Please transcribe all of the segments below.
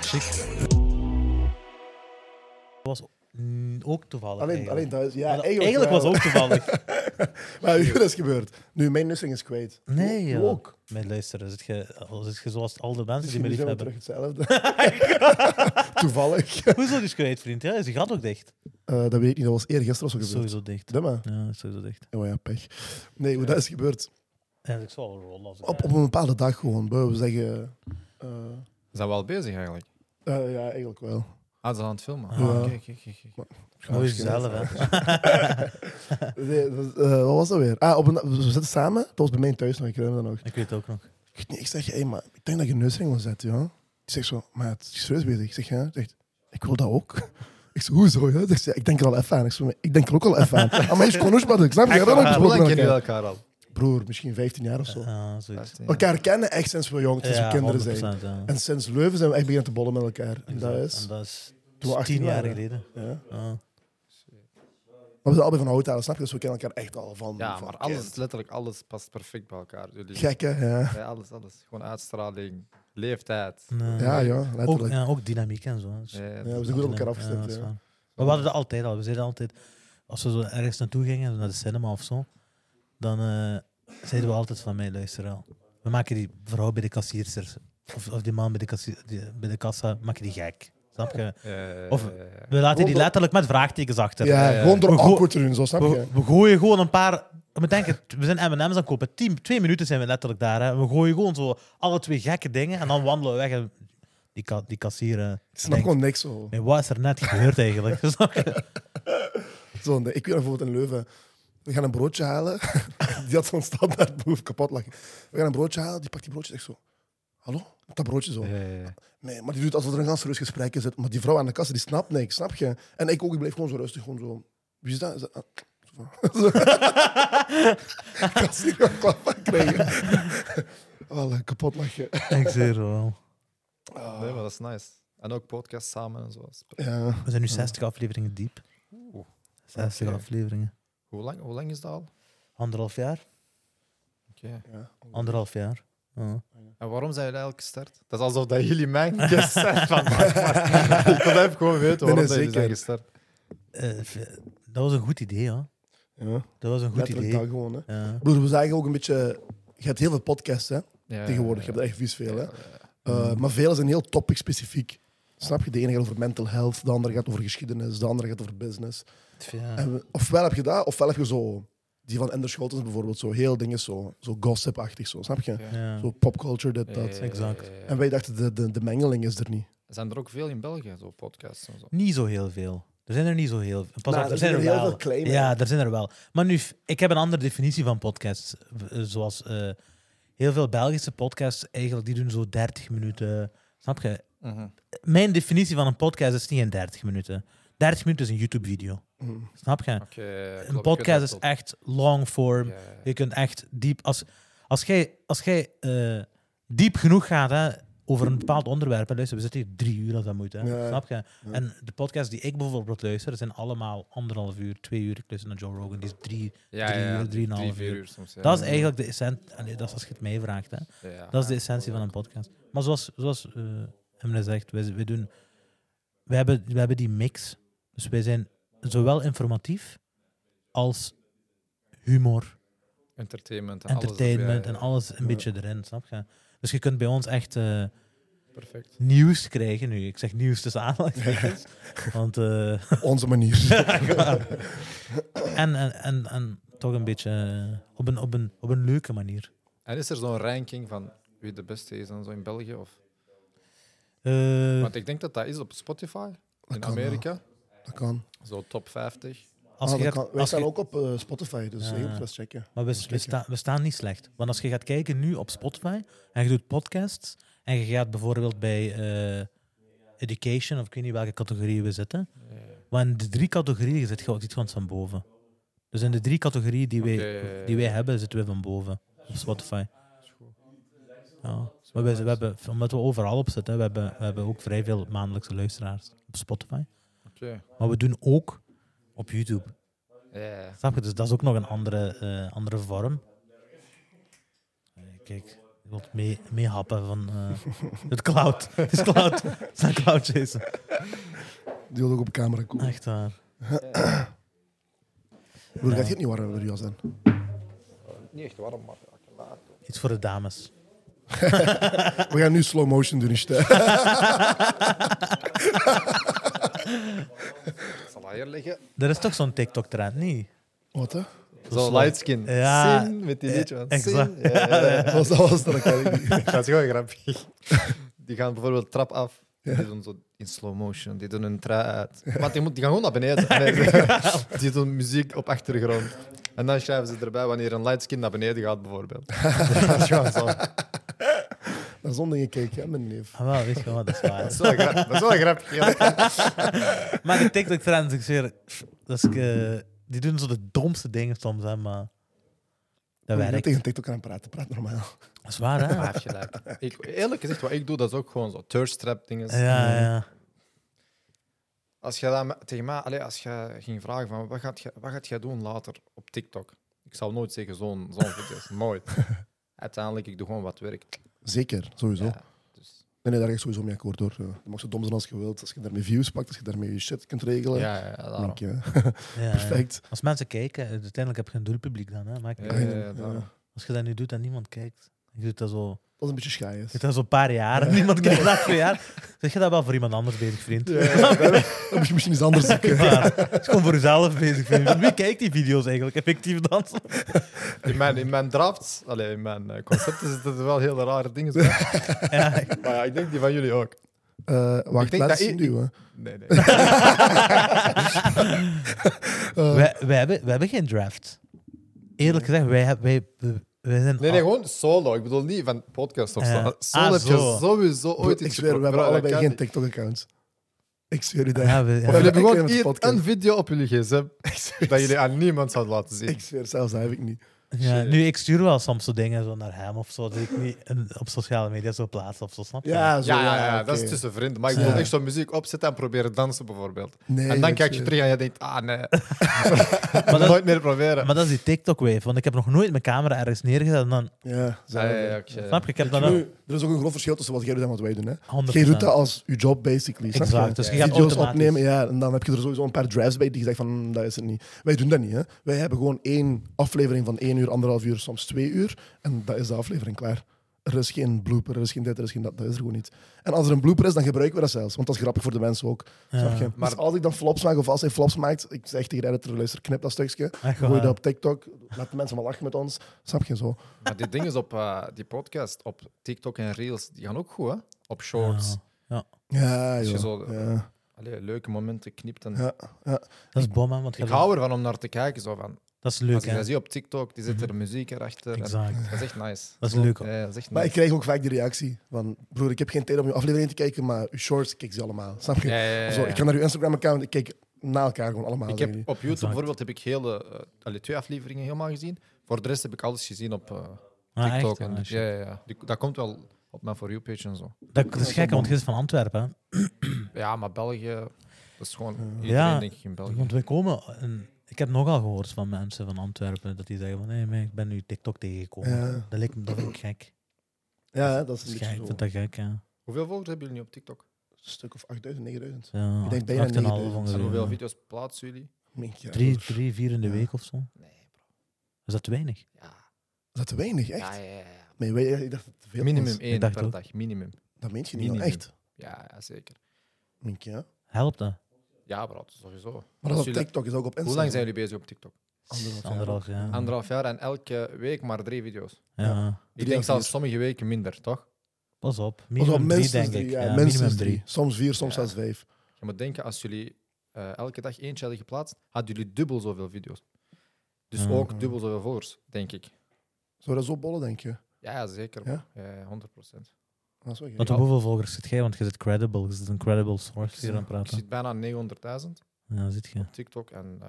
Chic. was mm, ook toevallig. Alleen, eigenlijk. alleen dat is... Ja, Maar dat- eigenlijk, eigenlijk wel. was ook toevallig. Maar uw is gebeurd. Nu, mijn nussing is kwijt. Nee, Hoe- joh. hoe ook. Mijn luisteren, zit je, zit je zoals al de mensen die Misschien me zijn lief we hebben. terug hetzelfde. Toevallig. Hoezo is kwijt, vriend? Ja, ze gaat ook dicht. Eh, dat weet ik niet, dat was eergisteren of zo gebeurd. Sowieso dicht. Dumma. Ja, is sowieso dicht. Oh ja, pech. Nee, hoe dat is gebeurd. En ik zal wel rollen als ik Op, op een bepaalde dag gewoon. Beu, We zeggen... eh, Zijn we al bezig eigenlijk? eh, ja, eigenlijk wel. Ah, ze zijn aan het filmen. Ja. Ah, kijk, kijk, kijk, kijk. Mooi zelf, hè. Nee, dat- eh, wat was dat weer? Ah, op een, we zitten samen. Dat was bij mij thuis nog. Ik herinner me dat nog. Ik weet het ook nog. Ik, weet niet, ik zeg, hey, maar ik denk dat je een neusring wil zetten, ja. Ik zeg zo, maar het is serieus bezig. Ik zeg, ja. Ik zeg, ik wil dat ook. Ik zeg, hoezo? Ja? Ik, zeg, ik denk er al even aan. Ik, zeg, maar ik denk er ook al even aan. Ah, maar je is gewoon maar ik snap je? Echt Ja, dat waar, heb ik Hoe besproken lang met kennen jullie elkaar. elkaar al? Broer, misschien 15 jaar of zo. Ah, zoiets. Echt, ja. Elkaar kennen echt sinds we jong, sinds we kinderen zijn. 100%, ja. En sinds Leuven zijn we echt beginnen te bollen met elkaar. En dat En is... dat is Toen we 18 tien jaar waren. geleden. Ja. Ja. Maar we zijn allebei van oud aan, snap je? Dus we kennen elkaar echt al van... Ja, van maar kind. alles, letterlijk alles past perfect bij elkaar. Jullie. Gek, hè? Ja, Ja, alles, alles. Gewoon uitstraling, leeftijd. Eh, Nee. ja, ja ook, letterlijk. ja, ook dynamiek en zo. hè. Dus- Ja, Ja, het we is zijn goed op Ja, elkaar ja, afgestemd, dat is ja. waar. Maar we hadden dat altijd al. We zeiden altijd, als we zo ergens naartoe gingen, naar de cinema of zo, dan eh, zeiden we altijd van mij, luister al. We maken die vrouw bij de kassierster, of, of die man bij de, kassi- die- bij de kassa, maak je die gek. Snap je? Eh, Of- We laten die Gewoon- letterlijk met vraagtekens achter. Ja, Ja, ja. gewoon door We go- awkward te doen, zo snap je? We, we gooien gewoon een paar. We denken, we zijn MM's aan het kopen. Tien, twee minuten zijn we letterlijk daar. Hè. We gooien gewoon zo alle twee gekke dingen en dan wandelen we weg. En die, ka die kassier. eh, Ik snap denkt, gewoon niks zo. "Nee, wat is er net gebeurd eigenlijk? Snap je? Zo, ik weet nog bijvoorbeeld in Leuven. We gaan een broodje halen. Die had zo'n standaard boef kapot lachen. We gaan een broodje halen, die pakt die broodje echt zo. Hallo? Met dat broodje zo. ja, ja, ja. Nee, maar die doet alsof er een ganz serieus gesprek is. Maar die vrouw aan de kassa, die snapt niks, snap je? En ik ook, ik bleef gewoon zo rustig, gewoon zo. Wie is dat? Is dat- ah, zo van. Zo. ik had ze hier een klap van krijgen. Alle kapot lachen. Ik zie het wel. Nee, maar dat is nice. En ook podcast samen en zo. Ja. We zijn nu 60 afleveringen diep. Oeh, 60 Oké. afleveringen. Hoe lang, hoe lang is dat al? Anderhalf jaar? Oké. ja. Anderhalf jaar. Ja. En waarom zijn jullie eigenlijk gestart? Dat is alsof dat jullie mijn guest zijn van Ik wil even gewoon weten Nee, waarom nee, dat jullie zeker. zijn gestart. Eh, v- dat was een goed idee, ja. ja. Dat was een goed Letterlijk dat idee. gewoon, hè. Ja. Broer, we zagen ook een beetje... Je hebt heel veel podcasts, hè? Ja, Tegenwoordig, je ja, hebt er echt vies veel, hè? ja, ja. Uh, maar velen zijn heel topic-specifiek. Snap je? De ene gaat over mental health, de andere gaat over geschiedenis, de andere gaat over business. Ja. En we- ofwel heb je dat, ofwel heb je zo... Die van Ender Scholtens bijvoorbeeld, zo heel dingen zo, zo gossip-achtig, zo, snap je? Ja. Zo popculture, dit, Ja, dat. ja, ja, exact. ja, ja. En wij dachten, de, de, de mengeling is er niet. Eh, Zijn er ook veel in België, zo podcasts en zo? Niet zo heel veel. Er zijn er niet zo heel veel. Pas op, Nou, er, er zijn er zijn heel wel. veel claimen. Ja, er zijn er wel. Maar nu, ik heb een andere definitie van podcasts. eh, Zoals eh, heel veel Belgische podcasts, eigenlijk, die doen zo 30 minuten. Snap je? Mijn definitie van een podcast is niet in 30 minuten. 30 minuten is een YouTube-video. Mm. Snap je? Oké, een podcast is echt long form. Je kunt echt diep. Als, als jij, als jij eh, diep genoeg gaat hè, over een bepaald onderwerp. hè, Luister, we zitten hier drie uur als dat moet. Hè, Ja. Snap je? En de podcasts die ik bijvoorbeeld luister, dat zijn allemaal anderhalf uur, twee uur. Ik luister naar Joe Rogan, die is drie. drie uur, drieënhalf drie, vier uur. uur soms. ja. dat is eigenlijk de essentie. dat is als je het mij vraagt. Hè. Ja. Dat is de essentie van een podcast. Maar zoals, zoals eh Emre zegt, wij, wij doen. We hebben, we hebben die mix. Dus wij zijn zowel informatief als humor Entertainment en entertainment alles. en erbij, alles een beetje erin, snap je? Dus je kunt bij ons echt eh, ja. Perfect. nieuws krijgen nu. Ik zeg nieuws tussen aanhalingstekens. want, eh, Onze manier. en, en, en, en toch een beetje eh, op een, op een, op een leuke manier. En is er zo'n ranking van wie de beste is en zo in België? Of? Eh, Want ik denk dat dat is op Spotify in kan wel. Amerika. dat kan. Zo top 50. als Ah, je dat gaat- kan. Wij als je- staan ook op eh, Spotify, dus Ja. je moet wel eens checken. Maar we, we, sta- we staan niet slecht. Want als je gaat kijken nu op Spotify en je doet podcasts en je gaat bijvoorbeeld bij eh, education of ik weet niet welke categorie we zitten. Maar in de drie categorieën zit je zit gewoon van boven. Dus in de drie categorieën die wij, Oké. die wij hebben, zitten we van boven op Spotify. Ja. Maar wij- we, hebben, omdat we overal op zitten, we hebben, we hebben ook vrij veel maandelijkse luisteraars op Spotify. Oké. Maar we doen ook op YouTube. Ja. Snap je? Dus dat is ook nog een andere, eh, andere vorm. Eh, Kijk, Ik wil het mee, mee happen van eh, het cloud. Het is cloud. Het is een cloud, Jason. Die wil ook op camera komen. Echt waar. Broer, gaat je het niet warm hebben, Jas dan? Niet echt warm, maar ja, Iets voor de dames. Ah. We gaan nu slow motion doen, is het, hè? ik zal dat hier liggen. Er is toch zo'n TikTok-trend, niet? Wat, hè? Zo lightskin. Ja, Zin met die eh, liedje. van exact. zin. Ja, ja, ja. Dat was, dat was dat, ik eigenlijk niet. Dat is gewoon grappig. Die gaan bijvoorbeeld trap af. Die doen zo in slow motion. Die doen een trui uit. Want die, moet, die gaan gewoon naar beneden. Nee, die doen muziek op achtergrond. En dan schrijven ze erbij wanneer een lightskin naar beneden gaat, bijvoorbeeld. dat is gewoon zo. Naar zo'n dingen kijk hè, mijn neef. Ah, wel, weet je wat, dat is waar. Dat is wel grap- dat is wel grappig. ja. Maar de TikTok-trends, ik zweer, dat is, eh, die doen zo de domste dingen soms, hè, maar dat Ik ben werkt. tegen TikTok aan het praten. Praat normaal. Dat is waar, hè? Maar heb je gelijk. Ik, eerlijk gezegd, wat ik doe, dat is ook gewoon zo thirst trap dingen. Ja, ja. Als je dat me- tegen mij, allee, als je ging vragen van wat gaat, je, wat gaat jij doen later op TikTok? Ik zou nooit zeggen zo'n zo'n video's, nooit. Uiteindelijk, ik doe gewoon wat werkt. Zeker, sowieso. Ja, dus, Nee, nee, daar ga ik sowieso mee akkoord door. Je mag zo dom zijn als je wilt. Als je daarmee views pakt, als je daarmee je shit kunt ja, regelen. ja, ja, daarom. Dank je. ja, ja. Perfect. Als mensen kijken, eh, uiteindelijk heb je een doelpubliek dan, hè? Maakt niet Ja, uit. ja, ja, daarom. Als je dat nu doet en niemand kijkt, je doet dat zo, Dat is een beetje schaai. je doet dat zo een paar jaar en niemand kijkt na twee jaar, zeg je dat wel voor iemand anders bezig, vriend. Dan moet je misschien iets anders zoeken. Maar het is gewoon voor jezelf bezig. Vind. ik. Wie kijkt die video's eigenlijk effectief dan? In mijn, in mijn drafts, allee, in mijn eh, concepten zitten er wel hele rare dingen. bij. Ja, Maar ja, ik denk die van jullie ook. Eh, Ik wacht, denk laat dat eens ik- duwen. Nee, nee. wij, wij, hebben, wij hebben geen draft. Eerlijk gezegd, wij, heb- wij, wij zijn... Nee, nee, gewoon solo. Ik bedoel niet van podcast of Eh, zo. Ja. Solo Ah, heb zo. je sowieso ooit Broer, Ik iets zweer, we hebben gebro- allebei dat geen kan niet. TikTok-account. Ik zweer u dat. Ja, we, ja. Of- Jullie hebben Ik gewoon ken het hier podcast. een video op jullie gsm dat jullie aan niemand zouden laten zien. Ik zweer, zelfs dat heb ik niet. Ja, Shit. nu, ik stuur wel soms zo dingen zo naar hem of zo, dat ik niet in- op sociale media zo plaats of zo, snap je? Ja, zo, Ja, ja, ja, oké. dat is dus- tussen vrienden. Maar ik Ja. wil echt zo'n muziek opzetten en proberen dansen, bijvoorbeeld. Nee, en dan dat eh, kijk je zweer. terug en je denkt, ah nee, maar, dat, nooit meer proberen. maar dat is die TikTok-wave, want ik heb nog nooit mijn camera ergens neergezet en dan... Ja, zo. Ah, Ja, ja, ja, oké. Snap je? Ik heb dan Nu, wel... er is ook een groot verschil tussen wat jij doet en wat wij doen. Hè. 100%. Jij doet dat als je job, basically. snap Exact, dus je gaat Video's automatisch. opnemen, ja. En dan heb je er sowieso een paar drafts bij die je zegt van, "Mm, dat is het niet. Wij doen dat niet, hè. Wij hebben gewoon één aflevering van één uur, anderhalf uur, soms twee uur. En dat is de aflevering klaar. Er is geen blooper, er is geen dit, er is geen dat. Dat is er gewoon niet. En als er een blooper is, dan gebruiken we dat zelfs. Want dat is grappig voor de mensen ook. Snap je? Maar- dus als ik dan flops maak, of als hij flops maakt, ik zeg tegen de editor, luister, knip dat stukje. Echt Gooi waar. dat op TikTok. Laat de mensen maar lachen met ons. Snap je zo? Maar die dingen op eh, die podcast, op TikTok en Reels, die gaan ook goed, hè? Op shorts. Ja. Ja, je joh. zo- ja. Allee, leuke momenten knipt. En... Ja, ja. Dat is bom, hè, want je- Ik hou ervan om naar te kijken. Zo van. dat is Als leuk, ik hè? dat zie op TikTok, die zit er muziek erachter. en Mhm. Exact. Dat is echt nice. Dat is leuk, hoor. Ja, dat is echt Maar ik nice. krijg ook vaak die reactie van... Broer, ik heb geen tijd om je aflevering te kijken, maar je shorts ik kijk ze allemaal. Snap je? Ja, ja, ja, ja. Of zo, ik ga naar je Instagram-account, ik kijk na elkaar gewoon allemaal. Ik zeg heb je. op YouTube bijvoorbeeld heb ik hele, eh, allee, twee afleveringen helemaal gezien. Voor de rest heb ik alles gezien op eh, Ah, echt, TikTok. hè? en, Ah, shit. ja, ja, ja. Die- dat komt wel op mijn For You-page en zo. Dat, dat is gek, want je is van Antwerpen, hè? Ja, maar België, dat is gewoon iedereen Ja. denk ik in België. Want wij komen... en ik heb nogal gehoord van mensen van Antwerpen dat die zeggen van nee, maar ik ben nu TikTok tegengekomen. Ja. Dat lijkt me dat vind ik gek. Ja, dat Dat is is een gek, ik beetje zo. vind dat gek, ja. Hoeveel volgers hebben jullie nu op TikTok? Een stuk of 8000, 9000. ja Ik denk bijna 8,5 9000. ongeveer, En hoeveel ja. video's plaatsen jullie? Mink, ja, Drie, broer. drie, vier in de Ja. week of zo. Nee, bro. Is dat te weinig? Ja, Is dat te weinig, echt? ja, ja, ja. Nee, wij, ik dacht dat het te veel Minimum was. één dacht per ook. dag, minimum. Dat meent je niet, Minimum. echt? Ja, ja, zeker. Mink, ja. Helpt dat? Ja, bro, dat is sowieso. Maar Als dat is op jullie- TikTok is ook op Instagram. Hoe lang zijn jullie bezig op TikTok? Anderhalf jaar. Anderhalf jaar. Ja. Anderhalf jaar en elke week maar drie video's. Ja. Ik à denk zelfs vier. sommige weken minder, toch? Pas op. Pas op, Minimum drie, minstens denk ik. ja, Ja, minstens minimum drie. drie. Soms vier, soms zelfs vijf. Je moet denken, als jullie eh, elke dag eentje hadden geplaatst, hadden jullie dubbel zoveel video's. Dus Ja. ook dubbel zoveel volgers, denk ik. Zou dat zo bollen, denk je? Ja, ja, zeker. Ja? Ja? Ja, 100 Dat is wel gek. Want op hoeveel volgers zit jij? Want je zit credible. Je zit een credible source hier aan het Ik praten. zit bijna 900.000 Ja, zit je. op TikTok en eh,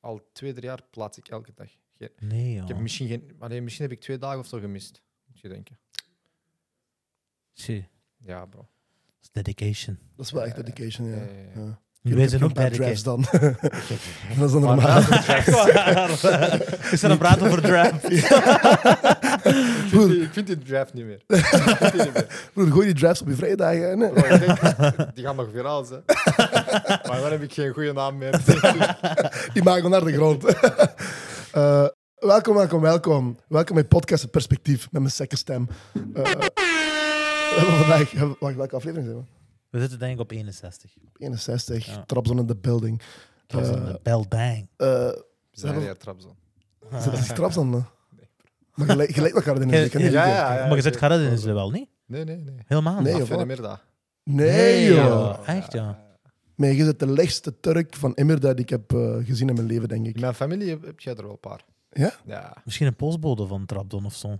al twee, drie jaar plaats ik elke dag. Ge- Nee, Ik heb joh. misschien, geen, allee, misschien heb ik twee dagen of zo gemist, moet je denken. Tjie, Ja, bro. Dat is dedication. Dat is wel echt dedication, ja. Ja, ja, ja. Ja. Nu, Jullie wij zijn ook hebben geen dedicated. paar drafts dan. dat is dan normaal. Echt waar. We zijn aan het praten voor draft. Ik vind die- Ik vind die draft niet meer. Ik vind die niet meer. Broer, gooi die drafts op je vrijdagen. hè. Nee. Bro, ik denk, die gaan nog viraal zijn. Maar dan heb ik geen goede naam meer. Die maken we naar de grond. Eh, welkom, welkom, welkom. Welkom bij Podcast Het Perspectief met mijn sekke stem. Eh, we hebben vandaag, hebben- wacht, welke aflevering zijn we? We zitten denk ik op 61. 61, Ja. Trabzon in de building. Dat is Eh, een bel bang. eh, Zijn hebben- jaar Trabzon. Zit dat die Trabzon? dan? Maar gelijk, gelijk elkaar in de Ja, ik kan niet ja, liegen. ja. Maar je zegt Garad in is wel niet? Nee, nee, nee. Helemaal Nee, niet. joh. Af en middag. Nee, joh. joh. Echt, ja. Nee, je zit de lichtste Turk van Immerda die ik heb eh, gezien in mijn leven, denk ik. In mijn familie heb, heb jij er wel een paar. Ja? Ja. Misschien een postbode van Trapdon of zo.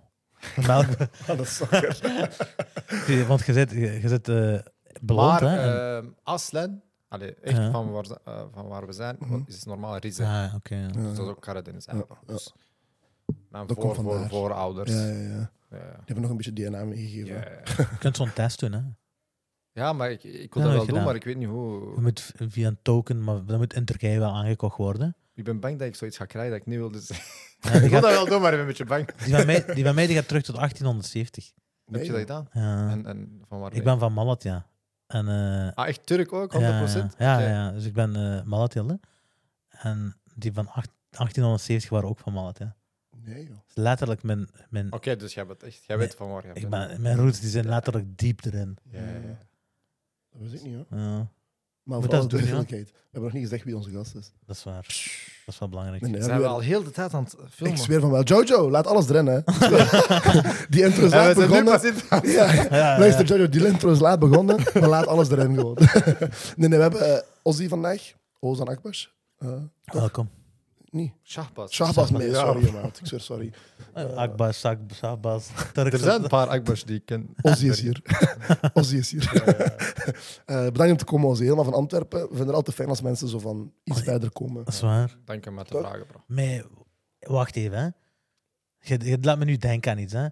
Melk. Ah, dat is zakker. Want je zit, je je zit eh, beloond, maar hè? en- eh, ehm, Aslan, allee, echt Ja. van, waar, ze- eh, van waar we zijn, want is normaal Rize. Ah, oké. ja. Dus dat is ook Karadeniz eigenlijk. Ja, ja. Dus mijn Dat voor, komt voor, vandaar. voorouders. Ja, ja, ja. Ja. Die hebben nog een beetje DNA meegegeven. Ja. Je kunt zo'n test doen, hè? Ja, maar ik, ik wil dat Ja, dat wel heb je doen, gedaan. maar ik weet niet Je hoe. moet v- via een token, maar dat moet in Turkije wel aangekocht worden. Ik ben bang dat ik zoiets ga krijgen dat ik niet wil. Dus ik Ja, die, wil dat gaat, wel doen, maar ik ben een beetje bang. die, van mij, die van mij die gaat terug tot 1870. Nee, Heb je dat gedaan? Ja. En, en van waar? ik ben van Malatya. En, eh, Ah, echt Turk ook, 100%? ja, ja, ja, Oké. ja. dus ik ben eh Malatyalle. En die van acht- 1870 waren ook van Malatya. Nee, joh. Dus letterlijk mijn, mijn, Oké, dus jij, bent echt, jij weet van waar jij ik bent. ben, mijn roots die zijn letterlijk diep erin. Ja, ja, ja. Dat weet ik niet, hoor. Ja, Maar Moet vooral dat de doen, ja? duidelijkheid. We hebben nog niet gezegd wie onze gast is. dat is waar. Dat is wel belangrijk. Nee, nee, Zijn we we- al heel de tijd aan het filmen? ik zweer van wel. Jojo, laat alles erin, hè. die intro is laat begonnen. Ja, Ja, ja, ja. Luister, Jojo, die intro is laat begonnen, maar laat alles erin gewoon. nee, nee, we hebben eh, Ozzy vandaag. Ozan Akbars. Eh Welkom. niet. Shahbaz. Shahbaz, nee, Ja. sorry, maat. Ik zweer, sorry. Eh, Akbas, Sak- Sabas, Oh. Er Turkse- zijn een paar Akbars die ik ken. Ozzy is hier. Ozzy is hier. Eh, bedankt om te komen, Ozzy. Helemaal van Antwerpen. We vinden het altijd fijn als mensen zo van iets Ozzy. verder komen. Dat is waar. Dank je met de Toch? vragen, bro. Maar wacht even, hè. Je, je laat me nu denken aan iets, hè.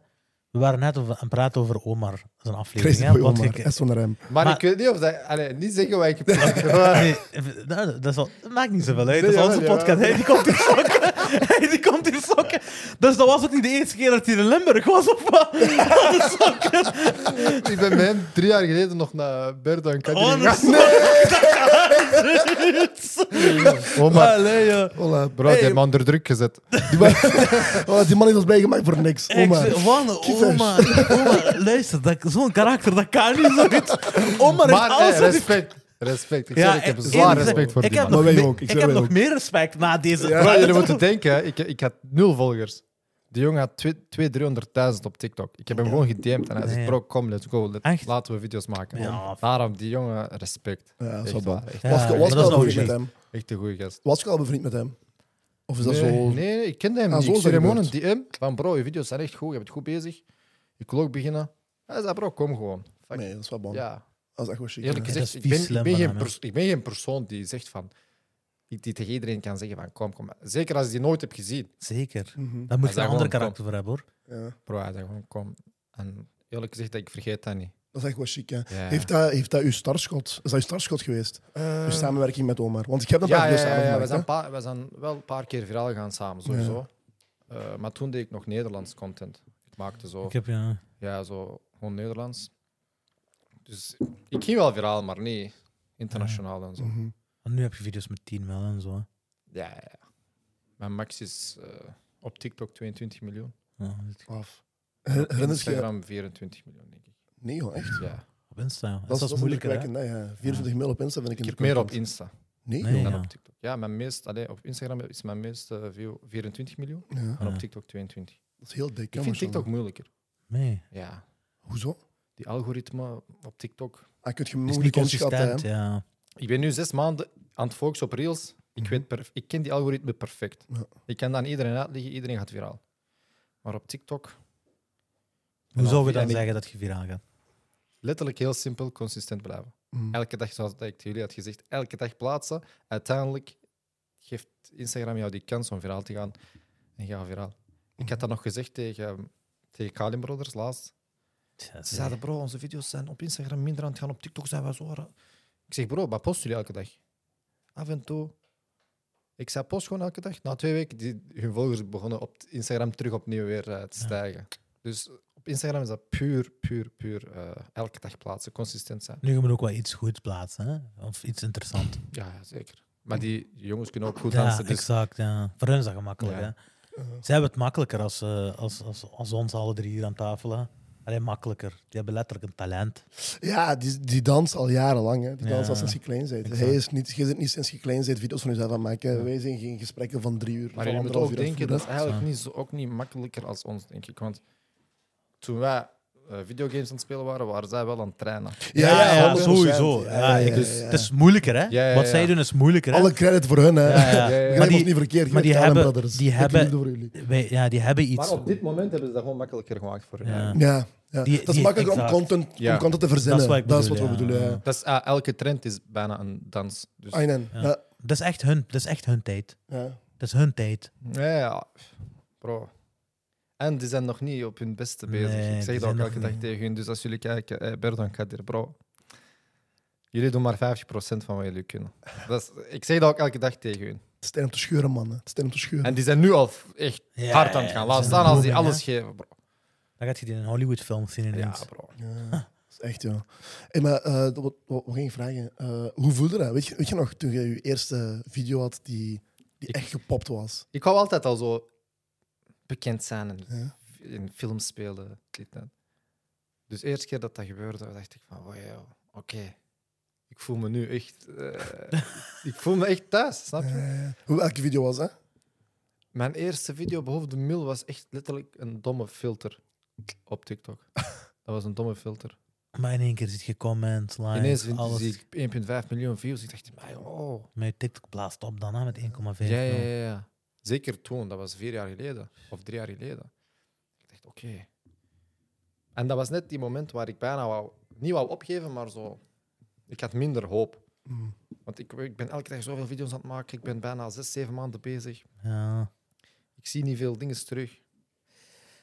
We waren net over, aan het praten over Omar, zijn aflevering. Hè, Crazy boy want Omar, je- echt zo naar hem. Maar, Maar- ik weet niet of dat... Allee, niet zeggen wat ik heb Nee, even- nou, dat, is wel- dat maakt niet zoveel uit. Dat Nee, is jawel, onze jawel. podcast. Hey, die komt in sokken. Hey, die komt in sokken. Dus dat was ook niet de eerste keer dat hij in Limburg was. Of wat? Dat is ook- ik ben met hem drie jaar geleden nog naar Berdo en Kadri Oh, dat is- gegaan. Oh, maar... Allee, joh. Hola, Bro, die heeft me onder druk gezet. Die man, oh, die man heeft ons blijgemaakt voor niks. Oh, Ik Oma. zeg, wat een oh, oma. Oma, luister, dat- zo'n karakter, dat kan niet Oh, zoiets. Oma heeft Maar alles eh, wat hij respect. Respect. Ik, zeg, ik heb zwaar eerlijk respect gezegd, voor ik die heb man. Maar nog wij me- ook, ik Ik, zweer, heb wij nog ook. meer respect na deze. Bro, jullie moeten denken, hè, ik, ik had nul volgers. Die jongen had twee- twee 300.000 op TikTok. Ik heb hem gewoon gedm'd en hij Ja, zegt, ja. bro, kom, let's go. Let- Echt? Laten we video's maken. Ja. Daarom, die jongen, respect. Ja, dat Echt is wel bang. waar, echt. Ja, was ik maar was ik dat is al nou bevriend met niet. hem? Echt een goede gast. Was ik al bevriend met hem? Of is Dus dat nee, zo... nee, nee, ik kende hem Ah, niet. zo Ik is stuurde dat hem gewoon een DM van, bro, je video's zijn echt goed, je bent goed bezig. Ik wil ook beginnen. Hij zei, bro, kom gewoon. Fuck. Nee, dat is wel bang. Ja, Dat is echt wel chic. eerlijk hè. dat gezegd, ik is vies ben, ik, slim ben van geen hem, hè. pers- ik ben geen persoon die zegt van... Die die tegen iedereen kan zeggen van, kom, kom. Zeker als je die nooit hebt gezien. Zeker. Mhm. Daar Hij moet je zei een ander gewoon, karakter voor hebben, hoor. Ja, Bro, hij zei gewoon, kom. En eerlijk gezegd, ik vergeet dat niet. dat is echt wel chic, hè. Ja. Heeft, dat, heeft dat uw starschot? Is dat uw starschot geweest? Eh, Uw samenwerking met Omar? Want ik heb dat dus ja, paar ja, keer ja, samen ja, we, gemaakt, zijn hè. pa- we zijn wel een paar keer viraal gegaan samen, sowieso. Eh, maar toen deed ik nog Nederlands content. Ik maakte zo, Ik heb, ja... ja, zo gewoon Nederlands. Dus ik ging wel viraal, maar niet internationaal en zo. Mhm. Want nu heb je video's met 10 mil en zo. hè. Ja, ja, ja. Mijn max is eh, op TikTok 22 miljoen. Ja, weet je. Af. Op Herinner je... Instagram 24 miljoen, denk ik. Nee, joh, echt. Ja. Op Insta. ja. Dat Dat is, dat is, dat is moeilijker, hè? indrukwekkend, hè, ja. 24 mil op Insta vind ik Ik heb indrukwekkend. meer op Insta Nee, Nee, joh. dan ja. op TikTok. Ja, mijn meest, allee, op Instagram is mijn meeste view 24 miljoen Ja, en op Ja. TikTok 22. dat is heel dik, hè, Ik vind mashallah. TikTok moeilijker. Nee. Ja, Hoezo? die algoritme op TikTok. Ah, kun je Het is niet moeilijk inschatten, hè. consistent, ja. Ik ben nu zes maanden aan het focussen op reels. Ik, Mhm. weet perf- ik ken die algoritme perfect. Ja. Ik kan dat aan iedereen uitleggen, iedereen gaat viraal. Maar op TikTok, Hoe zou je en dan ik- zeggen dat je viraal gaat? letterlijk heel simpel, consistent blijven. Mm. Elke dag, zoals dat ik tegen jullie had gezegd, elke dag plaatsen. Uiteindelijk geeft Instagram jou die kans om viraal te gaan. En ga viraal. Ik had dat nog gezegd tegen, tegen Kalim Brothers laatst. Tja, Ze zeg. zeiden, bro, onze video's zijn op Instagram minder aan het gaan, op TikTok zijn we zo. raar." Ik zeg, bro, wat posten jullie elke dag? Af en toe. Ik zei, post gewoon elke dag. Na twee weken, die, hun volgers begonnen op Instagram terug opnieuw weer eh, te stijgen. Dus op Instagram is dat puur, puur, puur eh, elke dag plaatsen, consistent zijn. Nu gaan we ook wel iets goeds plaatsen, hè? of iets interessants. Ja, ja, zeker. Maar die jongens kunnen ook goed Ja, dansen. Dus exact. Ja. Voor hen is dat gemakkelijk. Ja. Hè? Zij hebben het makkelijker als, eh, als, als, als ons alle drie hier aan tafel. hè. Alleen makkelijker. Die hebben letterlijk een talent. Ja, die, die dans al jarenlang. Hè. Die Ja, dans al sinds je klein bent. exact. Hij is niet, je zit niet sinds je klein bent video's van jezelf aan het maken. Wij zijn geen gesprekken van drie uur. maar van je moet anderhalf ook uur aan het denken, dat voeren. is eigenlijk niet, zo- ook niet makkelijker als ons, denk ik. Want toen wij eh, videogames aan het spelen waren, waren zij wel aan het trainen. Ja, ja, 100%. sowieso. Ja, ik- ja, dus ja. Het is moeilijker, hè? Ja, ja, Wat ja. zij doen is moeilijker. Hè? Alle credit voor hun, hè. Ja, ja. Ja, ja, ja. Begrijp Maar die- ons niet verkeerd. maar die Geen Allen hebben- Brothers. die Ik heb hebben- liefde voor jullie. Wij- ja, die hebben iets. Maar op dit moment hebben ze dat gewoon makkelijker gemaakt voor hen. Ja. Ja, ja. Die- dat is die- makkelijker om exact. content, Ja. om content te verzinnen. wat ik we bedoel, bedoelen. ja. Ja. Dat is, ah, elke trend is bijna een dans. Dus, I know. Ja. Ja, Dat, is echt hun, dat is echt hun tijd. ja. Dat is hun tijd. ja, ja, bro. En die zijn nog niet op hun beste Nee, bezig. die ik zeg zijn dat ook nog elke dag niet. tegen hun. Dus als jullie kijken, eh, Berdan Kadir, bro. Jullie doen maar 50% van wat jullie kunnen. Dat is, ik zeg dat ook elke dag tegen hun. Het is tijd om te scheuren, man. hè. Het is tijd om te scheuren. En die zijn nu al echt Ja, hard aan het gaan. Laat ze staan als die booming, alles hè. geven, bro. Dan gaat je die in een Hollywood-film zien Ja, ineens. bro. Ja, dat is echt, ja. Hey, maar eh, dat wat, wat, wat ging ik vragen? Eh, hoe voelde dat? Weet je, weet je nog, toen je je eerste video had die, die Ik- echt gepopt was? Ik wou altijd al zo bekend zijn en Ja. in films spelen. dit en dat. Dus de eerste keer dat dat gebeurde, dacht ik van, wow, oké. Ik voel me nu echt... eh, ik voel me echt thuis, snap je? Eh, hoe elke video was, hè? Mijn eerste video boven de mil was echt letterlijk een domme filter op TikTok. Dat was een domme filter. Maar in één keer zit je comments, likes, Ineens vind- alles. zie ik 1,5 miljoen views. Ik dacht, "Maar oh. Met TikTok blaast op dan, hè, met 1,5 Ja, ja, miljoen. ja, ja. Zeker toen, dat was vier jaar geleden of drie jaar geleden. Ik dacht, oké. En dat was net die moment waar ik bijna wou, niet wou opgeven, maar zo. Ik had minder hoop. Mm. Want ik, ik ben elke dag zoveel video's aan het maken. Ik ben bijna zes, zeven maanden bezig. Ja. Ik zie niet veel dingen terug.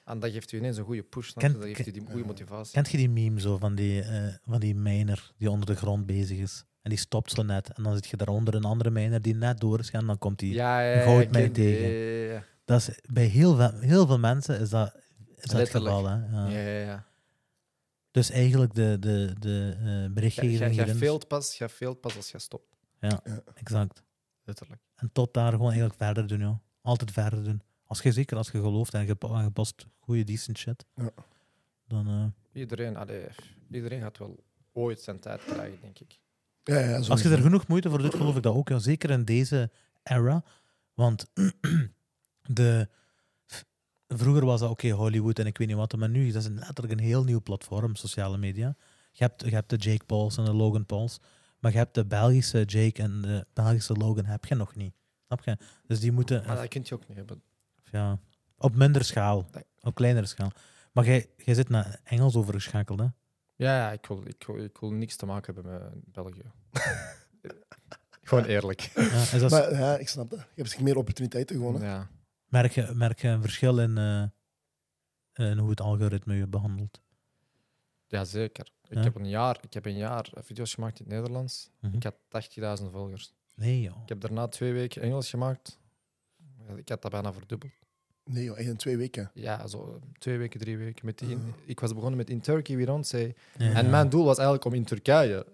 En dat geeft u ineens een goede push. snap je? Kent- Dat geeft u die eh, goede motivatie. Kent je die meme zo van die, eh, van die miner die onder de grond bezig is? En die stopt zo net. En dan zit je daaronder een andere miner die net door is gaan. Dan komt die. Ja, ja, je houdt ik mij ken die, tegen. ja, ja, ja. Dat is, bij heel veel, heel veel mensen is dat, is dat het Letterlijk. geval. Hè? Ja. Ja, ja, ja. Dus eigenlijk de, de, de eh Jij- Jij berichtgeving jij hierin- failt pas, jij failt pas als je stopt. Exact. Letterlijk. En tot daar gewoon eigenlijk verder doen, joh. Altijd verder doen. Als je zeker als je gelooft en je, pa- en je past goede decent shit, Ja. dan eh, Iedereen, allee, iedereen gaat wel ooit zijn tijd krijgen, denk ik. Ja, ja, Als je sowieso. er genoeg moeite voor doet, geloof ik dat ook. Ja. Zeker in deze era. Want de, vroeger was dat oké, Hollywood en ik weet niet wat. Maar nu is dat een- letterlijk een heel nieuw platform, sociale media. Je hebt, je hebt de Jake Pauls en de Logan Pauls. Maar je hebt de Belgische Jake en de Belgische Logan heb je nog niet. Snap je? Dus die moeten... Maar dat kun je ook niet hebben. Ja, op minder schaal. Nee. Op kleinere schaal. Maar jij, jij zit naar Engels overgeschakeld, hè? Ja, ja ik, wil, ik, wil, ik wil niks te maken hebben met België. Gewoon eerlijk. Ja, is dat, Maar, ja, ik snap dat. Je hebt zich meer opportuniteiten gewoon. Hè. Ja. merk, je, merk je een verschil in, eh, in hoe het algoritme je behandelt? ja, zeker. Ik, Ja. Heb een jaar, ik heb een jaar video's gemaakt in het Nederlands. Mhm. Ik had 80.000 volgers. Nee, joh. Ik heb daarna twee weken Engels gemaakt. Ik had dat bijna verdubbeld. Nee, joh, echt in twee weken. Ja, zo twee weken, drie weken. Met die in- ik was begonnen met In Turkey We Don't Say. Ah. Ja. En mijn doel was eigenlijk om in Turkije.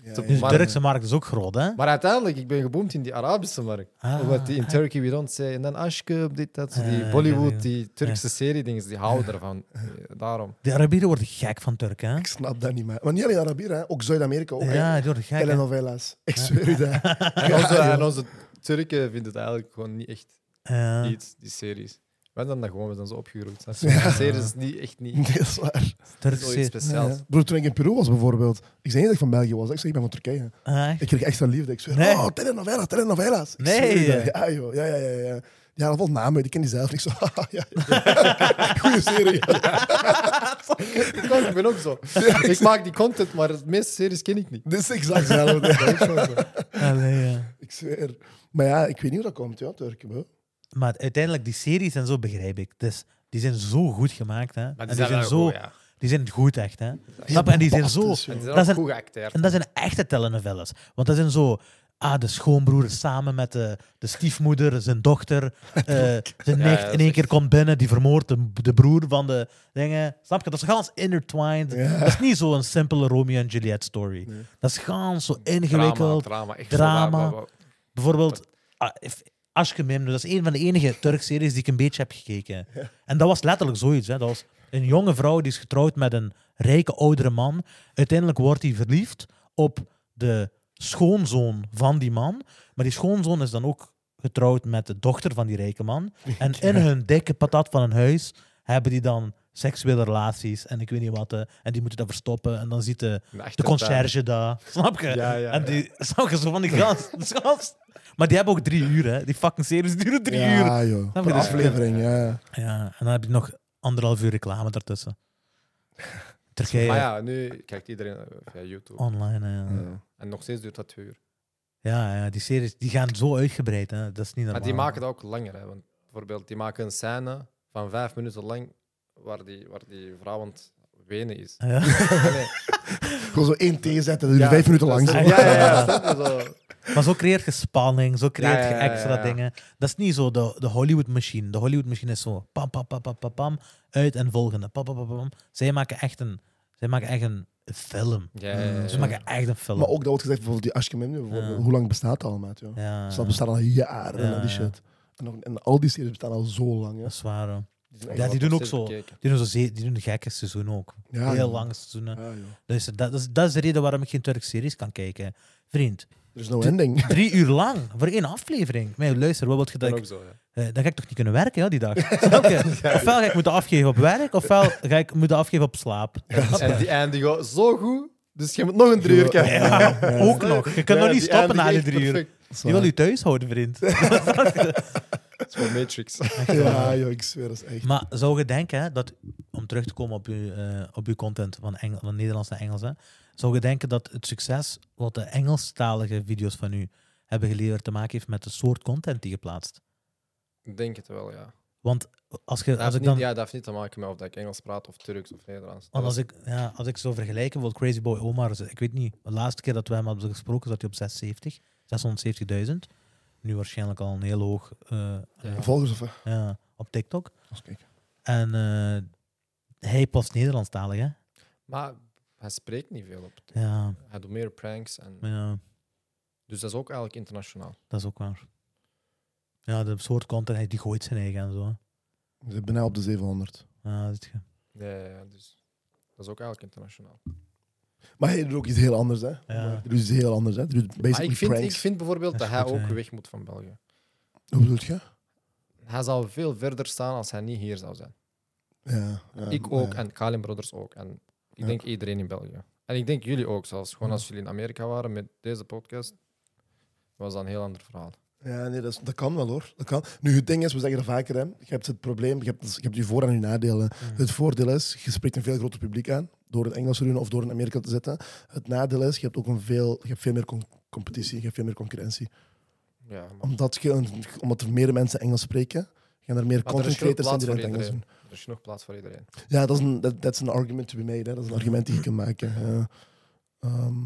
Ja, Te- Dus de Maar- Turkse markt is ook groot, hè? Maar uiteindelijk, ik ben geboomd in die Arabische markt. Ah, Omdat die in ah, Turkey we don't say. En dan Ashkub, dit, dat. zo Ja, ja, Die ja, ja. Bollywood, die Turkse serie-dingen, die houden ervan. Eh, Daarom. De Arabieren worden gek van Turken, hè? Ik snap dat niet, maar... Maar niet alleen Arabieren, hè. ook Zuid-Amerika. Ook, Ja, die worden hè. gek. hè. Telenovelas. Ik zweer u dat. En onze, en onze Turken vinden het eigenlijk gewoon niet echt Ja. iets, die series. Wij zijn dat gewoon, we zijn zo opgegroeid. snap je? Ah. Ja. Die series is niet echt niet Nee, dat is waar. Turkse zoiets serie. speciaals. Ja. Broer, toen ik in Peru was bijvoorbeeld, ik zei niet dat ik van België was. hè. Ik zei, ik ben van Turkije. Ah, echt? Ik kreeg extra liefde. Ik zei, Nee. oh, telenovelas, telenovelas. Ik Nee. zweer u dat. Ja, joh. Ja, ja, ja. ja. Die hadden wel namen, die ken die zelf. niet. Ik zo, haha, ja. ja. Goeie serie. Ik ook- ik ben ook zo. Ik maak die content, maar de meeste series ken ik niet. Dit is exact hetzelfde. Allee, Ah, ja. Ik zweer. Maar ja, ik weet niet hoe dat komt, ja, Turken. bro. Maar uiteindelijk, die series en zo begrijp ik. Dus die zijn zo goed gemaakt, hè? En die zijn, zo, die zijn goed, echt, hè? Snap je? En die zijn zo... Fantastisch, joh. Dat zijn- goed geacteerd. En dat zijn echte telenovelas. Want dat zijn zo Ah, de schoonbroer samen met de, de stiefmoeder, zijn dochter, eh, zijn Ja, ja, nicht dat is in één echt- keer komt binnen, die vermoordt de, de broer van de dingen. Snap je? Dat is gans intertwined. Ja. Dat is niet zo'n simpele Romeo en Juliet story. Dat is gans zo ingewikkeld. Drama, echt drama. waar, waar- waar- Bijvoorbeeld, ah, if- Aşkı-Memnu, dat is een van de enige Turk-series die ik een beetje heb gekeken. En dat was letterlijk zoiets. Hè. Dat was een jonge vrouw die is getrouwd met een rijke oudere man. Uiteindelijk wordt hij verliefd op de schoonzoon van die man. Maar die schoonzoon is dan ook getrouwd met de dochter van die rijke man. En in hun dikke patat van een huis hebben die dan seksuele relaties en ik weet niet wat. hè. En die moeten dat verstoppen. En dan ziet de, een echte de conciërge daar. Snap je? Ja, ja, en die snap je zo van die gast. gast. Maar die hebben ook drie uur, hè. Die fucking series duren drie uur. Ja, joh. je, Per dus- aflevering, ja. Ja, en dan heb je nog anderhalf uur reclame daartussen. Turkije, Maar ja, nu kijkt iedereen eh, via YouTube. Eh, online, hè, ja. En nog steeds duurt dat twee uur. Ja, ja, die series die gaan zo uitgebreid, hè. Dat is niet normaal. Maar die maken dat ook langer. Hè? Want bijvoorbeeld, die maken een scène van vijf minuten lang waar die, waar die vrouw aan het wenen is. Ja. Allee. Gewoon zo één thee zetten, dat duurt Ja, vijf minuten lang. dat zo. is- Ja, ja, ja. snap je, zo. Maar zo creëert je spanning, zo creëert Ja, ja, ja, je extra ja, ja. dingen. Dat is niet zo de, de Hollywood machine. De Hollywood machine is zo pam, pam, pam, pam, pam, pam uit en volgende. Pam, pam, pam, pam. Zij maken echt een, zij maken echt een film. Ja, ja, ja, Ze ja. maken echt een film. Maar ook dat wordt gezegd, bijvoorbeeld die Ashkememnu, bijvoorbeeld, Ja. hoe lang bestaat dat al, maat, joh? ja, Dus dat bestaat al jaren, Ja, hè, die ja. shit. En, nog- en al die series bestaan al zo lang, hè. dat is waar. hoor. zijn echt Ja, die wel doen ook steeds zo. bekeken. Die doen, zo ze- die doen gekke seizoenen ook. Ja, Heel ja. lange seizoenen. Ja, joh. Dus dat, dat, is, dat is de reden waarom ik geen Turkse series kan kijken. Vriend, Er is no ending. drie uur lang voor één aflevering. Maar luister, wat wil je Dat dat ook ik zo, ja. Eh, dan ga ik toch niet kunnen werken ja, die dag. Snap je? Ofwel ga ik moeten afgeven op werk, ofwel ga ik moeten afgeven op slaap. En die eindigen zo goed, dus je moet nog een drie uur kijken. Ja, ook nog. Je kunt nog niet stoppen na die drie uur. Je wil Zwaar. je thuis houden, vriend. Dat is wel Matrix. Ja, joh, ik zweer, dat is echt... maar zou je denken, hè, dat, om terug te komen op uw, eh, op uw content van, Engel, van Nederlands naar Engels, hè, zou je denken dat het succes wat de Engelstalige video's van u hebben geleverd te maken heeft met de soort content die je plaatst? Ik denk het wel, ja. Want als, je, Dat als heeft, ik niet, dan... ja. dat heeft niet te maken met of dat ik Engels praat of Turks of Nederlands. Dat Want als was- ik, ja, als ik zo vergelijk, bijvoorbeeld Crazy Boy Omar, is- ik weet niet, de laatste keer dat we hem hebben gesproken zat hij op 670, 670.000. Nu waarschijnlijk al een heel hoog eh, eh, Volgers of... eh, ja, op TikTok. Eens kijken. En eh, hij past Nederlandstalig, hè? Maar hij spreekt niet veel op. Ja, Hij doet meer pranks. En... ja, Dus dat is ook eigenlijk internationaal. dat is ook waar. Ja, de soort content, hij die gooit zijn eigen en zo. hè. We zijn bijna op de 700. Ja, dat is ge- Ja, ja, ja, dus dat is ook eigenlijk internationaal. Maar hij doet ook iets heel anders, hè. Hij doet iets heel anders, hè. Hij doet Maar ik basically vind, ik pranks. vind bijvoorbeeld Dat dat, is hij goed, ook hè. weg moet van België. Hoe bedoel je? Hij zou veel verder staan als hij niet hier zou zijn. Ja. ja, ik ook ja. en Kalim Brothers ook. En ik Ja. denk iedereen in België. En ik denk jullie ook zelfs. Gewoon Ja. als jullie in Amerika waren met deze podcast, was dat een heel ander verhaal. Ja, nee, dat, is- dat kan wel hoor. Dat kan. Nu, het ding is, we zeggen er vaker, hè, je hebt het probleem, je hebt, je hebt je voor- en je nadelen. Mm. Het voordeel is, je spreekt een veel groter publiek aan door het Engels te doen of door in Amerika te zitten. Het nadeel is, je hebt ook een veel, je hebt veel meer con- competitie, je hebt veel meer concurrentie. Ja, maar Omdat, je, omdat er meer mensen Engels spreken, gaan er Maar meer er content is veel creators zijn die dat plaats in het voor Engels doen. er is genoeg plaats voor iedereen. Ja, dat is een dat dat is een argument to be made. Hè. Dat is een argument die je kunt maken. ja. Ehm,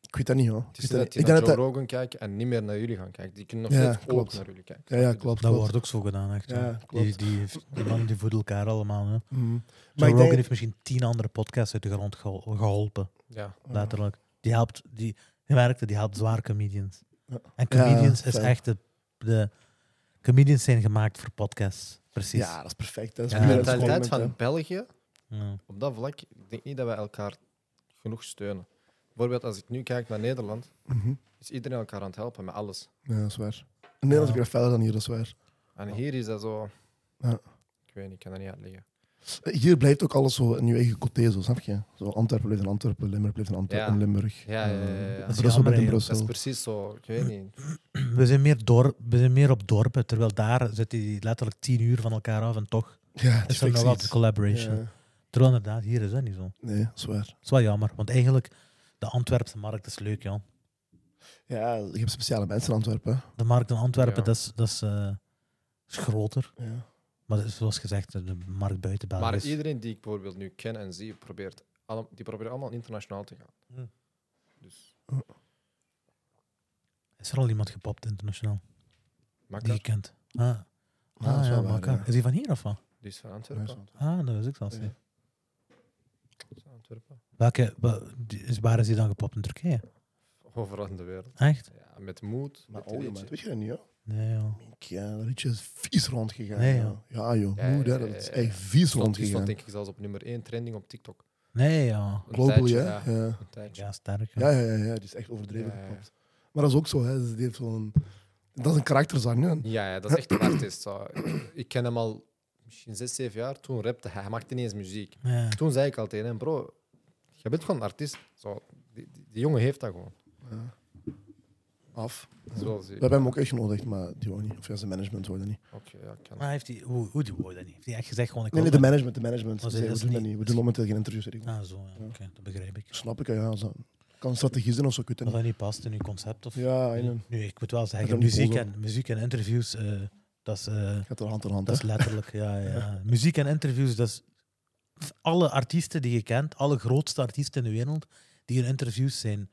ik weet dat niet hoor. Het Ik is weet net dat dat- die ik naar denk Joe dat dat... Rogan kijken en niet meer naar jullie gaan kijken. Die kunnen nog Ja, steeds ook klopt. naar jullie kijken. Ja, ja, klopt. Dat klopt. wordt ook zo gedaan, echt. hoor. Ja, die, klopt. die, die man die voedt elkaar allemaal. Hè. Mhm. Joe Maar ik Rogan denk... heeft misschien tien andere podcasts uit de grond gehol- geholpen. Ja. letterlijk. Die helpt, die, je merkte, die helpt zwaar comedians. Ja. En comedians Ja, is fijn. echt de, de... Comedians zijn gemaakt voor podcasts, precies. Ja, dat is perfect. Dat is Ja, De meer een mentaliteit compliment, hè. van België Ja. op dat vlak, ik denk niet dat wij elkaar genoeg steunen. Bijvoorbeeld als ik nu kijk naar Nederland, Mhm. is iedereen elkaar aan het helpen met alles. Ja, dat is waar. In Nederland Ja. is weer verder dan hier, dat is waar. En hier is dat zo... Ja. Ik weet niet, ik kan dat niet uitleggen. Eh, Hier blijft ook alles zo in je eigen coté, zo, snap je? Zo Antwerpen blijft in Antwerpen, Limburg blijft in Antwerpen, Ja. Limburg. Ja, ja, ja, ja, Eh, ja. Dat is Brussel blijft in jammer, Dat is Brussel. precies zo, ik weet niet. We, zijn meer dorp, we zijn meer op dorpen, terwijl daar zitten die letterlijk tien uur van elkaar af en toch Ja, het is er nog fix iets. altijd collaboration. Ja. Terwijl inderdaad, hier is dat niet zo. Nee, dat is waar. Dat is wel jammer, want eigenlijk, de Antwerpse markt is leuk, joh. Ja, je hebt speciale mensen in Antwerpen. De markt in Antwerpen, Ja. dat, is, dat is, eh, is groter. Ja. Maar dat is zoals gezegd, de markt buiten België Maar is- iedereen die ik bijvoorbeeld nu ken en zie, probeert, allem- Dus die probeert allemaal internationaal te gaan. Hm. Dus Is er al iemand gepopt internationaal die Makkelijk. je kent? Ah, Ja, dat ah is ja, wel waar, Maka. ja. Is die van hier of wat? Die is van Ja, Antwerpen. zo. Ah, dat wist ik zelfs Ja. niet. Is van Antwerpen. Welke, wa- die- is, waar is die dan gepopt? In Turkije? Overal in de wereld. Echt? Ja, met moed. Maar met oh, ja, liedje. maar weet je dat niet, ja? Nee, joh. Ja, dat liedje is vies rondgegaan. Nee, ja. Ja, joh. Ja, moeder, ja, dat is ja, echt Die stond- vies Die stond rondgegaan. denk ik zelfs op nummer 1 trending op TikTok. Nee, joh. Een Global, tijdje, ja. Ja. Een tijdje. Ja, sterk. joh. Ja, ja, ja, ja, die is echt overdreven Ja, ja. gepopt. Maar dat is ook zo, hè. Die heeft zo'n... Dat is een karakterzang, hè. Ja, ja, dat is echt een artiest. Zo. Ik ken hem al misschien 6, 7 jaar. Toen rapte hij. Hij maakte ineens muziek. Ja. Toen zei ik al tegen hem, bro, je bent gewoon een artiest. Zo, die, die, die jongen heeft dat gewoon. Ja. Af. Dat is wel We ziek. hebben hem ook echt genodigd, maar die wou niet. Of ja, zijn management wilde niet. Oké, ja, kan. Maar heeft hij, hoe, hoe die woord dat niet? Heeft hij echt gezegd gewoon... Ik Nee, nee, de wil management, de management. Oh, Die zei, zei, dat we is doen dat niet- niet. We dat is- doen momenteel geen interviews. zeg ik. dat- Ah, zo. ja, Oké, dat begrijp ik. Snap ik, ja. ja, zo. Kan een strategie zijn of zo, ik weet het Dat niet. dat niet past in uw concept? Of... Ja, en, eh, Nu, ik moet wel Dat zeggen, is een muziek boodschap. en, muziek en interviews, eh, dat is... eh, gaat er hand in hand. Dat is hè. letterlijk, ja, ja, ja. Muziek en interviews, dat is f- alle artiesten die je kent, alle grootste artiesten in de wereld, die in interviews zijn,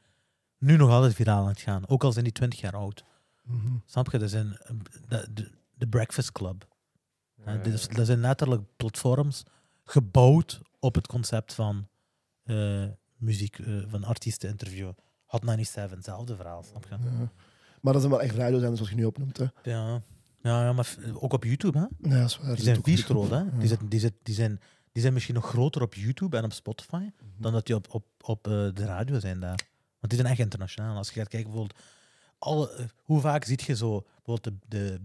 nu nog altijd viraal aan het gaan. Ook al zijn die 20 jaar oud. Mhm. Snap je? Dat zijn eh, de, de, de Breakfast Club. Ja, hè. ja, Ah, Dit is- Dat zijn letterlijk platforms gebouwd op het concept van eh, muziek, eh, van artiesten interviewen. Hot 97, hetzelfde verhaal, snap je? Ja. Maar dat zijn wel echt radiozenders, zoals je nu opnoemt. Hè. Ja, ja, ja maar f- ook op YouTube, hè? Nee, dat is waar. Die zijn ook goed. vies groot, hè? Ja. Die, zitten- die, zitten- die, zijn, die zijn misschien nog groter op YouTube en op Spotify Mhm. dan dat die op, op, op eh, de radio zijn daar. Want die zijn echt internationaal. Als je gaat kijken, bijvoorbeeld, alle, eh, hoe vaak zie je zo bijvoorbeeld de, de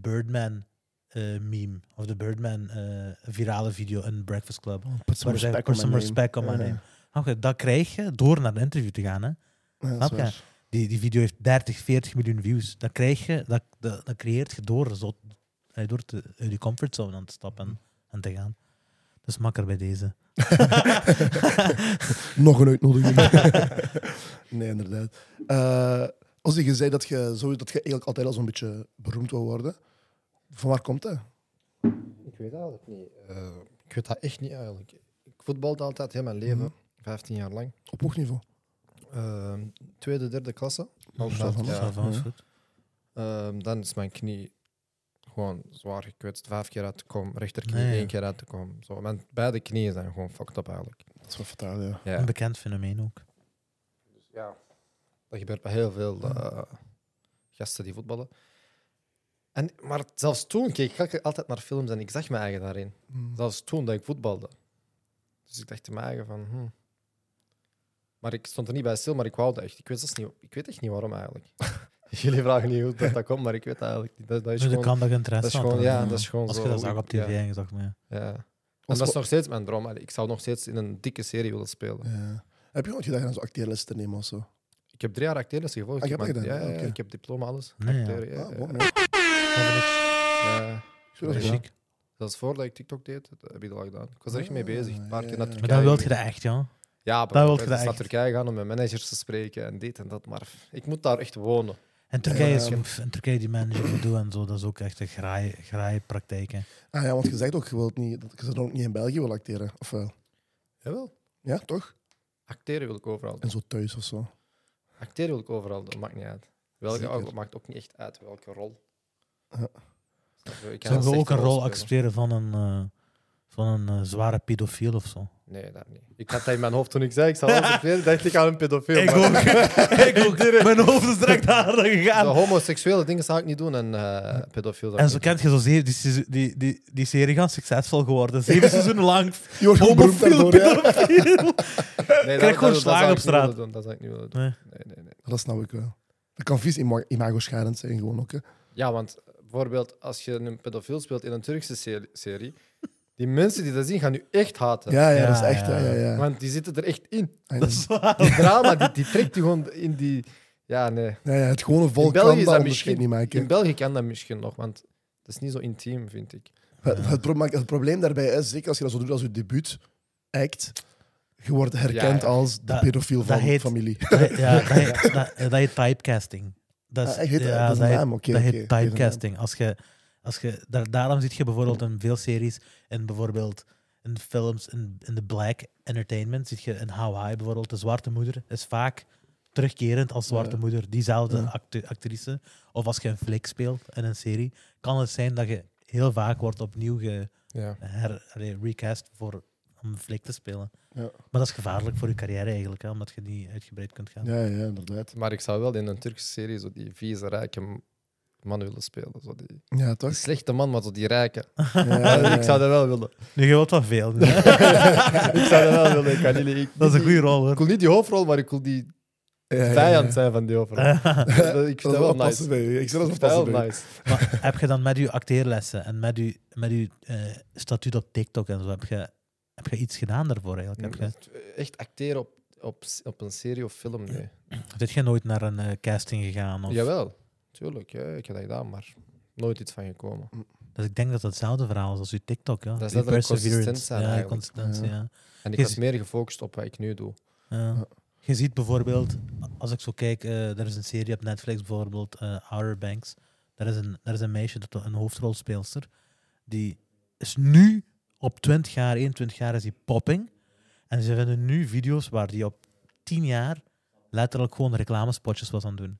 Birdman-meme of de Birdman-virale video in Breakfast Club? Put Oh, some Waar ze respect zeggen, put on my some name. respect on my Ja, ja. name. Snap je? Dat krijg je door naar de interview te gaan. Hè? Ja, dat Snap is je? waar. Die, die video heeft 30, 40 miljoen views. Dat, krijg je, dat, dat, dat creëert je door, zo, eh, door te, uit je comfortzone aan te stappen en, en te gaan. Dat is makker bij deze. Nog een uitnodiging. nee, inderdaad. Eh, als je zei dat je, zo, dat je eigenlijk altijd al zo'n beetje beroemd wil worden, van waar komt dat? Ik weet dat eigenlijk niet. Eh, ik weet dat echt niet eigenlijk. Ik voetbalde altijd heel mijn Mhm. leven, 15 jaar lang. Op hoog niveau. Eh, tweede, derde klasse. ça va, Ja. Ja, van, is goed. Ehm, dan is mijn knie gewoon zwaar gekwetst. Vijf keer uit te komen, rechterknie Nee, Ah, ja. één keer uit te komen. Zo, mijn beide knieën zijn gewoon fucked up eigenlijk. Dat is wel fataal, ja. Ja. Een bekend fenomeen ook. ja. Dat gebeurt bij heel veel eh, gasten die voetballen. En, maar zelfs toen keek ik altijd naar films en ik zag mijn eigen daarin. Mm. Zelfs toen dat ik voetbalde. Dus ik dacht te eigen van... hm. Maar ik stond er niet bij stil, maar ik wou dat echt. Ik weet, zelfs niet, ik weet echt niet waarom eigenlijk. Jullie vragen niet hoe dat, dat komt, maar ik weet dat eigenlijk niet. Dat, dat is Dus de gewoon, kan dat je dat interesse is had, gewoon, dan, ja, eh, dat is gewoon Als zo. je dat hoe zag ik- op tv Ja, en je zag, maar ja. ja. En Als dat is we- nog steeds mijn droom. Ik zou nog steeds in een dikke serie willen spelen. Ja. Heb je ooit gedaan aan zo'n acteerles te nemen of zo? Ik heb drie jaar acteren gevolgd. Ah, je hebt Ik heb- dat gedaan? ja, ja, Oké. ik heb diploma, alles. Nee, ja. Acteren, ja, Ah, ja. bon, nee. Ja. Zo, dat is Ja. wel- Chic. eh, Zelfs voordat ik TikTok deed, dat heb ik dat al gedaan. Ik was er echt mee Ah, bezig. Een paar ja, keer ja. naar Maar Turkije. dan wil je geweest. dat echt, ja. Ja, wil je bijvoorbeeld, dat ik was naar echt. Turkije gaan om met managers te spreken en dit en dat. Maar ik moet daar echt wonen. En Turkije, is, Ja. pff, en Turkije die manager gedoe en zo, dat is ook echt een graai, graai praktijk. hè. Ah ja, want je zegt ook, je wilt niet, dat je dan ook niet in België wil acteren, of wel? Jawel. Ja, toch? Acteren wil ik overal En doen. zo thuis of zo. Acteren wil ik overal doen, maakt niet uit. Welke, Zeker. ook, maakt ook niet echt uit welke rol. Ja. Snap je? Ik kan Zou als je ook echte een rol spelen. accepteren van een, eh, van een eh, zware pedofiel of zo? Nee, dat niet. Ik had dat in mijn hoofd toen ik zei, ik zou alles acteren, dacht ik aan een pedofiel. Ik maar- ook. ik ook. Mijn hoofd is direct daar De gegaan. homoseksuele dingen zou ik niet doen en eh pedofiel zou ik En zo niet kent je zo zeer, die, se- die, die, die serie gaan succesvol geworden. Zeven seizoenen lang. Je wordt gewoon beroemd Homofiel, daardoor, ja. pedofiel. doen. Nee, krijg gewoon zou slagen ik op niet straat. willen doen, Dat zou ik niet willen doen. Nee. Nee, nee, nee. Dat snap ik wel. Dat kan vies ima- imago-schadend zijn gewoon ook, hè. Ja, want bijvoorbeeld als je een pedofiel speelt in een Turkse se- serie, die mensen die dat zien gaan nu echt haten. Ja, ja, dat is Ja, echt, ja, ja. ja. ja. Ah, Want die zitten er echt in. En- Dat is waar. Die drama, die, die trekt die gewoon in die... Ja, nee. Ja, ja, het gewone volk België kan is dat dat onderscheid misschien- niet maken. In België kan dat misschien nog, want dat is niet zo intiem, vind ik. Het, het pro- maar het probleem daarbij is, zeker als je dat zo doet als je debuut act, je wordt herkend Ja, ja. als de Dat- pedofiel dat van de heet- familie. Ja, dat heet, dat, dat heet typecasting. Dat Ah, echt? Heet dat- dat is een heet- naam? Oké, dat oké, heet dat is een typecasting. Als je, als je, daar, daarom zie je bijvoorbeeld in veel series, in bijvoorbeeld in films, in, in de black entertainment, zie je in Hawaii bijvoorbeeld, de zwarte moeder is vaak terugkerend als zwarte Ja. moeder, diezelfde Ja. acte- actrice. Of als je een flik speelt en een serie, kan het zijn dat je heel vaak wordt opnieuw ge, Ja. her, allee, recast voor, om een flik te spelen. Ja. Maar dat is gevaarlijk voor je carrière eigenlijk, hè, omdat je niet uitgebreid kunt gaan. Ja, ja, inderdaad. Maar ik zou wel in een Turkse serie zo die vieze, rijke m- man willen spelen. Zo die, Ja, die toch? slechte man, maar zo die rijke. Ja, ja, ja. Ik zou dat wel willen. Nu, je wilt wat veel. nu, hè. ik zou dat wel willen. Ik, kan niet, ik, dat is een goede rol, ik hoor. wil niet die hoofdrol, maar ik wil die Ja, ja, ja. vijand zijn van die hoofdrol. Dat- ik Dat vind is dat wel wel passen nice. bij u. Ik zeg dat is Ik vind wel dat passen wel bij u. nice. Maar heb je dan met je acteerlessen en met je, met je eh, statuut op TikTok en zo, heb je, heb je iets gedaan daarvoor eigenlijk? Heb je, Echt acteren op, op, op een serie of film, nee. Zit je nooit naar een eh, casting gegaan? Of? Jawel, tuurlijk. Ja, ik heb dat gedaan, maar nooit iets van gekomen. Dus ik denk dat dat hetzelfde verhaal is als je TikTok. Ja. Dat is Die letterlijk perseverance. consistent zijn Ja, eigenlijk. consistentie, ja. En ik Je was ziet- meer gefocust op wat ik nu doe. Ja. Je ziet bijvoorbeeld, als ik zo kijk, eh, er is een serie op Netflix bijvoorbeeld, eh, Outer Banks. Daar is, een, daar is een meisje, dat een hoofdrolspeelster, die is nu op 20 jaar, 21 jaar is die popping. En ze vinden nu video's waar die op 10 jaar letterlijk gewoon reclamespotjes was aan het doen.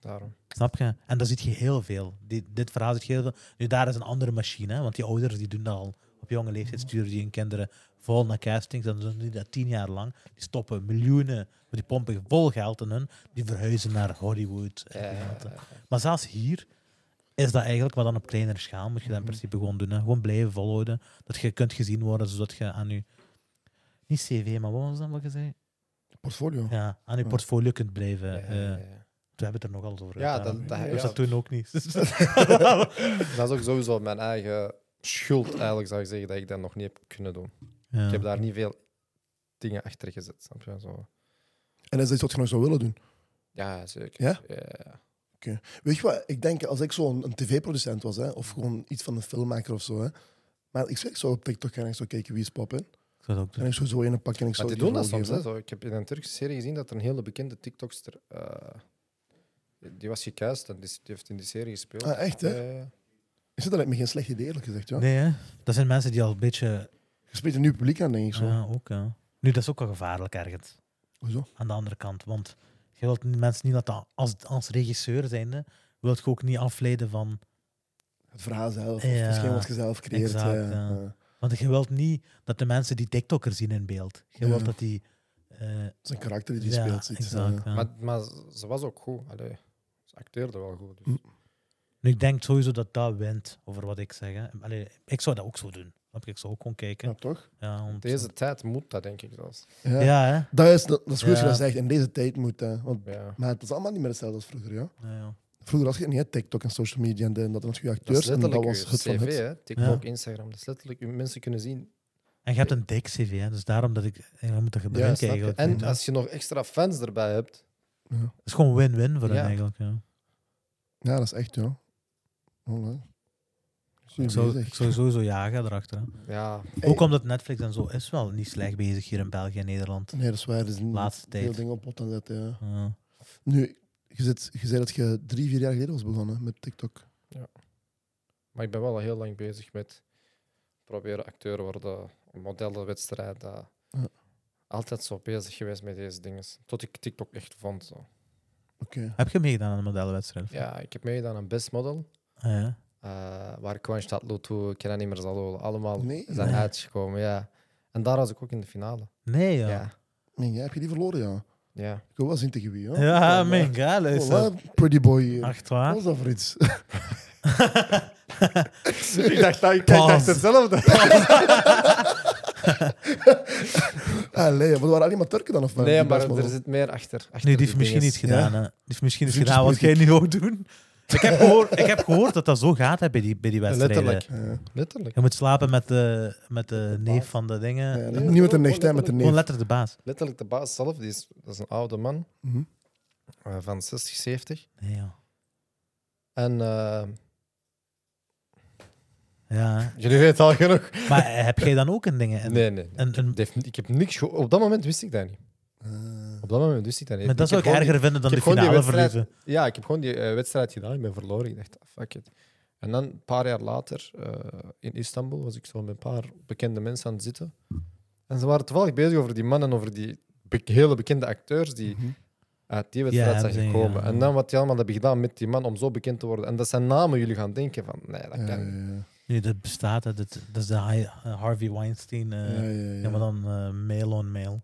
Daarom. Snap je? En daar zit je heel veel. Dit, dit verhaal zit je heel veel. Nu, daar is een andere machine, hè, want die ouders die doen dat al. Op jonge Mhm. leeftijd sturen die hun kinderen vol naar castings. Dan doen die dat tien jaar lang. Die stoppen miljoenen, maar die pompen vol geld in hun. Die verhuizen naar Hollywood. eh, Ja, ja, weet je. ja, Maar zelfs hier is dat eigenlijk, maar dan op kleinere schaal moet je dat Mhm. in principe gewoon doen. Hè. Gewoon blijven volhouden. Dat je kunt gezien worden, zodat je aan je... Niet cv, maar wat was dat wat je zei? Portfolio. Ja, aan je Ja. portfolio kunt blijven. ja, eh, ja, ja. we hebben het er nogal eens over. Ja, gedaan. dat- dat- Ik wist ja. dat toen ook niet. Dat is ook sowieso mijn eigen schuld, eigenlijk zou ik zeggen, dat ik dat nog niet heb kunnen doen. Ja. Ik heb daar niet veel dingen achter gezet. Snap je? Zo. En dat is iets wat je nog zou willen doen. Ja, zeker. Ja? ja. Weet je wat, ik denk als ik zo'n een tv-producent was, hè, of gewoon iets van een filmmaker of zo, hè, maar ik, zeg, ik zou op TikTok gaan en ik zou kijken wie is pop, hè. Ik zou dat ook En doen. ik zou zo een pakken en ik Maar zou die die doen dat rol soms. geven, hè, Zo, ik heb in een Turkse serie gezien dat er een hele bekende TikTokster. eh, die was gekuist en die, die heeft in die serie gespeeld. Ah, echt, hè? Ja, ja, ja. Is dat lijkt me geen slecht idee, eerlijk gezegd. Ja. Nee, hè? dat zijn mensen die al een beetje... Je spreekt een nieuw publiek aan, denk ik zo. Ja, ook, ja. Nu, dat is ook wel gevaarlijk ergens, Hoezo? aan de andere kant. Want je wilt niet- mensen niet laten... Als, als regisseur zijnde, wilt je ook niet afleiden van... Het verhaal zelf, of Ja, hetgeen wat je zelf creëert. eh, exact, ja, ja. ja. Want je wilt niet dat de mensen die TikToker zien in beeld. Je Ja. wilt dat die... eh, Het is een karakter die die ja, speelt. eh, Zit, exact, ja. Maar, maar ze- ze was ook goed. Allee, ze acteerde wel goed. Dus. Mm. Nu, ik denk sowieso dat dat wint, over wat ik zeg. Hè. Allee, ik zou dat ook zo doen. Snap je? Ik zou ook gewoon kijken. ja, toch? Ja, om- Deze tijd moet dat, denk ik zelfs. Ja. Ja, hè? Dat is, dat is goed als je Ja. dat zegt. In deze tijd moet hè, want, Ja. Maar het is allemaal niet meer hetzelfde als vroeger, ja. Ja, ja. Vroeger had je niet hè, TikTok en social media en dit en dat was je Dat acteurs is en dat letterlijk was uw het van cv, het. hè? TikTok, Instagram. Dat is letterlijk... uw- Mensen kunnen zien. En je hebt een dik cv, hè? dus daarom dat ik eh, je moet dat Ja, snap gebruiken je. eigenlijk. En Ja. als je nog extra fans erbij hebt... Ja. Het is gewoon win-win voor hen Ja. eigenlijk. Ja. ja, dat is echt, ja. Oh, Voilà. Ik, Goeie zou, bezig. ik zou sowieso jagen erachter. hè. Ja, Hey. Ook omdat Netflix en zo is wel niet slecht bezig hier in België en Nederland. Nee, dat is waar. Er is een Laatste Mm, veel tijd. dingen op pot aan zetten, ja. Ja. Nu, je, zit, je zei dat je drie, vier jaar geleden was begonnen met TikTok. maar ik ben wel al heel lang bezig met proberen acteur worden, modellenwedstrijd. dat- Ja. Altijd zo bezig geweest met deze dingen. Tot ik TikTok echt vond. Zo. Oké. Heb je meegedaan aan de modellenwedstrijd? Ja, ik heb meegedaan aan Best Model. Ah, ja. eh, waar Kwan staat, Loto, Kenan niet meer zal allemaal Nee. zijn Nee. uitgekomen. Ja. En daar was ik ook in de finale. Nee, ja. Ja, Ja. Nee, jij heb je die verloren, ja. ja. Ik wil wel zien tegen wie, ja. ja maar- mijn god, Oh, luister. wat Oh, een pretty boy eh, hier. Echt Wat waar? was dat voor iets? ik dacht, ik dacht Pause. hetzelfde. Allee, wat ah, waren alleen maar Turken dan? Of wat? Nee, Die maar best wel er zo. zit meer achter. achter Nee, die die heeft misschien dinges. iets gedaan. Hè. Die heeft misschien iets Vriendjes gedaan wat jij politiek. nu ook doet. Ik heb gehoord, ik heb gehoord dat dat zo gaat hè, bij die, bij die wedstrijden. Letterlijk. Ah, Ja. Letterlijk. Je moet slapen met de, met de neef van de dingen. Ja, nee, niet met de gewoon- nicht, hè, met de Gewoon neef. letter de baas. Letterlijk de baas zelf, die is, dat is een oude man Mhm. eh, van 60, 70. Nee, joh. En eh, Ja, hè. jullie weten al genoeg. maar heb jij dan ook een dingen? Een, Nee, nee. nee. een, een, Die heeft- ik heb niks geho- Op dat moment wist ik dat niet. Ah. Op dat moment wist ik dat niet. maar dat zou heb ik gewoon erger vinden dan ik de heb gewoon die finale wedstrijd- verliezen. Ja, ik heb gewoon die eh, wedstrijd gedaan. Ik ben verloren. Ik dacht, ah, fuck it. En dan een paar jaar later eh, in Istanbul was ik zo met een paar bekende mensen aan het zitten. En ze waren toevallig bezig over die mannen, over die be- hele bekende acteurs die Mhm. uit die wedstrijd Ja, zijn hebben ze- gekomen. ja. En dan wat je allemaal hebt gedaan met die man om zo bekend te worden. En dat zijn namen jullie gaan denken van, nee, dat kan Eh, Ja, niet. ja, Nee, dat bestaat. hè. Dat, dat is de Hi- eh, Harvey Weinstein. eh, ja, ja, ja, ja. maar dan eh, mail on mail.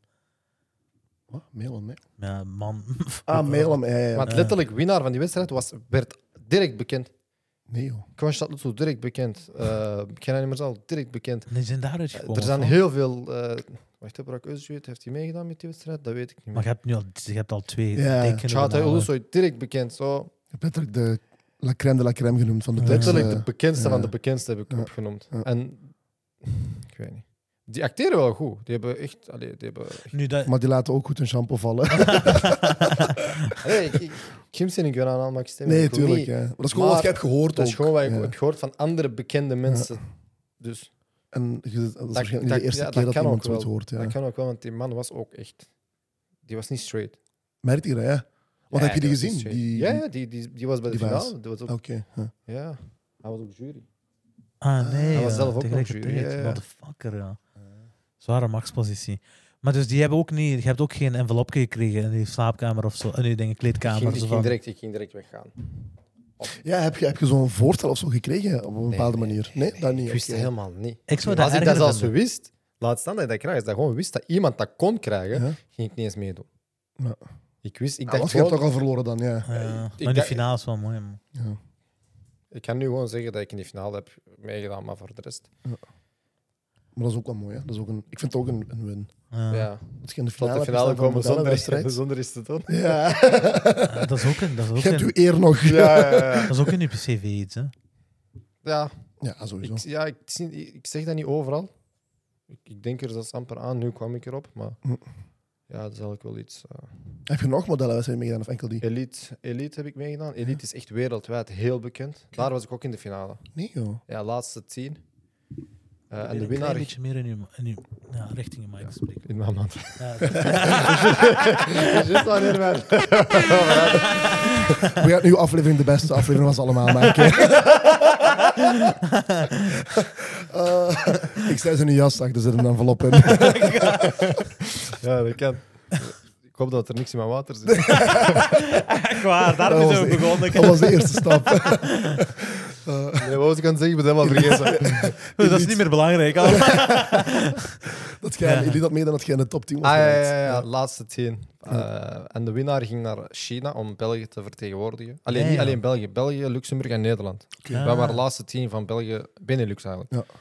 Wat? Mail en mail? Ja, man. Ah, mail hem. Ja, ja, ja. Want eh. letterlijk, winnaar van die wedstrijd was, werd direct bekend. Nee, joh. Kwanstad Lutsu, direct bekend. Eh Kenan al direct bekend. Die zijn daaruit Eh, gekomen. er of zijn wat? heel veel... eh wacht, hè, Burak Özgürt, heeft hij meegedaan met die wedstrijd? Dat weet ik niet Maar je meer. hebt nu al, je hebt al twee. Ja. tekenen Çağatay namen. Ulusoy, direct bekend. Zo, Je hebt letterlijk de la crème de la crème genoemd van de Ja. tekst. letterlijk eh. de bekendste ja. van de bekendste heb ik Ja. opgenoemd. Ja. En... Ik weet niet. Die acteren wel goed. Die hebben echt... Allee, die hebben echt- Nu dat, Maar die laten ook goed hun shampoo Ah, vallen. Allee, ik, ik, Kim zin ik weer aan Almak stemmen. Nee, Ik wil tuurlijk. niet- Ja. Maar dat is gewoon wat Maar je hebt gehoord Dat is ook. gewoon wat ik Ja. heb gehoord van andere bekende mensen. Dus En je- dat is waarschijnlijk niet dat- de eerste ja, dat keer dat kan iemand ook wel. zoiets hoort. Ja. dat kan ook wel, want die man was ook echt... Die was niet straight. Merkt je dat, ja? Want Ja, heb je die was niet gezien? straight. Die... ja, ja die, die, die was bij de die finale. was- Oh. Die was ook, Oké. ja. Ja, hij was ook jury. ah, nee. Hij was ja, zelf ook nog tegelijkertijd. jury, ja, ja. Motherfucker, ja. Zware machtspositie. Maar dus die hebben ook niet, je hebt ook geen envelopje gekregen in die slaapkamer of zo. En nu denk ik Ik kleedkamer. ging, ik zo ging van, direct, ik ging direct weggaan. Ja, heb je, heb je zo'n voorstel of zo gekregen op een bepaalde nee, manier? Nee, dat niet. Ik wist oké. het helemaal niet. Ik zou dat Als ik dat erger zelfs vinden. wist, laat staan dat ik dat krijg, als ik dat gewoon wist dat iemand dat kon krijgen, Ja. ging ik niet eens meedoen. Ja. Ik wist, ik Ah, want dacht je gewoon, hebt toch al verloren dan, ja. Ja, ik maar die dacht- finale is wel mooi. man. ja. ik kan nu gewoon zeggen dat ik in die finale heb meegedaan, maar voor de rest. Maar dat is ook wel mooi. Hè. Dat is ook een, ik vind het ook een, een win. Ja. Ja. Dat je in de Tot finale de finale hebt gestaan van komen een zonder, modellenwedstrijd. zonder iets te doen. Ja, Eh, Dat is ook een, dat is ook je hebt uw een, eer nog. Ja, ja, ja. dat is ook een UPCV iets. Hè. ja, Ja, sowieso. ik, ja ik, zie- ik zeg dat niet overal. Ik, ik denk er zelfs amper aan, nu kwam ik erop. Maar Hm. ja, dat is eigenlijk wel iets. eh. Heb je nog modellenwedstrijden meegedaan of enkel die? Elite, Elite heb ik meegedaan. Elite is echt wereldwijd heel bekend. Daar was ik ook in de finale. Nee, joh. Ja, laatste tien. Eh, en Probeer de een klein winnaar... beetje meer in uw, in uw ja, richting je mic te spreken. In mijn mand. Ja, Just wanneer wij- We gaan nu aflevering de beste aflevering was allemaal maken. Eh, ik zei ze in een jas achter, zet hem dan volop in. Ja, dat kan. Ik hoop dat er niks in mijn water zit. Echt waar, daar Dat zijn was we de- begonnen. Dat was de eerste stap. Eh, Nee, wat was ik aan het zeggen? Ik ben het helemaal vergeten. Dat is niet meer belangrijk. al. Dat jij, Ja. Jullie dat meedaan dat jij in de top 10 was. Ah, ja, ja, geraakt. ja, ja, laatste tien. Eh, en de winnaar ging naar China om België te vertegenwoordigen. Alleen, Ja, niet ja. alleen België. België, Luxemburg en Nederland. Ah. Wij waren de laatste tien van België, Benelux eigenlijk. Ja.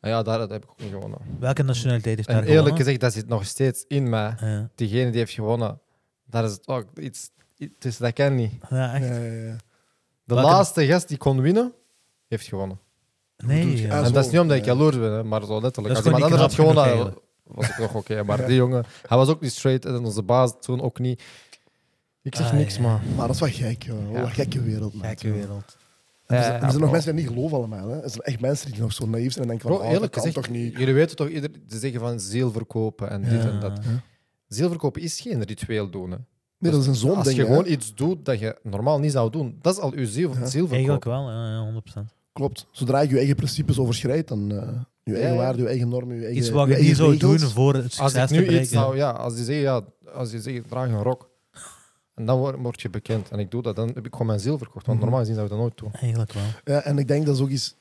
En ja, daar dat heb ik ook niet gewonnen. Welke nationaliteit heeft daar En eerlijk gewonnen? Ah. gezegd, dat zit nog steeds in mij. Ja. Diegene die heeft gewonnen, daar is het ook iets... i- Dus dat kan niet. Eh, Ja, echt. Ja, ja, ja. De Welke- laatste gast die kon winnen, heeft gewonnen. Nee, Bedoelt je- ja. Ah, en dat is niet omdat ik ja. jaloers ben, hè, maar zo letterlijk. Dat Als is iemand gewoon anders had niet knap gewonnen, genoeg was ik nog oké. maar die jongen, hij was ook niet straight en onze baas toen ook niet. Ik zeg Ah, niks, ja. man. Maar dat is wel gek, joh. Wat Ja. een gekke wereld, man. gekke wereld. En er Ja, zijn, ja, er zijn nog bro. mensen die dat niet geloven allemaal. Hè. Er zijn echt mensen die nog zo naïef zijn en denken Bro, van, oh, dat eerlijk kan gezegd, toch niet. jullie weten toch, ieder, ze zeggen van ziel verkopen en dit en dat. Ja. Ziel verkopen is geen ritueel doen. Hè. Nee, dat is een Als zonding. je hè. gewoon iets doet dat je normaal niet zou doen, dat is al je ziel, Ja. ziel Eigenlijk verkopen. wel, ja, ja, 100%. Klopt. Zodra je je eigen principes overschrijdt, dan eh, je eigen ja. waarde, je eigen normen, je eigen Iets wat je eigen niet zou doen regels. voor het Als ik succes te nu iets zou, bereiken. ja, als je zegt, ja, als je zegt, draag een rok. En dan word, word je bekend. En ik doe dat, dan heb ik gewoon mijn ziel verkocht. Want normaal gezien zou ik dat nooit doen. Eigenlijk wel. Ja, en ik denk dat is ook iets...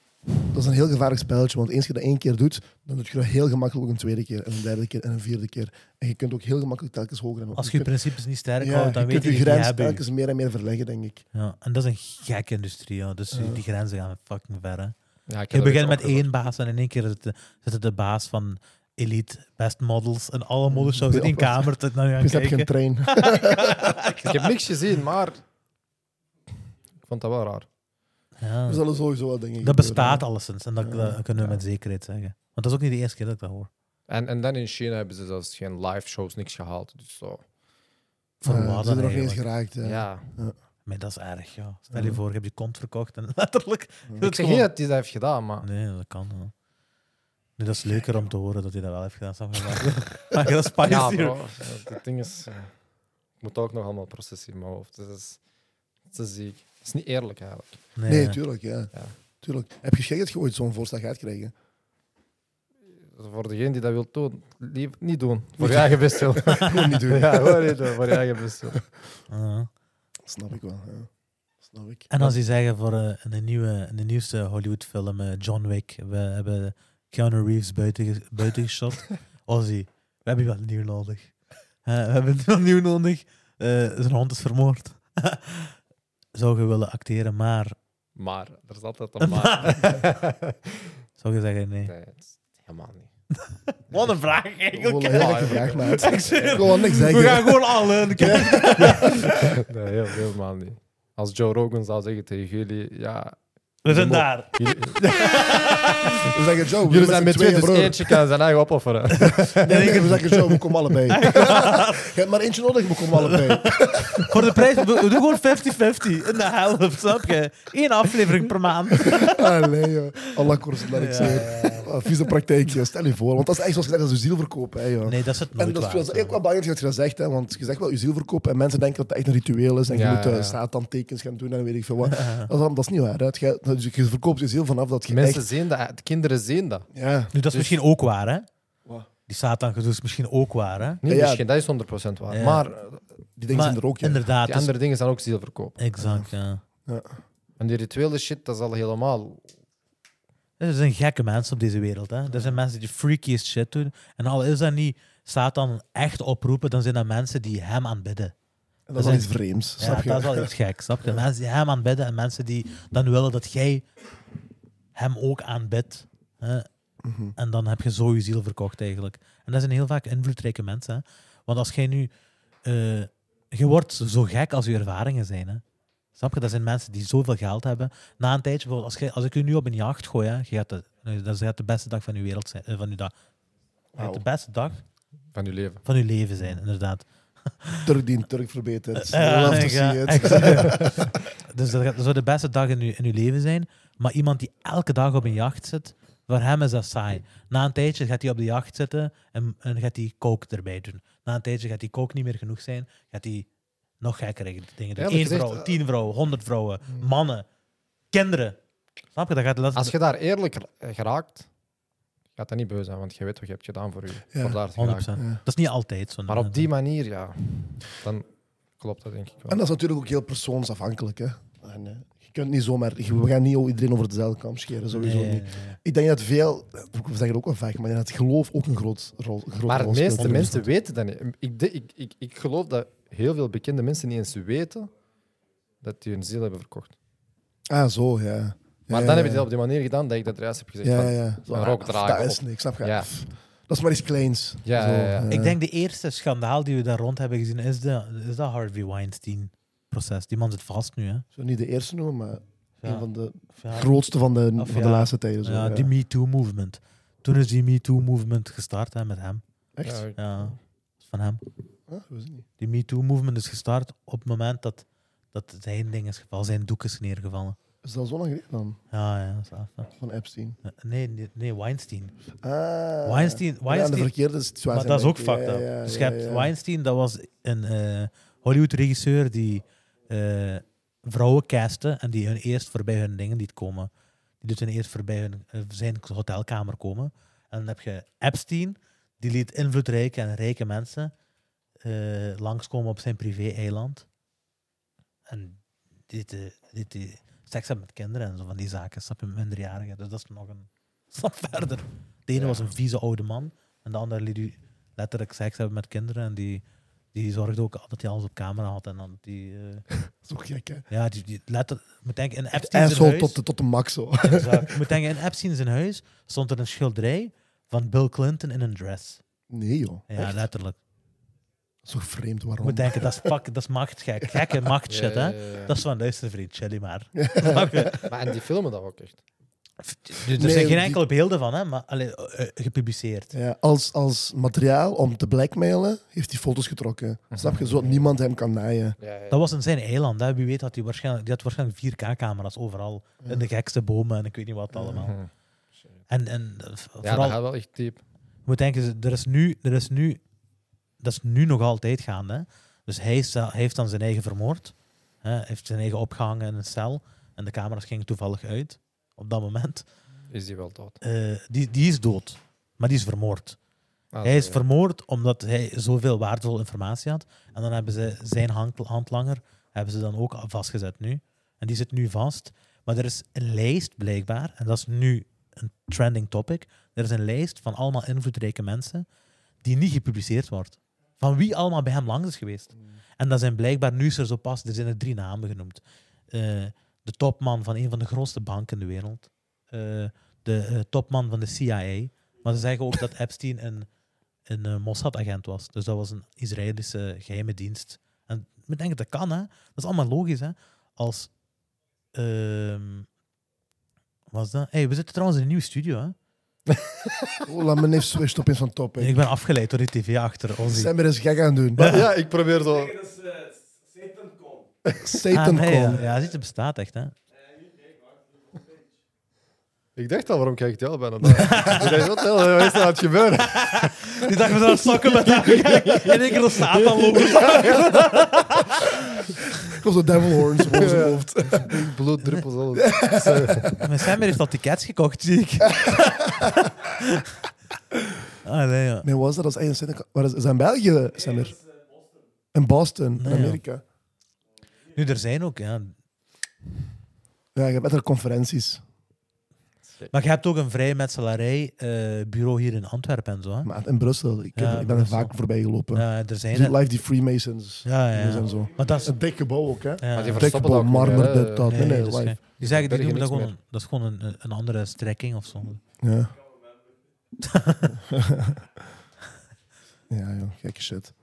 Dat is een heel gevaarlijk spelletje, want eens je dat één keer doet, dan doe je dat heel gemakkelijk ook een tweede keer, en een derde keer en een vierde keer. En je kunt ook heel gemakkelijk telkens hoger en hoger. Als je je kunt- principes niet sterk ja, houdt, dan je weet kunt je, je die grens hebben je. telkens meer en meer verleggen, denk ik. Ja, en dat is een gekke industrie, ja. dus Ja. die grenzen gaan fucking ver. Hè. Ja, ik Je heb dat begint ook met gehoord. één baas en in één keer zit de, zit de baas van Elite, Best Models en alle models zouden in één Ja, kamer te, naar je gaan Mm, Dus heb je een kijken. trein. Ik heb niks gezien, maar. Ik vond dat wel raar. Ja. We zullen Dus sowieso wel dingen Dat gebeuren, bestaat hè. alleszins en dat, Ja. dat kunnen we met zekerheid zeggen. Want dat is ook niet de eerste keer dat ik dat hoor. En, en dan in China hebben ze zelfs geen live shows, niks gehaald. Dus zo. Voor Ja, wat Eh, Ze zijn dan er nog niet eens eigenlijk. geraakt. eh. Ja. Ja. Maar dat is erg, ja. Stel je voor, je hebt je kont verkocht en letterlijk... dat Ik zeg is gewoon- niet dat hij dat heeft gedaan, maar. Nee, dat kan. Ja. Nee, dat is leuker om te horen dat hij dat wel heeft gedaan. snap je? Maar- Maar dat is Ja, spicy. bro. Het ding is. eh, Ik moet ook nog allemaal processen in mijn hoofd. Dus dat is, dat is ziek. Dat is niet eerlijk eigenlijk. Nee, tuurlijk, ja. Ja. Tuurlijk. Heb je gek dat je ooit zo'n voorstel gaat krijgen? voor degene die dat wil doen, lief- niet doen. Voor je eigen bestwil. Gewoon niet doen. ja, gewoon niet doen. Voor je eigen bestwil. Ah. Snap ik wel, ja. Snap ik. En als die zeggen voor eh, een nieuwe, een nieuwste Hollywood-film, eh, John Wick, we hebben Keanu Reeves buiten, ge- buiten geshot. Ozzy, we hebben je wel nieuw nodig. Eh, we hebben het wel nieuw nodig. Eh, zijn hond is vermoord. zou je willen acteren, maar Maar, er is altijd een maar. zou je zeggen nee? nee, het is helemaal niet. Wat een vraag Ik wil eigenlijk. een hè. heerlijke vraag, maat. Ik zeg- Ik wil wel niks We gaan zeggen. gewoon alle. Ik heb- Nee, heel- helemaal niet. Als Joe Rogan zou zeggen tegen jullie, ja... We zijn daar. Jullie, We zeggen Joe, we jullie zijn met twee, dus broer. eentje kan zijn eigen opofferen. Nee, nee, we zeggen Joe, we komen allebei. Je hebt maar eentje nodig, we komen allebei. Voor de prijs, we, we doen gewoon 50-50. In de helft, snap je? Eén aflevering per maand. Allee, joh. Allah koers, laat ik Ja, zeggen. Wat Vieze praktijk, joh. stel je voor. Want dat is echt zoals gezegd, dat is je ziel verkopen. Hè, joh. Nee, dat is het nooit En dat waard, is dat is hoor. eigenlijk wel belangrijk dat je dat zegt, hè, want je zegt wel je ziel verkopen en mensen denken dat dat echt een ritueel is en je Ja, moet eh, ja, ja. Satan-tekens gaan doen en weet ik veel wat. Dat, is, dat is niet waar. Hè. Het gaat- dat- je verkoopt je ziel vanaf dat je Mensen echt... zien dat, de kinderen zien dat. Ja, Nu, dat is Dus- misschien ook waar, hè? Wat? Die Satan-gedoe is misschien ook waar, hè? Niet Ja, ja. misschien, dat is 100% waar. Ja. Maar eh, die dingen Maar zijn er ook. Ja. Inderdaad. die dus- andere dingen zijn ook zielverkoop. Exact, ja. En die rituele shit, dat is al helemaal... Er zijn gekke mensen op deze wereld, hè? Er zijn mensen die freakiest shit doen. En al is dat niet Satan echt oproepen, dan zijn dat mensen die hem aanbidden. En dat is dat wel is- iets vreemds, Ja, snap je? dat is wel iets gek, snap je? Mensen die hem aanbidden en mensen die dan willen dat jij hem ook aanbidt. Hè? Mhm. En dan heb je zo je ziel verkocht eigenlijk. En dat zijn heel vaak invloedrijke mensen. Hè? Want als jij nu... eh, je wordt zo gek als je ervaringen zijn. Hè? Snap je? Dat zijn mensen die zoveel geld hebben. Na een tijdje, bijvoorbeeld, als, jij- als ik je nu op een jacht gooi, hè, je gaat de, eh, dat gaat de beste dag van je wereld zijn. eh, van je dag. Dat gaat De beste dag Van je leven. van je leven zijn, inderdaad. Turk die een Turk verbetert. Ja, Love to ik, see ja, it. exact. dus dat, gaat- dat zou de beste dag in je, in je leven zijn. Maar iemand die elke dag op een jacht zit, voor hem is dat saai. Na een tijdje gaat hij op de jacht zitten en, en gaat hij kook erbij doen. Na een tijdje gaat die kook niet meer genoeg zijn, gaat hij nog gekkere dingen Ja, doen. wat je Eén zegt, vrouw, eh, Mm. tien vrouwen, honderd vrouwen, mannen, kinderen. Snap je? Dat gaat de laatste- Als je daar eerlijk ra- geraakt, gaat dat niet beu zijn, want je weet wat je hebt gedaan voor je. Ja, Voor daar te 100%. geraken. Ja. Dat is niet altijd zo. Maar op die manier, ja, dan klopt dat denk ik En wel. dat is natuurlijk ook heel persoonsafhankelijk. Hè. En, eh, je kunt niet zomaar... We gaan niet iedereen over dezelfde kam scheren, sowieso Nee, niet. nee, nee. Ik denk dat veel... We zeggen het ook wel vaak, maar ik denk dat geloof ook een groot rol een grote Maar rol de speelt. meeste mensen weten dat niet. Ik, de- ik, ik, ik geloof dat heel veel bekende mensen niet eens weten dat die hun ziel hebben verkocht. Ah, zo, ja. Maar ja, dan ja, heb je dat op die manier gedaan dat ik dat juist heb gezegd. Ja, Dus van, ja, ja. Zo, een ah, rok dat- dragen Dat is op. niks, snap je? Ja. Dat is maar iets kleins. Ja, Zo, ja, ja. eh, Ik denk de eerste schandaal die we daar rond hebben gezien is, de, is dat Harvey Weinstein-proces. Die man zit vast nu, hè? Zo niet de eerste noemen, maar een van de Ja. grootste van de, Of van de ja. laatste tijden. Zo, ja, die Me Too movement. Toen is die Me Too movement gestart hè, met hem. Echt? Ja, Ja, van hem. Ah, weet ik niet. Die Me Too movement is gestart op het moment dat, dat zijn ding is gevallen, zijn doek is neergevallen. Is dat zo lang geleden dan? Ja, ja, dat is af, hè. Van Epstein. Nee, nee, nee, Weinstein. Ah. Weinstein, Ja, Weinstein de verkeerde situatie. maar dat is ook denk ik. fucked Ja, up. ja, ja, dus je hebt ja, ja. Weinstein, dat was een eh, Hollywood-regisseur die eh, vrouwen castte en die hun eerst voorbij hun dingen liet komen. Die liet hun eerst voorbij hun, eh, zijn hotelkamer komen. En dan heb je Epstein, die liet invloedrijke en rijke mensen eh, langskomen op zijn privé-eiland. En die liet, liet die eh, seks hebben met kinderen en zo van die zaken, snap je, met minderjarigen. Dus dat is nog een stap verder. De ene Ja. was een vieze oude man en de andere liet die letterlijk seks hebben met kinderen. En die, die zorgde ook dat hij alles op camera had. En dan die, eh, Dat is ook gek, hè? ja, die, die letter, moet denken, in Epstein zijn Asshole huis, tot de, tot de max, zo. Exact. moet denken, in Epstein zijn huis stond er een schilderij van Bill Clinton in een dress. Nee, joh. Ja, letterlijk. Zo vreemd, Je waarom? moet denken, dat is, pak, dat is machtgek. Gekke machtshit, Ja, hè. ja, ja, ja. Dat is van, luister vriend, chilly maar. Snap je? Maar en die filmen dat ook echt. Dus Er Nee, zijn geen die- enkele beelden van, hè, maar allee, eh, eh, gepubliceerd. Ja, als, als materiaal om te blackmailen heeft hij foto's getrokken. Mhm. Snap je? Zodat niemand hem kan naaien. Ja, ja. Dat was in zijn eiland. Hè. Wie weet had hij waarschijnlijk, die had waarschijnlijk 4K-camera's overal. In de gekste bomen en ik weet niet wat allemaal. En, en eh, v- Hm. Ja, dat vooral, gaat wel echt diep. je moet denken, ze- er is nu, er is nu, dat is nu nog altijd gaande. hè. Dus hij, is, hij heeft dan zijn eigen vermoord. Hè. Hij heeft zijn eigen opgehangen in een cel. En de camera's gingen toevallig uit op dat moment. Is die wel dood. Eh, die, die is dood. maar die is vermoord. Ah, hij is zo, ja. vermoord omdat hij zoveel waardevolle informatie had. En dan hebben ze zijn hand- handlanger hebben ze dan ook vastgezet nu. En die zit nu vast. Maar er is een lijst blijkbaar, en dat is nu een trending topic. Er is een lijst van allemaal invloedrijke mensen die niet gepubliceerd wordt. Van wie allemaal bij hem langs is geweest. Mm. En dat zijn blijkbaar, nu is er zo pas, er zijn er drie namen genoemd. Eh, de topman van een van de grootste banken in de wereld. Eh, de eh, topman van de CIA. Maar ze zeggen ook dat Epstein een, een eh, Mossad-agent was. Dus dat was een Israëlische geheime dienst. En ik denk dat dat kan, hè. Dat is allemaal logisch, hè. Als... ehm, wat is dat? Hey, we zitten trouwens in een nieuwe studio, hè. Oh, laat me even switchen op in zo'n top. hè. Ik ben afgeleid door die tv achter ons. Zijn we er eens gek aan doen. Maar ja, ik probeer zo. Satan Ah, nee, ja, Con. ja, dit bestaat echt, hè. Ik dacht al, waarom kijk ik jou bijna? Ik dacht, Oh, wat de hel is er aan het gebeuren? Die dacht, we zijn aan het sokken met elkaar. En ik er Satan lopen. Ik was de devil horns boven zijn hoofd. Bloeddruppels, alles. Zo. Mijn Samir heeft al tickets gekocht, zie ik. ah, nee, ja. Nee, was dat als eigen Satan Con? Waar is, is dat in België, zijn er? In Boston, in Nee, ja. Amerika. Nu, er zijn ook, ja. Ja, je hebt met haar conferenties. Maar je hebt ook een vrijmetselarij eh bureau hier in Antwerpen en zo, hè. Maar in Brussel, ik, heb- Ja, ik ben er Brussel. vaak voorbij gelopen. Ja, er zijn Je ziet er. live die Freemasons. Ja, ja, Die zijn ja. zo. Maar dat is... Een dik gebouw ook, hè? Ja. Maar die Dik verstoppen dat gebouw, ook niet, marmer, hè. dit, dat. Nee, Nee, nee, dat is live. geen- Die zeggen, die Bergen noemen dat niks gewoon, dat is gewoon een, een andere strekking of zo. Ja. ja, joh, gekke shit.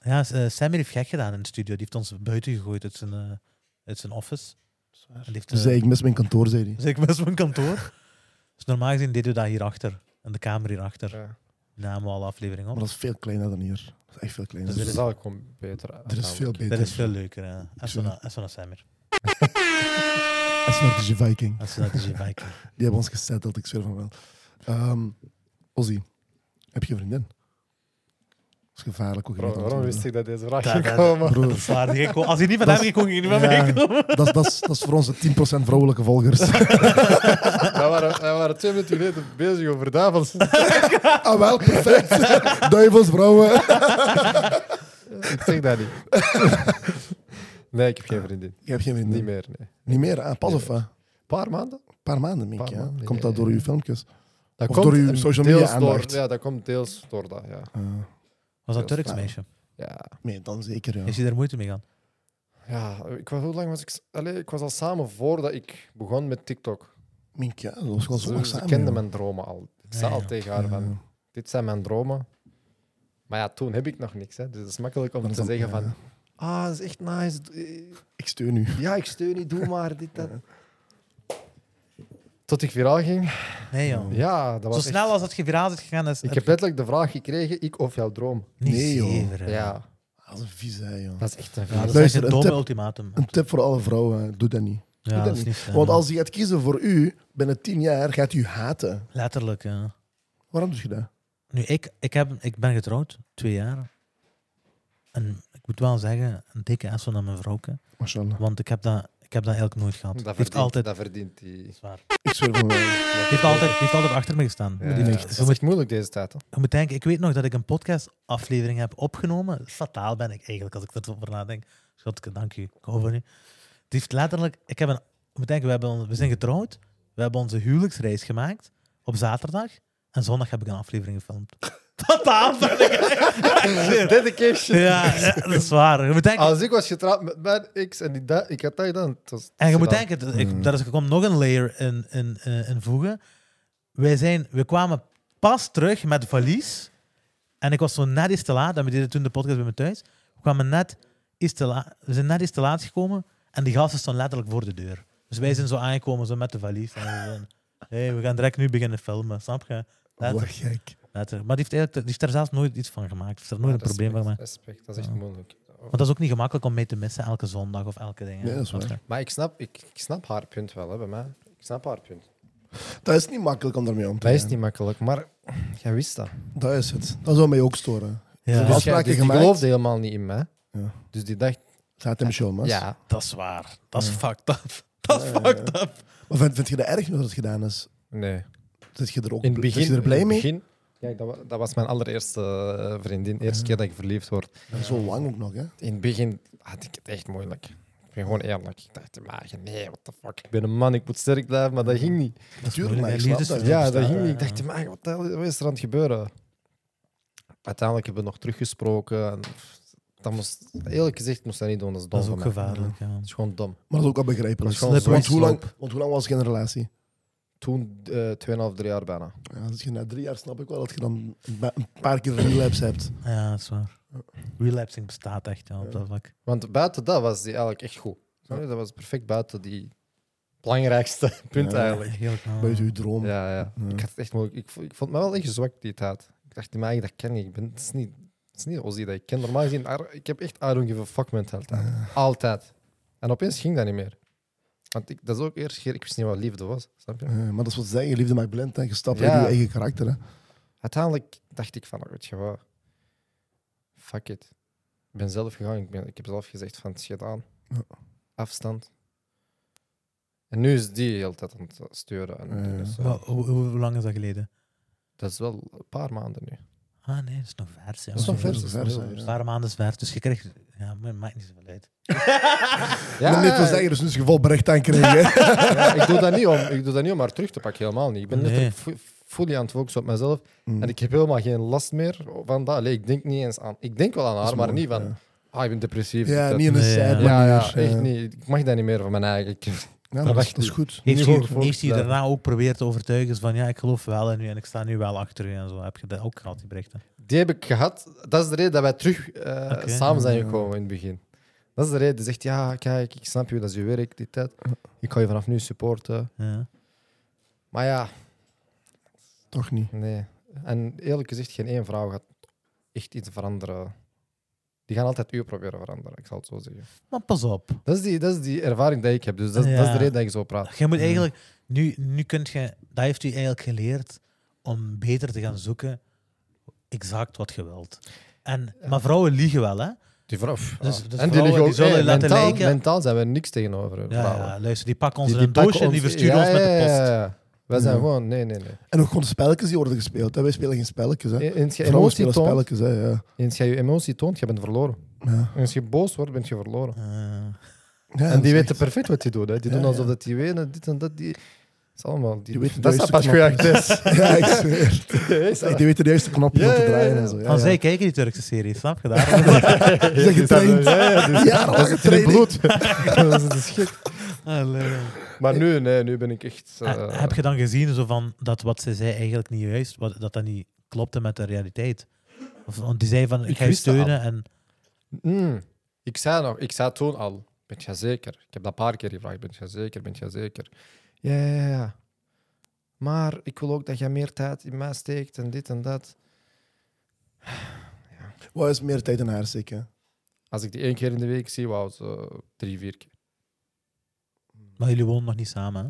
Ja, s- eh, Samir heeft gek gedaan in de studio. Die heeft ons buiten gegooid uit zijn, eh, uit zijn office. En die heeft, Toen eh, zei ik, mis mijn kantoor, zei hij. Dus ik was op mijn kantoor. Dus normaal gezien deden we dat hierachter. In de kamer hierachter. Ja. Namen we alle afleveringen Maar op. dat is veel kleiner dan hier. Dat is echt veel kleiner. Dus Dus er dat is- is eigenlijk gewoon beter. er is veel beter. Dat is veel leuker. hè. Als we Ik naar- als we naar Samir. En Snapchat Viking. Als we naar DJ Viking. Die hebben ons gesetteld, ik zweer van wel. Ehm Ozzy, heb je een vriendin? Dat is gevaarlijk. Ook Bro, waarom wist ik dat deze vraag Daar- ging daar- komen? Dat Broer, is waar, die ging gewoon- Als hij niet met Dat hem is- ging, kon hij niet met mij ja. komen. dat is- dat is- dat is voor onze 10% vrouwelijke volgers. Wij waren, wij waren twee minuten geleden bezig over duivels. ah wel, perfect. Duivels, vrouwen. ik zeg dat niet. nee, ik heb geen vriendin. Je hebt geen vriendin. Niet meer, nee. Niet meer, ah, pas of wat? Een Een paar maanden. paar maanden, denk Paar ik. ja. maanden, Komt ja, dat ja, door ja. uw filmpjes? Dat Of door uw een social deels media door- aandacht. Ja, dat komt deels door dat, ja. Eh, Was dat Ja, Turks ja. meisje? ja. nee, dan zeker, ja. Is hij daar moeite mee gaan? Ja, ik was, hoe lang was ik... s- Allee, ik was al samen voordat ik begon met TikTok. Mink, ja, dat was gewoon zo lang ze samen. kende joh. mijn dromen al. Ik zei Ja, al ja. tegen haar van, Ja. dit zijn mijn dromen. Maar ja, toen heb ik nog niks. Hè. Dus het is makkelijk om Dan is te dat- zeggen van... ja. Ah, dat is echt nice. Eh, Ik steun u. Ja, ik steun je, doe maar dit, dat. Tot ik viraal ging. Nee, joh. Ja, dat Zo was echt- snel als dat je viraal is gegaan, is Ik heb letterlijk de vraag gekregen, ik of jouw droom. niet Nee, joh. zever, hè. Ja, Ah, Dat is een vies, hè, joh. dat is echt een Ja, vraag. dat is echt Luister, een een domme tip. ultimatum. Een tip voor alle vrouwen, hè. doe dat niet. Ja, dat dat is niet. niet eh, slim. Want als je gaat kiezen voor u, binnen tien jaar gaat u haten. Letterlijk, ja. Waarom doe je dat? Nu, ik, ik, heb, ik ben getrouwd, twee jaar. En ik moet wel zeggen, een dikke asso naar mijn vrouwke. Mashallah. Want ik heb dat, ik heb dat eigenlijk nooit gehad. Die Dat heeft verdient, altijd, dat verdient die. zwaar. Ik zweer van wel. Die heeft altijd, die heeft altijd achter me gestaan. Ja, Die Het heeft- je, is moet, echt moeilijk deze tijd. hè. je moet denken, ik weet nog dat ik een podcastaflevering heb opgenomen. Fataal ben ik eigenlijk, als ik erover nadenk. Schatke, dank u. Ik hou van u. Die heeft letterlijk... Ik heb een, je moet denken, we, hebben, on- we zijn getrouwd. We hebben onze huwelijksreis gemaakt op zaterdag. En zondag heb ik een aflevering gefilmd. Fataal ben ik. echt. Dedication. Ja, ja, dat is waar. Je moet denken, Als ik was getrouwd met mijn ex en die da- ik had dat gedaan. het was- En je moet gedaan. denken, dat- Hmm. ik, daar is, er komt nog een layer in, in, eh, in voegen. Wij zijn, we kwamen pas terug met valies. En ik was zo net iets te laat. En we deden toen de podcast bij me thuis. We, kwamen net iets te laat, we zijn net iets te laat gekomen. En die gasten stonden letterlijk voor de deur. Dus wij zijn zo aangekomen zo met de valies. En we zijn, hey, we gaan direct nu beginnen filmen. Snap je? Wat Letterlijk, gek. letterlijk. Maar die heeft, eigenlijk, die heeft daar zelfs nooit iets van gemaakt. Heeft er nooit een Respect, probleem van gemaakt. Respect, dat is echt Ja. moeilijk. Want dat is ook niet gemakkelijk om mee te missen elke zondag of elke ding. hè. Ja, dat is waar. Maar ik snap, ik, ik snap haar punt wel, hè, bij mij. Ik snap haar punt. Dat is niet makkelijk om daarmee om te Dat gaan. is niet makkelijk, maar jij wist dat. Dat is het. Dat zou mij ook storen. Ja. Dus- Dus jij- Afspraken dus die gemaakt. geloofde helemaal niet in mij. Ja. Dus die dacht, Gaat hem show, mas. ja, Dat is waar. Dat is fucked up. Dat is fucked up. Maar vind, vind je dat erg nu dat het gedaan is? nee. Zit je er ook In het begin, zit je er blij in het mee? begin Kijk, dat, wa- dat was mijn allereerste eh, vriendin. Eerste keer dat ik verliefd word. Dat is zo lang ook nog, hè? In het begin had ik het echt moeilijk. Ik ben gewoon eerlijk. Ik dacht, maar nee, what the fuck. Ik ben een man, ik moet sterk blijven, maar dat ging niet. Natuurlijk, maar ik moeilijk, snap hè, liefdes- dat. Ja, bestaat, dat ging niet. hè, Ik dacht, ja. maar wat de hel is er aan het gebeuren? Uiteindelijk hebben we nog teruggesproken. En dat moest, eerlijk gezegd moest dat niet doen. Dat is dom Dat is van ook mij. gevaarlijk. Ja. Dat is gewoon dom. Maar dat is ook wel begrijpelijk. Dat is gewoon Want hoe, lang, zwangerschap. want hoe lang was je in een relatie? Toen, eh 2,5, 3 jaar bijna. Ja, als je na drie jaar snap ik wel dat je dan een ba- een paar keer een relapse hebt. ja, dat is waar. Relapsing bestaat echt ja, op Ja. dat vlak. Want buiten dat was die eigenlijk echt goed. Snap je? Dat was perfect buiten die belangrijkste punt Ja. eigenlijk. Heel knap. Buiten je droom. Ja, ja. Ja. Ik, had het echt moeilijk. ik, vo- ik vond me wel echt zwak die tijd. Ik dacht, die mij, dat ken ik. Ik Ben, het is niet, het is niet Ozzy dat ik ken. Normaal gezien, Ar- ik heb echt I don't give a fuck mentaliteit. Altijd. En opeens ging dat niet meer. Want ik, dat is ook eerst keer, ik wist niet wat liefde was. Snap je? Eh, maar dat is wat ze zeggen, liefde maakt blind en je stapt uit Ja. je eigen karakter. Hè. Uiteindelijk dacht ik van, weet je wat, fuck it. Ik ben zelf gegaan, ik, ben, ik heb zelf gezegd van, het is gedaan. Ja. Afstand. En nu is die heel de tijd aan het sturen. En Ja, doen, ja. dus, eh, Maar hoe, hoe- hoe lang is dat geleden? dat is wel een paar maanden nu. Ah nee, dat is nog vers. Ja. Dat is nog vers, dat is nog nog vers. vers, Een ja. paar maanden is vers, dus je krijgt... Ja, maar het maakt niet zoveel uit. Ja, maar dit wil zeggen, dus nu is het geval berecht aan krijgen. ja, ik, doe dat niet om, ik doe dat niet om haar terug te pakken, helemaal niet. Ik ben Nee. letterlijk fu- fully aan het focussen op mezelf. En ik heb helemaal geen last meer van dat. Allee, ik denk niet eens aan... Ik denk wel aan haar, maar niet van... Ah, ik ben depressief. Ja, Dat- niet in een Nee, ja. sad ja, ja, manier. echt Eh, niet. Ik mag dat niet meer van mijn eigen. Ik- Ja, Dat maar dat, mag is- dat is niet. goed. Heeft Nu hij, gewoon heeft hij volgens- daarna ook proberen te overtuigen van ja, ik geloof wel en, nu, en ik sta nu wel achter u en zo. Heb je dat ook gehad, die berichten? Die heb ik gehad. Dat is de reden dat wij terug eh, Oké. samen zijn gekomen in het begin. Dat is de reden. Die zegt, ja, kijk, ik snap je, dat is je werk, dit, dat. Ik ga je vanaf nu supporten. Ja. Maar ja, Toch niet. nee. En eerlijk gezegd, geen één vrouw gaat echt iets veranderen. Die gaan altijd u proberen veranderen, ik zal het zo zeggen. Maar pas op. Dat is die, dat is die ervaring die ik heb, dus dat, is- dat is Ja. de reden dat ik zo praat. Je moet eigenlijk, nu, nu kunt je, dat heeft u eigenlijk geleerd om beter te gaan zoeken exact wat je wilt. En, maar vrouwen liegen wel, hè? Die vrouw... ah. Dus- dus en die, vrouwen, liggen ook- die zullen hey, laten mentaal, lijken- mentaal zijn we niks tegenover Ja, vrouwen. ja, luister, die pakken ons Die- in die een doosje pakken en die ons- versturen ja, ons met de ja, post. ja, ja. Wij zijn gewoon, nee, nee, nee. En ook gewoon de spelletjes die worden gespeeld. Hè. Wij spelen geen spelletjes. Hè. Eens je Vrouwen emotie spelen toont, spelletjes. Hè, ja. eens je je emotie toont, je bent verloren. Ja. Als je boos wordt, ben je verloren. Eh, Ja, en dat is die echt- weten perfect wat je doet. Hè. Die Ja, doen alsof ja. dat die wenen, dit en dat. Die... Het is allemaal... Die... Die weten dat is juist pas te goed knappen. is. Ja, ik zweer. Is dat- Die weten de juiste knopjes Ja, om te ja, ja, draaien ja. en zo. Ja, Van ja. zij kijken die Turkse serie, snap je daar? Die zijn getraind. Ja, ja, dus- Ja, dat zit in het training. bloed. dat is- dat is gek. Allee. Maar nu, nee, nu ben ik echt... eh, Eh, heb je dan gezien zo van dat wat ze zei eigenlijk niet juist, wat, dat dat niet klopte met de realiteit? Of, want die zei van ik Ik ga je wist dat steunen en Mm. Ik zei nog, ik zei toen al, ben je zeker? Ik heb dat een paar keer gevraagd, ben je zeker, ben je zeker? Ja, ja, ja, ja. Maar ik wil ook dat je meer tijd in mij steekt en dit en dat. Wat is meer tijd in haar steken? Als ik die één keer in de week zie, wauw, zo drie, vier keer. maar jullie wonen nog niet samen. Hè?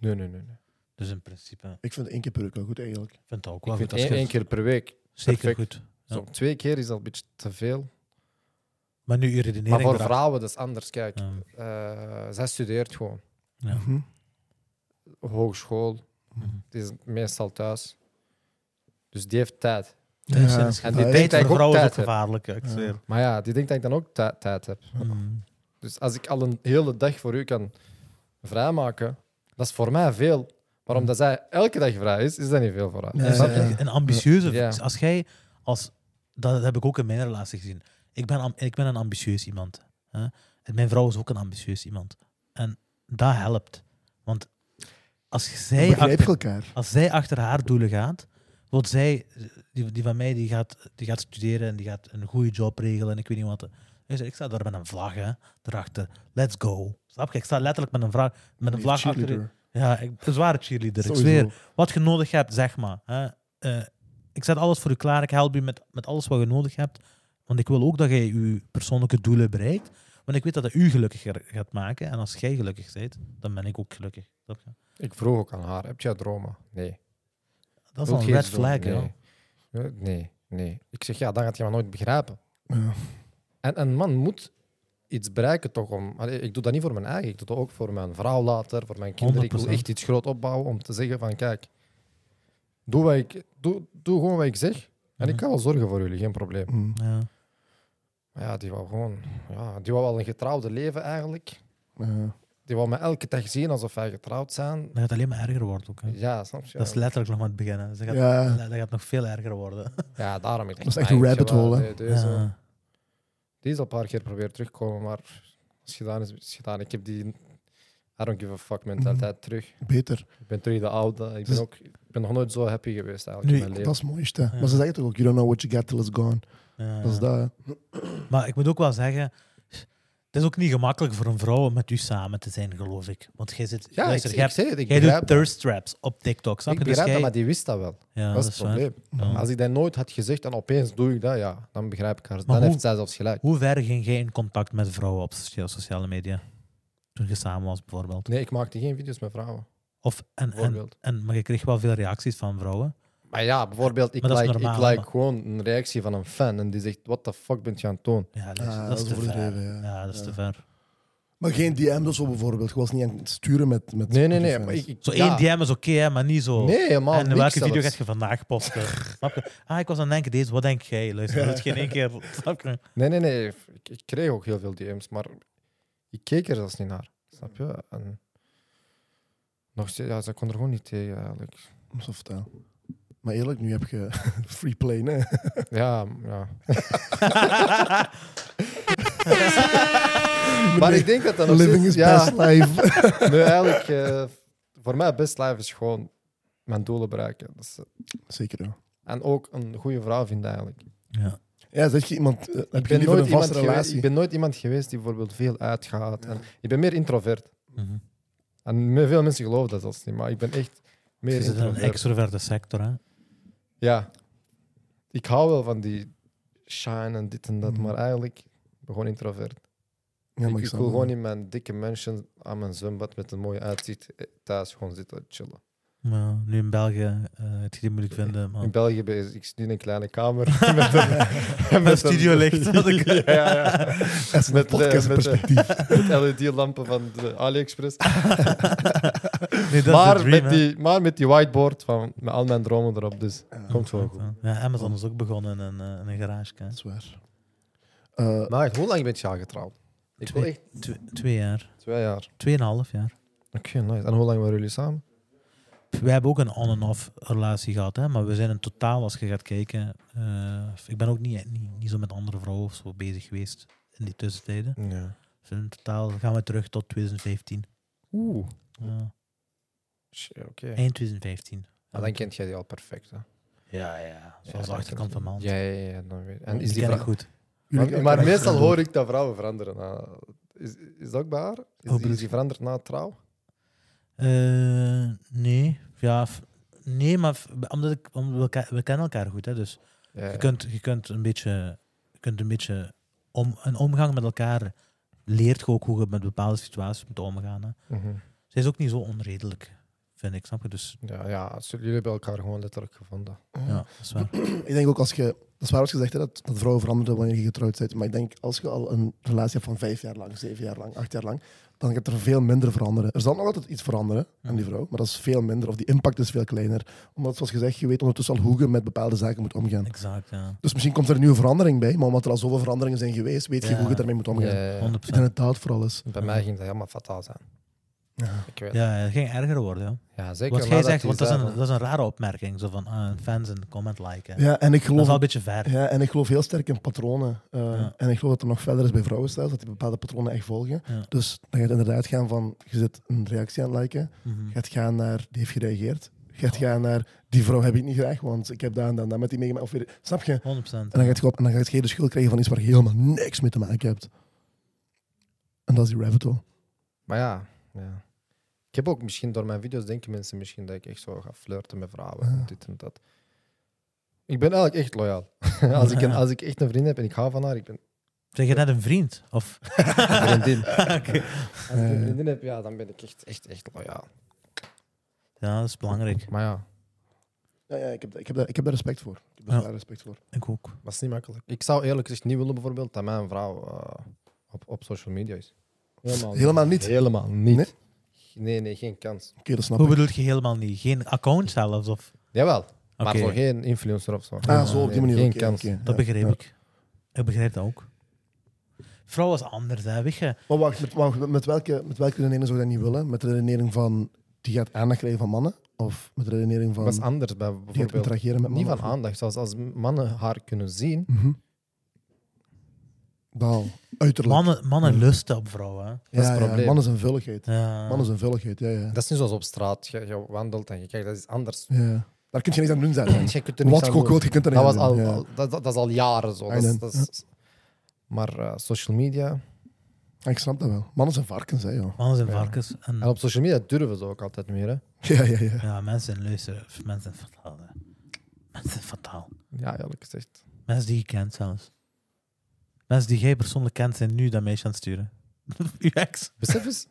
Nee, nee, nee. nee. Dus in principe ik Ik vind één keer per week wel goed eigenlijk. vind dat ook Ik wel vind goed. als één, je- één keer per week. zeker perfect. goed. Ja. Zo, twee keer is al een beetje te veel. Maar nu je redenering. maar voor erachter- vrouwen, dat is anders. Kijk, Ja. eh, zij studeert gewoon. Ja. Mhm. Hogeschool. Mhm. Het is meestal thuis. Dus die heeft tijd. Dus Ja. dat is En die denkt gevaarlijk. voor eigenlijk ook vrouwen is ook tijd, hè. gevaarlijk. ja, Ik Ja. zweer. Maar ja, die denkt dat ik dan ook tij- tijd heb. Mm. Dus als ik al een hele dag voor u kan vrijmaken, dat is voor mij veel. Maar omdat Mhm. zij elke dag vrij is, is dat niet veel voor haar. Ja, En Snap je? snap je? Een ambitieuze. Ja. Als jij als dat heb ik ook in mijn relatie gezien. Ik ben, am- ik ben een ambitieus iemand. Hè? En mijn vrouw is ook een ambitieus iemand. En dat helpt. Want als Dan zij Begrijp je achter, elkaar? als zij achter haar doelen gaat, wordt zij, die, die van mij, die gaat, die gaat studeren en die gaat een goede job regelen en ik weet niet wat. Dus ik sta daar met een vlag hè, erachter. Let's go. Snap je? Ik sta letterlijk met een, vlag, met een Die vlag achter. cheerleader. Ja, ik, een zware cheerleader. Ik Sowieso. zweer wat je nodig hebt, zeg maar. Hè. Eh, ik zet alles voor je klaar. Ik help je met, met alles wat je nodig hebt. Want ik wil ook dat jij je persoonlijke doelen bereikt. Want ik weet dat dat u gelukkiger gaat maken. En als jij gelukkig bent, dan ben ik ook gelukkig. Snap je? Ik vroeg ook aan haar: heb jij dromen? Nee. Dat is Wil al een je red iets flag, doen? hè. nee. Ja, nee, nee. Ik zeg ja, dan gaat je me nooit begrijpen. Ja. En een man moet iets bereiken toch om. Allee, ik doe dat niet voor mijn eigen, ik doe dat ook voor mijn vrouw later, voor mijn kinderen. Ik wil 100%. echt iets groot opbouwen om te zeggen: van kijk, Doe, wat ik, doe, doe gewoon wat ik zeg. En ik kan wel zorgen voor jullie, geen probleem. Mm. Ja. Maar Ja, die wou gewoon... Ja, die wou wel een getrouwde leven eigenlijk. Ja. Die wou me elke dag zien alsof wij getrouwd zijn. Dat gaat alleen maar erger worden ook. Hè. Ja, snap je? Dat is letterlijk nog maar het begin. hè. Dus Dat gaat, Ja. dat gaat nog veel erger worden. Ja, daarom. Ik Dat is echt een rabbit hole, hè? Deze, Ja. die is al een paar keer proberen terugkomen, maar als gedaan is, is gedaan. Ik heb die I don't give a fuck mentaliteit terug. Beter. Ik ben terug de oude. Ik ben, Dus- ook, ik ben nog nooit zo happy geweest eigenlijk Nu, in mijn Dat leven. is het mooiste. Maar ze zeggen toch ook, you don't know what you got till it's gone. Ja, Dat is ja. dat. hè. Maar ik moet ook wel zeggen, het is ook niet gemakkelijk voor een vrouw om met u samen te zijn, geloof ik. Want jij zit, Ja, ik, luister, ik, jij, zeg het. Ik jij begrijp doet dat. thirst traps op TikTok, snap Ik je? Dus begrijp dat, jij- maar die wist dat wel. ja, dat is het waar. probleem. Ja. Als ik dat nooit had gezegd en opeens doe ik dat, ja, dan begrijp ik haar. dan hoe- heeft zij zelfs gelijk. Hoe ver ging jij in contact met vrouwen op socia- sociale media? Toen je samen was, bijvoorbeeld. Nee, ik maakte geen video's met vrouwen. Of, en, en, Bijvoorbeeld. en, maar je kreeg wel veel reacties van vrouwen. Maar ja, bijvoorbeeld, ik Maar dat is like, ik normaal, like maar- gewoon een reactie van een fan en die zegt: What the fuck bent je aan het doen? Ja, dat is, Ah, dat is dat is te ver. overdreven, ja. Ja, dat is Ja. te ver. Maar geen DM's of zo bijvoorbeeld. Je was niet aan het sturen met... met Nee, nee, nee. met Maar ik, ik- Zo ja. één DM is oké, hè, maar niet zo... Nee, helemaal en niks welke video zelfs. gaat je vandaag posten? snap je? Ah, ik was aan het denken, deze, wat denk jij? Luister, dat is geen één keer... Snap je? Nee, nee, nee. Ik, ik kreeg ook heel veel DM's, maar ik keek er zelfs niet naar. Snap je? En nog steeds, ja, ze kon er gewoon niet tegen eigenlijk. Om zo te vertellen. Maar eerlijk, nu heb je free play, hè. Ja, ja. maar ik denk dat dat nog Living steeds- is ja, best life. Nee, eigenlijk, eh, voor mij best life is gewoon mijn doelen bereiken. Dat is- eh, Zeker, ja. en ook een goede vrouw vinden eigenlijk. Ja. Ja, zeg je iemand... Ik eh, heb je ben, liever nooit een iemand vaste geweest, ik relatie? ben nooit iemand geweest die bijvoorbeeld veel uitgaat. En, ik ben meer introvert. Mhm. En me- veel mensen geloven dat zelfs niet, maar ik ben echt meer Je zit in een introvert. extroverte sector, hè? Ja. Ik hou wel van die shine en dit en dat, maar eigenlijk ik ben gewoon introvert. Ja, ik, maar ik ik wil snap gewoon het. in mijn dikke mansion aan mijn zwembad met een mooie uitzicht eh, thuis gewoon zitten chillen. Ja, nu in België eh het je moeilijk vinden. Maar... In België ben ik, ik zit in een kleine kamer. met een, Met studiolicht. ja, ja. Dat is een met, eh, podcastperspectief. Met LED-lampen van de AliExpress. Nee, dat is de maar, dream, met hè. die, maar met die whiteboard van met al mijn dromen erop. Dus komt wel goed. Ja, Amazon is ook begonnen in een, eh, in een garage. hè. Dat is waar. Eh, Maar hoe lang ben je al getrouwd? Ik wil Twee. echt Twee, twee jaar. twee jaar. Tweeënhalf jaar. Oké, nice. En hoe lang waren jullie samen? We hebben ook een on-en-off relatie gehad, hè? maar we zijn in totaal, als je gaat kijken. eh, ik ben ook niet, niet, niet zo met andere vrouwen of zo bezig geweest in die tussentijden. Ja. Dus in totaal gaan we terug tot 2015. Oeh. Ja, Shit, Oké. eind 2015. Maar dan kent jij die al perfect. Hè? Ja, ja. Zoals de dan achterkant van kent- maand. Ja, ja, ja. Dan weet... En Die is die ken ik vrouw... goed. jullie- Maar, maar meestal hoor ik dat vrouwen veranderen. na- Is, is dat ook bij haar? Is, Hoe die, Oh, bedoel is die veranderd na trouw? Eh, nee, ja. f- Nee, maar f- omdat ik, omdat we, elkaar, we kennen elkaar goed, hè, dus Ja, ja. Je kunt, je kunt een beetje, je kunt een, beetje om, een omgang met elkaar leert je ook hoe je met bepaalde situaties moet omgaan. Hè. Mhm. Ze is ook niet zo onredelijk, vind ik. Snap je? Dus ja, ja. zo- Jullie hebben elkaar gewoon letterlijk gevonden. ja, dat is waar. Ik denk ook als je... Dat is waar wat je zegt, hè, dat, dat vrouwen veranderen wanneer je getrouwd bent. Maar ik denk, als je al een relatie hebt van vijf jaar lang, zeven jaar lang, acht jaar lang, dan gaat er veel minder veranderen. Er zal nog altijd iets veranderen aan die vrouw, maar dat is veel minder. Of die impact is veel kleiner. Omdat, zoals gezegd, je weet ondertussen al hoe je met bepaalde zaken moet omgaan. Exact, ja. Dus misschien komt er een nieuwe verandering bij, maar omdat er al zoveel veranderingen zijn geweest, weet je Ja. hoe je daarmee moet omgaan. Ja, ja, ja. 100%. Ik denk dat dat vooral is. Bij mij ging dat helemaal fataal zijn. Ja. Ik weet Ja, het ging erger worden. Ja. Ja, zeker. Wat jij nadat zegt, hij want dat is, zei een, van- dat is een rare opmerking. Zo van ah, fans en comment liken. Ja, en Dat ik is geloof wel een beetje ver. Ja, en ik geloof heel sterk in patronen. Uh, Ja. En ik geloof dat er nog verder is bij vrouwen zelfs, dat die bepaalde patronen echt volgen. Ja. Dus dan gaat het inderdaad gaan van, je zit een reactie aan het liken, Mhm. je gaat gaan naar, die heeft gereageerd. Je gaat gaan naar, die vrouw heb ik niet graag, want ik heb daar en dan met die meegemaakt. Of weer- snap je? 100%. En dan gaat je op en dan gaat je de schuld krijgen van iets waar je helemaal niks mee te maken hebt. En dat is die rabbit hole. Maar ja, ja. Ik heb ook misschien door mijn video's denken mensen misschien dat ik echt zo ga flirten met vrouwen. en Dit en dat. Ik ben eigenlijk echt loyaal. als, ik een- als ik echt een vriendin heb en ik hou van haar, ik ben Zeg je net een vriend? Of... een vriendin. Oké. Als ik een vriendin heb, ja, dan ben ik echt, echt, echt loyaal. Ja, dat is belangrijk. Maar ja, Ja, ja, ik, heb, ik, heb daar, ik heb daar respect voor. Ik heb daar Ja. zwaar respect voor. Ik ook. dat is niet makkelijk. Ik zou eerlijk gezegd niet willen bijvoorbeeld dat mijn vrouw eh, op, op social media is. Helemaal niet. Helemaal niet. Helemaal niet. Nee? Nee, nee, geen kans. Oké, dat snap Hoe ik. bedoel je helemaal niet? Geen account zelfs? Of... Jawel. Maar Oké. voor geen influencer of zo. Ah, zo op die manier. Geen oké, kans. oké, Dat ja, begreep ja. ik. Ik begrijp dat ook. Vrouw was anders, hè. Weet je? Maar wacht, met, wacht, met, welke, met welke redenering zou je dat niet willen? Met de redenering van die gaat aandacht krijgen van mannen? Of met de redenering van Dat is anders bij die gaat bijvoorbeeld. interageren met Niet mannen? van aandacht. Zoals als mannen haar kunnen zien. Mhm. Daal, uiterlijk. Mannen, mannen lusten op vrouwen. hè. ja, is het ja, probleem. mannen zijn vulligheid. Ja. Mannen zijn vulligheid, ja, ja. Dat is niet zoals op straat. Je, je wandelt en je kijkt, dat is anders. ja. Daar kun je niks aan doen, zijn. Je kunt er niks Wat aan je ook doen. wilt, je kunt er Dat, niks was aan al, doen. ja. al- dat, dat is al jaren zo. Dat is- I know. dat is- maar eh, social media. Ja, Ik snap dat wel. Mannen zijn varkens, hè, joh. Mannen zijn varkens. En, En op social media durven ze ook altijd meer. Hè. Ja, ja, ja. ja, mensen luisteren. Mensen zijn fataal. hè. Mensen zijn fataal. Ja, eerlijk gezegd. Mensen die je kent zelfs. Mensen die jij persoonlijk kent zijn nu dat meisje aan het sturen. Uw ex. Besef eens,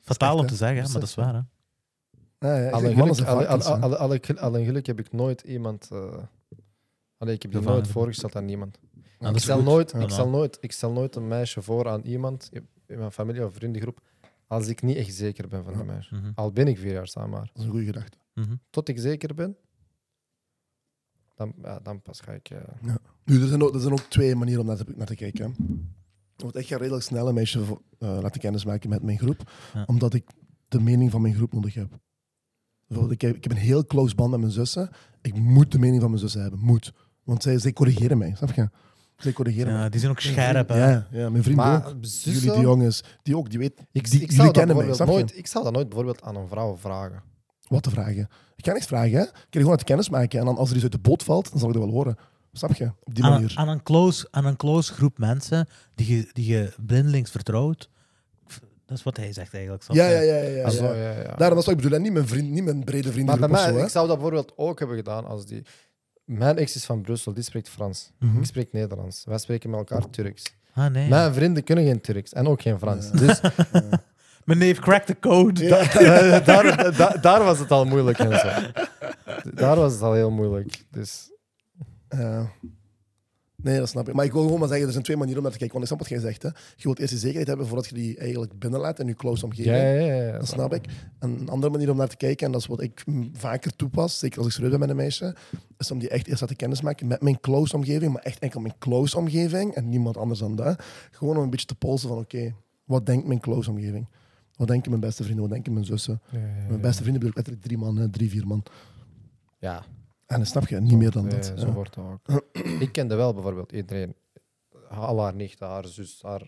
Fataal Echt, om hè? te zeggen, hè, maar Besef, dat is waar. Hè? Ja, ja, ik alle zeg, geluk, mannen zijn alle, alle, varkens. hè. alle, alle, gel- alle geluk heb ik nooit iemand. eh allee, ik heb die Ervaren. nooit voorgesteld aan iemand. dat ik, is stel goed. nooit, Ja. ik, stel nooit, ik stel nooit een meisje voor aan iemand in mijn familie of vriendengroep. als ik niet echt zeker ben van die meisje. Mhm, Al ben ik vier jaar samen. Maar Dat is een goede gedachte. mhm. tot ik zeker ben, dan, ja, dan pas ga ik. eh, Nu, er zijn ook, er zijn ook twee manieren om naar te, naar te kijken. hè. Want ik ga redelijk snel een meisje vo- eh, laten kennismaken met mijn groep, Ja. omdat ik de mening van mijn groep nodig heb. Bijvoorbeeld, ik heb, ik heb een heel close band met mijn zussen. Ik moet de mening van mijn zussen hebben, moet. Want zij, zij corrigeren mij, snap je? Zij corrigeren mij. Ja, die zijn ook scherp. Hè? Ja, ja, mijn vriend maar ook. zussen- Jullie, die jongens, die ook, die weten. ik, die- ik, jullie zou dat kennen mij, bijvoorbeeld snap je? nooit, ik zou dat nooit bijvoorbeeld aan een vrouw vragen. Wat te vragen? Ik kan niks vragen, hè? Ik kan gewoon laten kennismaken. En dan als er iets uit de boot valt, dan zal ik dat wel horen. Snap je? Op die Aan, manier. aan, een close, aan een close groep mensen die je, die je blindelings vertrouwt. Dat is wat hij zegt eigenlijk. snap Ja, je? ja, ja. ja, ja, Ah, zo, ja. ja, ja. Daarom, dat is wat ik bedoel. hè. Niet mijn vriend, niet mijn brede Maar bij vriendengroep of mij, zo, hè? ik zou dat bijvoorbeeld ook hebben gedaan als die. Mijn ex is van Brussel, die spreekt Frans. Mhm. Ik spreek Nederlands. Wij spreken met Oh. elkaar Turks. Ah, nee. Mijn vrienden kunnen geen Turks en ook geen Frans. Dus Mijn neef cracked the code. Ja. da- daar, da- daar was het al moeilijk. En zo. Daar was het al heel moeilijk. Dus Ja. Eh, Nee, dat snap ik. Maar ik wil gewoon maar zeggen, er zijn twee manieren om naar te kijken. Want ik snap wat jij zegt. Hè. Je wilt eerst die zekerheid hebben voordat je die eigenlijk binnenlaat in je close omgeving. ja, ja, ja, ja. Dat snap ik. En een andere manier om naar te kijken, en dat is wat ik mm, vaker toepas, zeker als ik serieus ben met een meisje, is om die echt eerst laten kennismaken met mijn close omgeving, maar echt enkel mijn close omgeving en niemand anders dan dat. Gewoon om een beetje te polsen van, oké, wat denkt mijn close omgeving? Wat denken mijn beste vrienden? Wat denken mijn zussen? Ja, ja, ja. Mijn beste vrienden bedoel ik letterlijk drie man, hè, drie, vier man. Ja, En dan snap je niet meer dan dat. eh, Ja. zo wordt het ook. Ik kende wel bijvoorbeeld iedereen. Al haar nichten, haar zus, haar...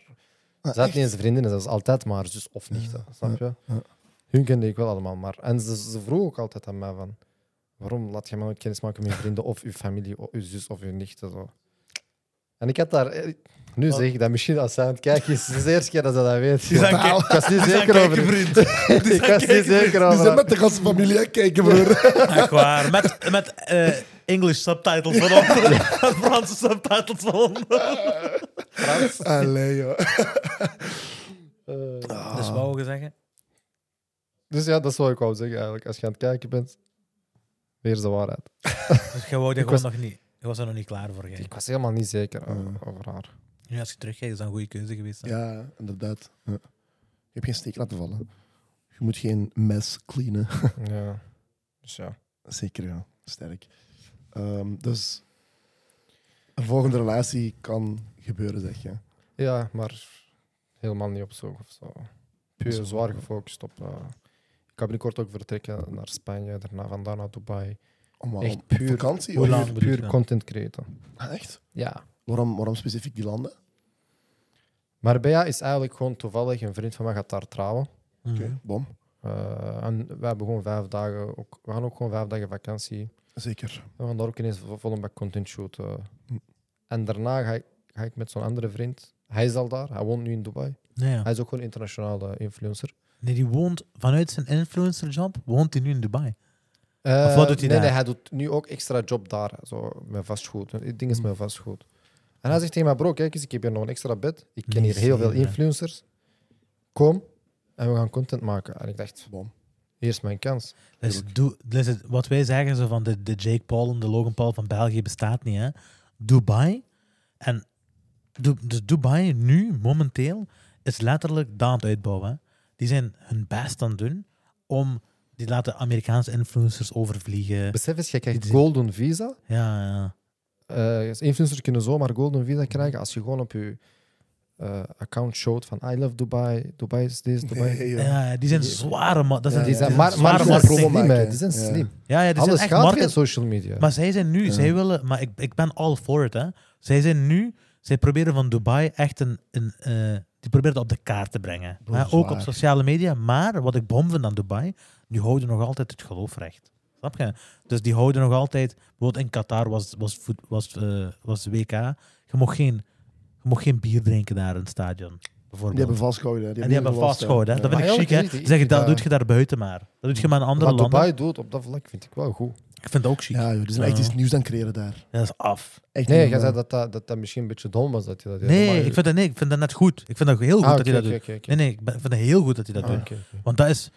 Ah, Ze had niet eens vriendinnen, dat was altijd maar zus of nichten, snap je? ja. Hun kende ik wel allemaal, maar... En ze, ze vroeg ook altijd aan mij van... Waarom laat je mij nooit kennis maken met je vrienden of je familie, of je zus of je nichten? Zo. En ik had daar... eh, Nu Oh. zeg ik dat misschien als zij aan het kijken is. Het is de eerste keer dat ze dat weet. Die zijn ik was niet zeker kijken, over... vriend. Ik was niet zeker Die zijn over... met de gastfamilie hè, kijken, broer. Echt waar. Met, met eh, English subtitles eronder. Met Franse subtitles eronder. Allee, joh. Eh, Dus wat wou je zeggen? Dus ja, dat is wat ik wou zeggen eigenlijk. Als je aan het kijken bent, weer de waarheid. Dus je wou dat Ik gewoon nog niet. Je was er nog niet klaar voor. Jij. Ik was helemaal niet zeker eh, over haar. Nu als je terugkijkt, is dat een goede keuze geweest. hè? Ja, inderdaad. Ja. Je hebt geen steek laten vallen. Je moet geen mes cleanen. Ja. Dus ja. Zeker, ja. Sterk. Ehm, dus een volgende relatie kan gebeuren, zeg je. Ja, maar helemaal niet op zoek of zo. Dus Puur zwaar gefocust op... eh, ik ga binnenkort ook vertrekken naar Spanje, daarna vandaan naar Dubai. Om, om- Echt op puur- vakantie? Hoe of- lang Puur, bedoel je puur dan? content creëren. Ah, echt? Ja. Waarom, waarom specifiek die landen? Marbella is eigenlijk gewoon toevallig, een vriend van mij gaat daar trouwen. Mhm. Oké, bom. Eh, en we hebben gewoon vijf dagen, ook, we gaan ook gewoon vijf dagen vakantie. Zeker. We gaan daar ook ineens vo- vol een bak content shooten. En daarna ga ik, ga ik met zo'n andere vriend. Hij is al daar, hij woont nu in Dubai. Nee, Mhm. ja. Hij is ook gewoon internationale influencer. nee, die woont vanuit zijn influencerjob, woont hij nu in Dubai. Eh, Of wat doet hij nee, daar? nee, hij doet nu ook extra job daar. Zo, met vastgoed. Het ding is Hmm. met vastgoed. En hij zegt tegen mij, bro, kijk eens, ik heb hier nog een extra bed. Ik ken hier heel veel Nice, ja. influencers. Kom, en we gaan content maken. En ik dacht, Bom. hier is mijn kans. Dus, doe, dus het- wat wij zeggen zo van de, de Jake Paul en de Logan Paul van België bestaat niet. Hè? Dubai. En Du- dus Dubai nu, momenteel, is letterlijk dat aan het uitbouwen. hè. Die zijn hun best aan het doen om Die laten Amerikaanse influencers overvliegen. Besef eens, je krijgt Dit is- Golden Visa. Ja, ja. Eh, influencers kunnen zomaar Golden Visa krijgen als je gewoon op je eh, account showt van I love Dubai, Dubai is dit, Dubai. Nee, joh. ja. ja, die zijn zware... ma- dat zijn, Ja, Die zijn ja. maar, Zware maar, maar marketing. slim, Promo hè. maken. Die zijn Ja. slim. ja, ja, die Alles zijn gaat echt via market... social media. Maar zij zijn nu, zij willen, maar ik, ik ben all for it, hè. Zij zijn nu, zij proberen van Dubai echt een, een eh, die proberen het op de kaart te brengen. Bro, Hè, ook zwaar. op sociale media, maar wat ik bom vind aan Dubai, die houden nog altijd het geloof recht. Snap je? Dus die houden nog altijd, bijvoorbeeld in Qatar was, was, voet- was, eh, was WK, je mocht, geen, je mocht geen bier drinken daar in het stadion, Die bijvoorbeeld. hebben vastgehouden. hè. en die hebben niet gewast, hè. vastgehouden. hè. Dat Ja. vind ik Maar chic, eigenlijk hè. is die- Zeg, dat ja. doet je daar buiten maar. Dat doet je maar in andere Wat landen. Dubai doet op dat vlak vind ik wel goed. Ik vind dat ook chic. Ja, joh, die zijn echt Ja. iets nieuws aan het creëren daar. Dat is af. Echt Nee, niet jij normaal. zei dat dat, dat dat misschien een beetje dom was dat je dat deed. Nee, Maar- ik vind dat, nee, ik vind dat net goed. Ik vind dat heel goed Ah, dat hij oké, dat oké, doet. oké, oké. Nee, nee, ik ben- ik vind het heel goed dat hij dat Ah, doet. Oké, oké. Want dat is...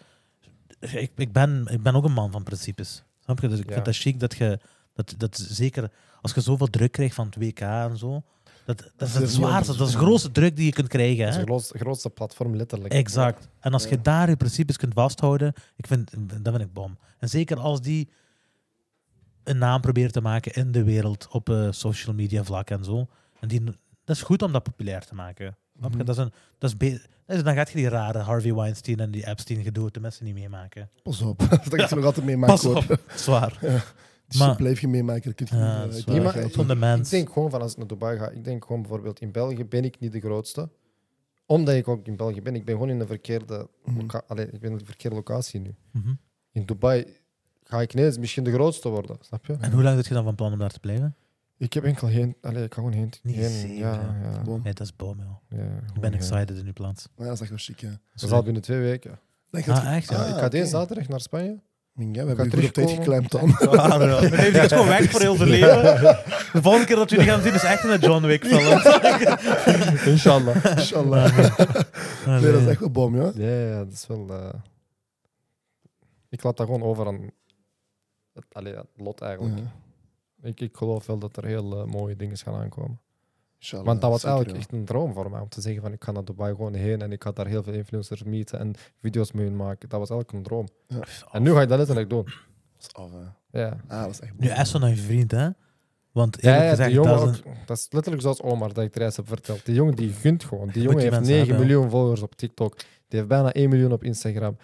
Ik, ik, ben, ik ben ook een man van principes. Snap je? Dus ik Ja. vind dat chic dat je... Dat, dat zeker als je zoveel druk krijgt van het WK en zo... Dat, dat is Dat het is heel zwaarste. Dat is de druk. grootste druk die je kunt krijgen. Dat is Hè? het grootste, grootste platform, letterlijk. Exact. En als Ja. je daar je principes kunt vasthouden, ik vind, dan ben ik bom. En zeker als die een naam probeert te maken in de wereld op eh, social media vlak en zo. En die, dat is goed om dat populair te maken. Snap je? Mhm. Dat is een, dat is be- dat is- dan gaat je die rare Harvey Weinstein en die Epstein gedoe de mensen niet meemaken. Pas op. dat gaat ze nog altijd meemaken. Pas op, zwaar. Dus Maar- blijf je meemaken. Dat kun je Ja, niet, dat eh, is kun je waar. maar- niet Op helpen. van de Ik mens. denk gewoon van als ik naar Dubai ga, ik denk gewoon bijvoorbeeld in België ben ik niet de grootste. Omdat ik ook in België ben. Ik ben gewoon in de verkeerde, Mhm. loca- Allee, ik ben in de verkeerde locatie nu. Mhm. In Dubai ga ik ineens misschien de grootste worden, snap je? En hoe lang zit je dan van plan om daar te blijven? Ik heb enkel geen... Allee, ik kan gewoon geen... Niet geen- zeven, ja, hè. ja, Boom. Nee, dat is boom, joh. Oh, ja, Ik gewoon ben geen. excited in uw plaats. Ja, dat is echt wel chic, ja. Dat is al binnen twee weken. Denk dat Ah, echt? Ja, Ja. ik ga oké. deze zaterdag naar Spanje. Ja, we hebben je goed op terugkomen. tijd geklemd dan. Zwaar, Ah, ja. Hij heeft echt gewoon weg voor heel zijn leven. De volgende keer dat jullie gaan zien is echt een John Wick film. Inshallah. Inshallah. Nee, dat is echt wel bom, ja. Ja, ja, dat is wel... eh, Ik laat dat gewoon over aan... Het, allee, het lot eigenlijk. Ja. Ik, ik geloof wel dat er heel eh, mooie dingen gaan aankomen. Inshallah, Want dat was zeker, eigenlijk ja. echt een droom voor mij. Om te zeggen van ik ga naar Dubai gewoon heen en ik ga daar heel veel influencers meeten en video's mee maken. Dat was eigenlijk een droom. En nu ga je dat letterlijk doen. Dat is af, hè. Ja, Ah, dat is echt bom. Nu Esso naar je vriend, hè? Want ja, eerlijk ja gezegd, die jongen dat is ook, een- dat is letterlijk zoals Omar dat ik er eens heb verteld. Die jongen die gunt gewoon. Die jongen die heeft mensen 9 hebben, hè. miljoen volgers op TikTok. Die heeft bijna 1 miljoen op Instagram.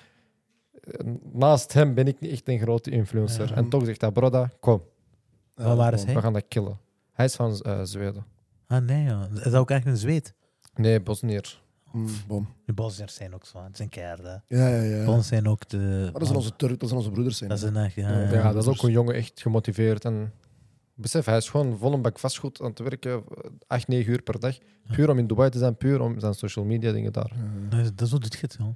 Eh, Naast hem ben ik niet echt een grote influencer. Ja. En toch zegt hij, broda, kom, Ja, Waar waren dat ze bom. we gaan dat killen. Hij is van eh, Zweden. Ah, nee, joh. Is dat ook echt een zweet? Nee, Bosnier. Mm, bom. De Bosniërs zijn ook zo, het zijn keihard, hè. Ja, ja, ja. Bosniërs zijn ook de... Maar dat zijn onze Turk, dat zijn onze broeders. Zijn, Dat zijn echt, ja. Ja, ja. Ja, dat is ook een jongen echt gemotiveerd. En besef, hij is gewoon vol een bak vastgoed aan het werken, 8, 9 uur per dag. Puur om in Dubai te zijn, puur om zijn social media dingen daar. Ja. Dat is- Dat is hoe dit gaat, joh.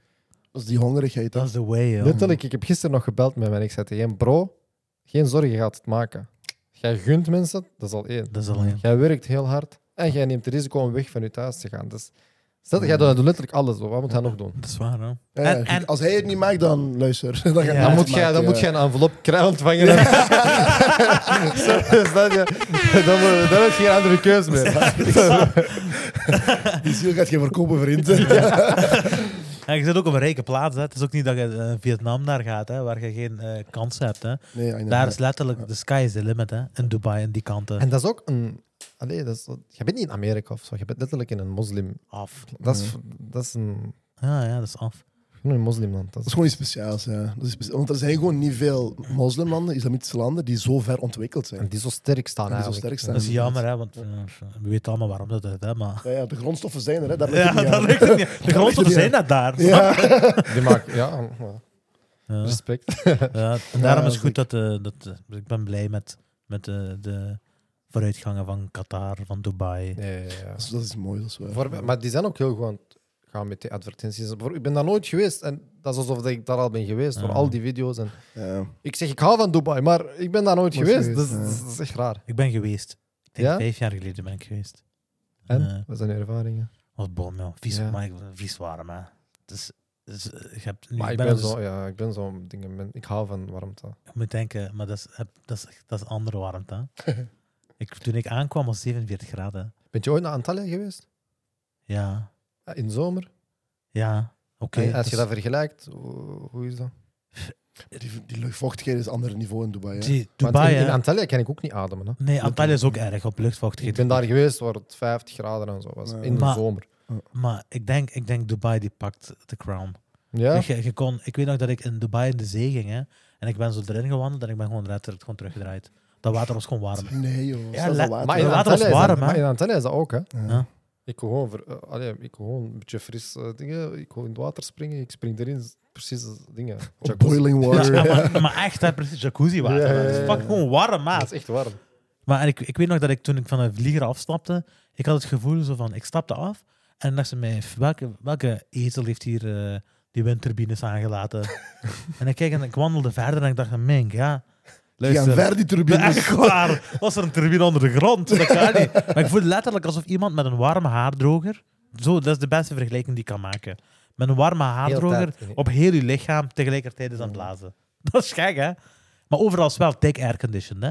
Dat is die hongerigheid. hè. Dat is de way, joh. Letterlijk, ik heb gisteren nog gebeld met hem en ik zei tegen hem, bro, geen zorgen, je gaat het maken. Jij gunt mensen, dat is al één. Dat is alleen. Jij werkt heel hard en jij neemt het risico om weg van je thuis te gaan. Dus stel, jij doet letterlijk alles, wat moet hij nog doen? Dat is waar, hoor. Ja, ja, En- en- Als hij het niet maakt, dan luister. Dan, ga Ja. ik Dan het moet, jij, dan maken, moet ja. jij een envelop krijgen ontvangen. Sorry, snap je? dan, moet- dan heb je geen andere keuze meer. Die ziel gaat je verkopen, vriend. En je zit ook op een rijke plaats, hè. Het is ook niet dat je eh, Vietnam daar gaat, hè, waar je geen eh kansen hebt, hè. Nee, inderdaad. Daar is letterlijk, the sky is the limit, hè. In Dubai, in die kanten. En dat is ook een. Allee, dat is, je bent niet in Amerika of zo. Je bent letterlijk in een moslim. Ah, Af. Dat is, dat is een. Ja, ja, dat is af. Gewoon een moslimland. Dat Dat is is, gewoon iets speciaals, ja. Dat is specia- Want er zijn gewoon niet veel moslimlanden, islamitische landen, die zo ver ontwikkeld zijn. en die zo sterk staan. En die zo eigenlijk. sterk staan. Dat is jammer, hè, want eh, we weten allemaal waarom dat is, hè, maar... Ja, ja, de grondstoffen zijn er, hè. Daar Ja, ligt het niet dat aan. ligt er niet. De grondstoffen niet zijn net daar. Ja. Ja. Die maken. Ja, ja, respect. Ja, Dus- en daarom is dat het goed dat, eh, dat... eh, Ik ben blij met, met eh, de vooruitgangen van Qatar, van Dubai. Ja, ja, ja. Dus dat is mooi, dat is waar. Voor- maar die zijn ook heel gewoon gaan met die advertenties. Voor- Ik ben daar nooit geweest en dat is alsof ik daar al ben geweest door Ja. al die video's. En Ja. ik zeg, ik hou van Dubai, maar ik ben daar nooit Nooit geweest. geweest, Dus dat is- dat is echt raar. Ik ben geweest. Ik denk Ja? vijf jaar geleden ben ik geweest. En Eh, wat zijn je ervaringen? was bom, joh. Vies, Ja. maar ik- vies warm, hè. Het is... het is, eh, je hebt, Maar ik ik ben ben dus- zo, ja, ik ben zo dingen. men- Ik hou van warmte. Ik moet denken, maar dat is, heb- dat is, dat is andere warmte. hè. ik, toen ik aankwam was 47 graden. Bent je ooit naar Antalya geweest? Ja, Eh, In zomer? ja. Oké. dus- als dat je is- dat vergelijkt, hoe, hoe is dat? Die, die luchtvochtigheid is een ander niveau in Dubai. Hè? Zie, Want Dubai, in, in hè. Antalya kan ik ook niet ademen. Hè. Nee, Antalya is ook erg op Ik luchtvochtigheid. ben daar geweest waar het 50 graden en zo was. Ja. In de Maar- zomer. Maar ik denk, ik denk Dubai die pakt de crown. Ja? Je, je kon, ik weet nog dat ik in Dubai in de zee ging hè, en ik ben zo erin gewandeld en ik ben gewoon, eruit- gewoon teruggedraaid. Dat water was gewoon warm. Nee, joh. Ja, Ja, la- water. Maar in, Ja, later Antalya was Ah, is het warm, dat, hè. maar in Antalya is dat ook, hè? Ja. Ik wil gewoon, ver- eh, allee, ik wil gewoon een beetje fris eh, dingen. Ik wil in het water springen. Ik spring erin. Precies als dingen. Op Jacuzzi. boiling Ja, water. maar, maar echt, hè, precies jacuzzi water. Ja, ja, ja, Het is ja. fucking gewoon warm, Ah, Dat is maat. echt warm. Maar en ik, ik weet nog dat ik toen ik van de vlieger afstapte, ik had het gevoel zo van, ik stapte af en dan dacht ze mij, welke, welke ezel heeft hier eh, die windturbines aangelaten? en ik kijk en ik wandelde verder en ik dacht, mink, ja. Die gaan ver, die Ja, turbines. Echt waar. Was er een turbine onder de grond? Dat kan niet. Maar ik voel letterlijk alsof iemand met een warme haardroger... Zo, dat is de beste vergelijking die ik kan maken. Met een warme haardroger tijd, nee. op heel je lichaam tegelijkertijd is aan het Mm. blazen. Dat is gek, hè? Maar overal is wel dik airconditioned, hè?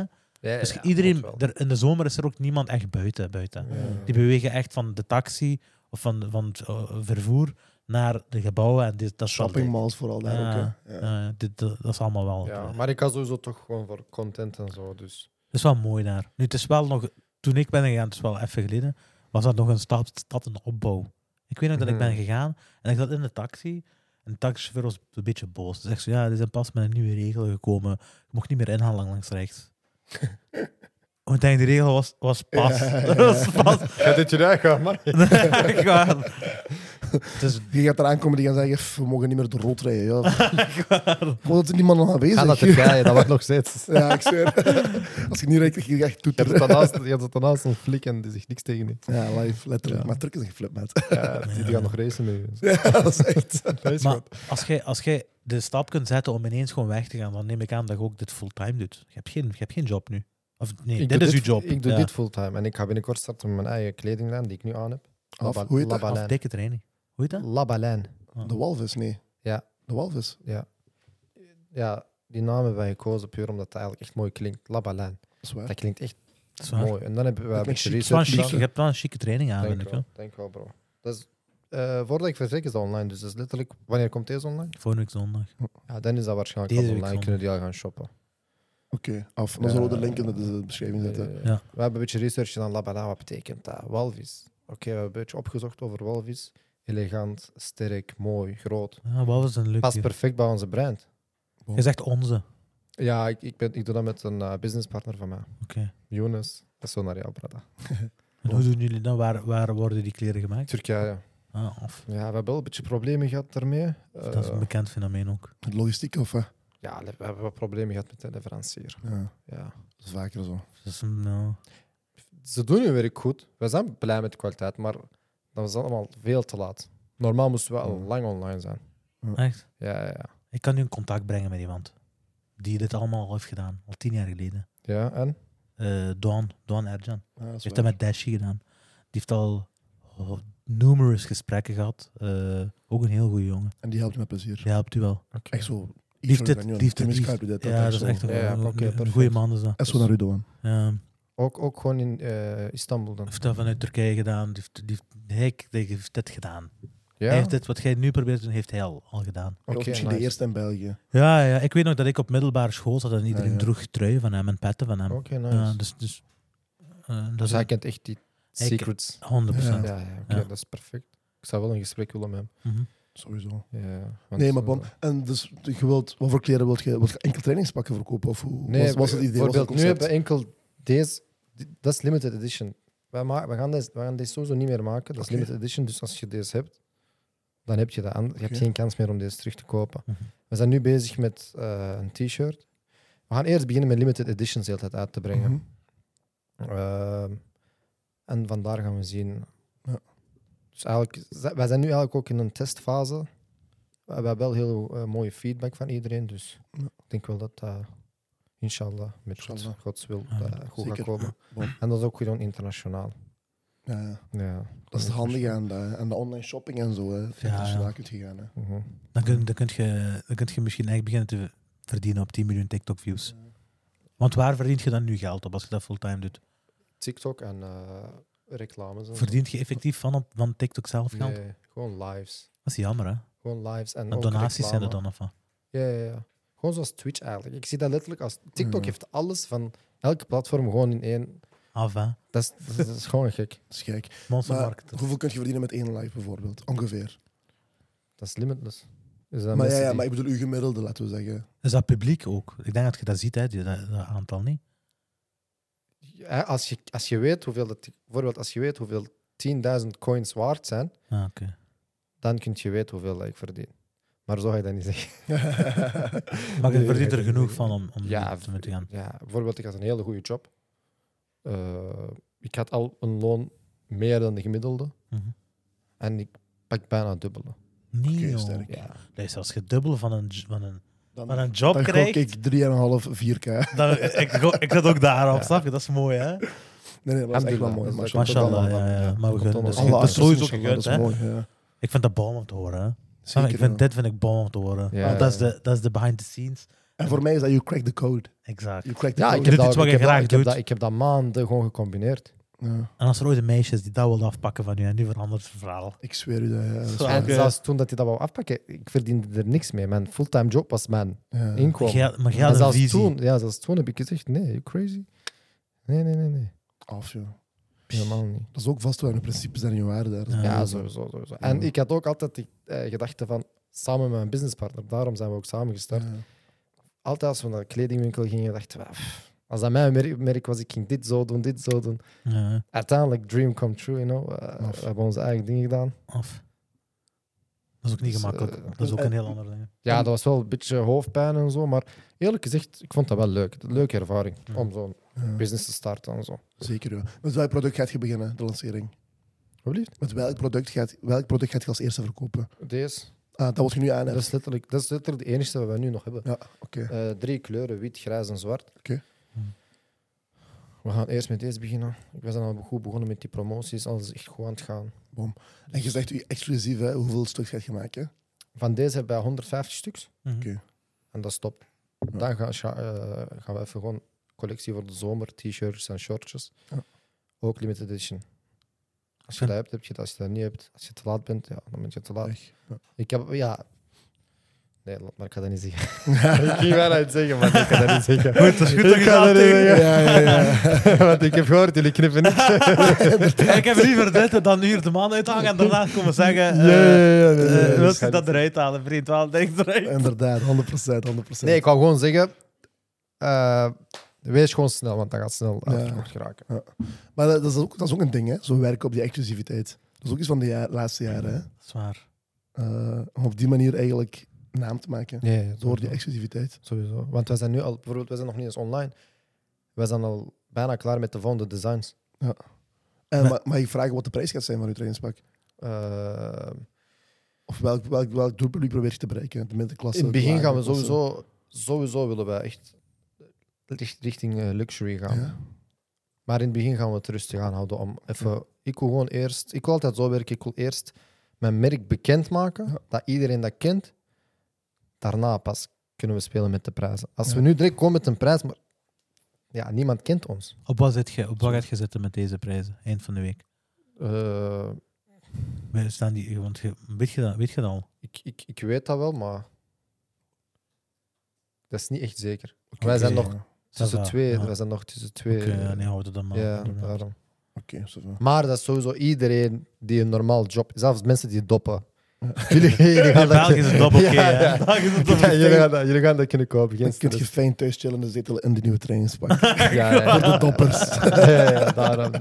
Ja, ja, Dus ja, dat iedereen... wel. Er, in de zomer is er ook niemand echt buiten. buiten. Die bewegen echt van de taxi of van, van het eh, vervoer naar de gebouwen. En dit, dat is wel Shopping dik. malls vooral daar Ja, ook. hè. Ja. eh, dit, dat, dat is allemaal wel... Ja, maar ik ga sowieso toch gewoon voor content en zo. Dus. Het is wel mooi daar. Nu, het is wel nog, toen ik ben gegaan, het is wel even geleden, was dat nog een stad, stad in opbouw. Ik weet nog dat ik ben Mhm. gegaan en ik zat in de taxi. En de taxichauffeur was een beetje boos. Ze zegt zo, ja, er zijn pas met een nieuwe regel gekomen. Je mocht niet meer inhalen lang- langs rechts. Want ik denk, die regel was, was pas. Dat was pas. Ga dit je daar gaan, man. Echt waar. Dus, Die gaat eraan komen, die gaan zeggen, "F, we mogen niet meer door rood rijden. Ja. echt waar. Gewoon dat er niemand nog Ga aanwezig naar is. Turkije, dat wordt nog steeds. Je Ja, ik zweer. Als ik niet rijd, krijg ik echt hebt toeter. het daarnaast- je hebt het daarnaast een flik en die zegt niks tegen je. Ja, live, letterlijk. Maar Turk is een geflipt, maat. Ja, dus die, die gaan nog racen met je. Ja, dat is echt... Dat is Maar goed. als jij, als jij de stap kunt zetten om ineens gewoon weg te gaan, dan neem ik aan dat je ook dit fulltime doet. Je hebt geen, je hebt geen job nu. Of nee, Ik dit doe is uw job. Ik doe Ja. dit fulltime en ik ga binnenkort starten met mijn eigen kledinglijn die ik nu aan heb. Af, Laba- hoe heet dat? Of Labalijn. dikke training. Hoe heet dat? Labalijn. De walvis, nee. Ja. De walvis. Ja, die naam hebben wij gekozen puur omdat het eigenlijk echt mooi klinkt. Labalijn. Dat is waar. Dat klinkt echt Dat is waar. mooi. En dan hebben wij Dat een klinkt beetje Het is wel een research chique- gedaan. je hebt wel een chique training aan, vind Denk ik. wel, denk wel, bro. Dat is, eh, voordat ik vertrek is dat online, dus dat is letterlijk... Wanneer komt deze online? wel. Volgende week zondag. Ja, dan is dat waarschijnlijk Deze al week online. Kunnen die al gaan shoppen. Oké, af. Dan zullen we de link in de beschrijving zetten. Eh, Ja. We hebben een beetje research gedaan. Labada, wat betekent dat? Walvis. Oké, we hebben een beetje opgezocht over walvis. Elegant, sterk, mooi, groot. Ja, wat was een Past leuke. perfect bij onze brand. Je zegt onze. Ja, ik, ik, ben, ik doe dat met een eh, businesspartner van mij. Oké. Younes. Dat is zo naar jou, brada. En hoe doen jullie dan? Waar, waar worden die kleren gemaakt? Turkije. Ah, of, Ja, we hebben wel een beetje problemen gehad daarmee. dat is een Eh, bekend fenomeen ook. De logistiek of... eh? ja, we hebben wel problemen gehad met de leverancier. Ja, Ja. dat is vaker zo. Dat is een, nou, Ze doen hun werk goed. We zijn blij met de kwaliteit, maar dat was allemaal veel te laat. Normaal moesten we al Hmm. Mm. lang online zijn. echt. Ja, ja, ja. Ik kan nu in contact brengen met iemand die dit allemaal al heeft gedaan, al tien jaar geleden. Ja, en? Eh Don, Don Erjan. Ja, dat is heeft dat waar. met Dashi gedaan. Die heeft al oh, numerous gesprekken gehad. Eh, ook een heel goede jongen. En die helpt met plezier. Die helpt u wel. Echt zo... Liefde, Sorry, Daniel. liefde, Timmy liefde. Skype doet ja, dat is echt zo. een, Ja, ja, een- oké, een perfect. goede man. Is dat. En zo naar Udo aan. Ja. Ook, ook gewoon in eh, Istanbul dan. heeft dat vanuit Turkije gedaan. Die heeft, die heeft, hij die heeft dit gedaan. Ja, Hij heeft dit, wat jij nu probeert te doen, heeft hij al, al gedaan. Dat was Oké, misschien de nice. eerste in België. Ja, ja, ik weet nog dat ik op middelbare school zat en iedereen Ja, ja. droeg truien van hem en petten van hem. Oké, Oh, nice. ja, dus dus eh, dat dus is hij kent echt die Hij secrets. 100%. Ja, Ja. ja, oké, Ja. dat is perfect. Ik zou wel een gesprek willen met hem. Mhm. Sowieso. Ja, want, Nee, maar bon. eh, En dus, je wilt, wat voor kleren wilt je? Wilt je enkel trainingspakken verkopen? Of hoe Nee, was, was het idee? Was het bijvoorbeeld, nu concept? hebben we enkel deze. di- Dat is limited edition. Wij ma- we, gaan deze, we gaan deze sowieso niet meer maken. Dat is Oké. limited edition. Dus als je deze hebt, dan heb je dat. aan- Je hebt Oké. geen kans meer om deze terug te kopen. Mhm. We zijn nu bezig met eh, een t-shirt. We gaan eerst beginnen met limited editions de hele tijd uit te brengen. Mhm. Ehm, en vandaar gaan we zien. Ja. Dus eigenlijk, z- wij zijn nu eigenlijk ook in een testfase. We hebben wel heel eh, mooie feedback van iedereen. Dus Ja. ik denk wel dat dat, inshallah, met Gods- Inshallah. Gods wil, Ja, dat goed zeker. gaat komen. Bon. En dat is ook gewoon internationaal. Mhm. Ja, ja. Ja, Dat is het handige aan de, aan de online shopping en zo. Hè. Dat je Ja, dus ja. daar kunt gaan. Hè. Mhm. Dan, kun, dan, kun je, dan kun je misschien echt beginnen te verdienen op 10 miljoen TikTok-views. Want waar verdient je dan nu geld op als je dat fulltime doet? TikTok en eh, reclames. en zo. Verdient je effectief van, op, van TikTok zelf geld? Nee, gewoon lives. Dat is jammer, hè? Gewoon lives en Maar ook donaties zijn er reclame. dan of wat? Ja, ja, ja. Gewoon zoals Twitch eigenlijk. Ik zie dat letterlijk als... Mm. TikTok heeft alles van elke platform gewoon in één. Af, hè. Dat is, dat is, dat is gewoon gek. Dat is gek. Maar Monstermarkt. hoeveel kun je verdienen met één live bijvoorbeeld? Ongeveer. Dat is limitless. Dus dat maar, ja, mensen ja, die- maar ik bedoel, uw gemiddelde, laten we zeggen. Is dat publiek ook? Ik denk dat je dat ziet, hè, die- dat, dat aantal niet. Ja, als, je, als je weet hoeveel... Dat, bijvoorbeeld als je weet hoeveel 10.000 coins waard zijn, Ah, oké. dan kun je weten hoeveel ik verdien. Maar zo ga je dat niet zeggen. Maar je Nee, verdient er nee, genoeg nee. van om, Mm, om Ja, te moeten gaan. Ja, bijvoorbeeld, ik had een hele goede job. Eh, ik had al een loon meer dan de gemiddelde. Mhm. En ik pak bijna het dubbele. Nee, Oké, joh. sterk. Ja. Dat is als je dubbel van een, j- van een, van Dan, dan een job gok krijgt. ik 3,5, 4k. Dan, ik, go- ik zat ook daarop, snap je? Dat is mooi, hè? Nee, nee, dat is echt wel mooi. Alhamdulillah, dat is mashallah. ook Mashallah, allemaal ja, ja. van, ja. Maar we Dat gunnen, komt dat is, allemaal dat is acties, sowieso mashallah, gegund, hè? Dat is mooi, ja. Ik vind dat bom om te horen, hè? Snap je? Zeker ik vind, wel. dit vind ik bom om te horen. Ja, Want dat, is ja. de, dat is de behind the scenes. En voor mij is dat you crack the code. Exact. You crack the Ja, code. ik doet heb, dat, iets wat ik, je heb dat, graag ik, heb doet. dat, ik heb dat maanden gewoon gecombineerd. Ja, En als er ooit een meisje is die dat wil afpakken van u en nu verandert het verhaal. ik zweer u dat. Ja, dat is Zo, waar. En Oké. zelfs toen dat hij dat wou afpakken, ik verdiende er niks mee. Mijn fulltime job was mijn Ja. inkomen. Jij- maar En jij had Eh, een zelfs, visie. toen, ja, zelfs toen heb ik gezegd, nee, you crazy? Nee, nee, nee, nee. Af, ja. Helemaal niet. Dat is ook vast wel in principe zijn je waarde daar. Ja, Ja, sowieso. sowieso. En Mm. Ja. ik had ook altijd die eh, gedachte van, samen met mijn businesspartner, daarom zijn we ook samen gestart. Ja. Altijd als we naar de kledingwinkel gingen, dachten we, "Pff, als dat mijn merk- merk was, ik ging dit zo doen, dit zo doen. Ja, Uiteindelijk, dream come true, you know. Eh, Af. we hebben onze eigen dingen gedaan. af. Dat is ook niet Dus, gemakkelijk. eh, dat is ook een heel ander ding. Ja, dat was wel een beetje hoofdpijn en zo, maar eerlijk gezegd, ik vond dat wel leuk. Een leuke ervaring Ja. om zo'n Ja, business te starten en zo. Zeker, ja. Met welk product gaat je beginnen, de lancering? Alsjeblieft. Met welk product gaat, welk product gaat je als eerste verkopen? Deze. Ah, dat wat je nu aan Dat hebt. is, letterlijk, dat is letterlijk de enige wat we nu nog hebben. Ja, oké. Eh, drie kleuren, wit, grijs en zwart. Oké. Hm. We gaan eerst met deze beginnen. Ik was dan al goed begonnen met die promoties, alles is echt goed aan het gaan. En je zegt u exclusief, hè, hoeveel stuks gaat je maken? Van deze hebben wij 150 stuks Mhm. Oké. en dat is top. Ja. Dan gaan, scha- eh, gaan we even gewoon collectie voor de zomer, t-shirts en shortjes. Ja. Ook limited edition. Als je Vind- dat hebt, heb je dat. Als je dat niet hebt, als je te laat bent, ja, dan ben je te laat. Echt? Ja. Ik heb, ja... Nee, laat maar ik ga dat niet zeggen. ik ging bijna het zeggen, maar ik ga dat niet zeggen. Goed, dat is goed dat je Ik dat ga dat niet tegen- zeggen. Ja, ja, ja. Want ik heb gehoord, jullie knippen niet. Ik heb liever dit dan hier de man uithangen en daarna komen zeggen... eh, ja, eh, ja, ja, ja. wil je dat eruit halen, vriend? Wel, denk eruit. Inderdaad, 100%. 100%. Nee, ik wou gewoon zeggen... eh, wees gewoon snel, want dan gaat snel Ja. uitverkocht geraken. Maar dat, dat is ook, dat is ook een ding, hè? Zo werken op die exclusiviteit. Dat is ook iets van de ja- laatste jaren, hè? Zwaar. Eh, om op die manier eigenlijk naam te maken. Nee, Door die exclusiviteit. Sowieso. Want we zijn nu al... Bijvoorbeeld, we zijn nog niet eens online. We zijn al bijna klaar met de volgende designs. En, Maar- Eh, maar, mag ik vragen wat de prijs gaat zijn van uw trainingspak? Eh, Of welk, welk, welk doelpubliek probeer je te bereiken? De middenklasse? in het begin de gaan we lagere klasse? sowieso... Sowieso willen we echt richt- richting eh, luxury gaan. Ja? Maar in het begin gaan we het rustig aanhouden. Om even, Ik wil gewoon eerst, ik wil altijd zo werken. Ik wil eerst mijn merk bekendmaken, dat iedereen dat kent. Daarna pas kunnen we spelen met de prijzen. Als we Ja. nu direct komen met een prijs, maar ja, niemand kent ons. Op wat, zit je, op wat gaat je zitten met deze prijzen? Eind van de week. Eh, We Staan die, want je, weet, je dat, weet je dat al? ik, ik, ik weet dat wel, maar dat is niet echt zeker. Oké, Wij zijn oké, nog- ja. Dat is Tussen waar, twee, ja. we zijn nog tussen twee. Oké, ja, nee, houden dan maar. ja, Inderdaad. daarom. Oké, zo van. Maar dat is sowieso iedereen die een normaal job, zelfs mensen die doppen. Jullie, jullie In gaan dat- België is het dobbel K, Ja, hè. ja. In België is het Ja, dobbel jullie, K. gaan dat, jullie gaan dat kunnen kopen. Geen Dan kun je stress. fijn thuis chillen en zetelen in de nieuwe trainingspak. ja, ja, Voor ja. de doppers. ja, ja, daarom.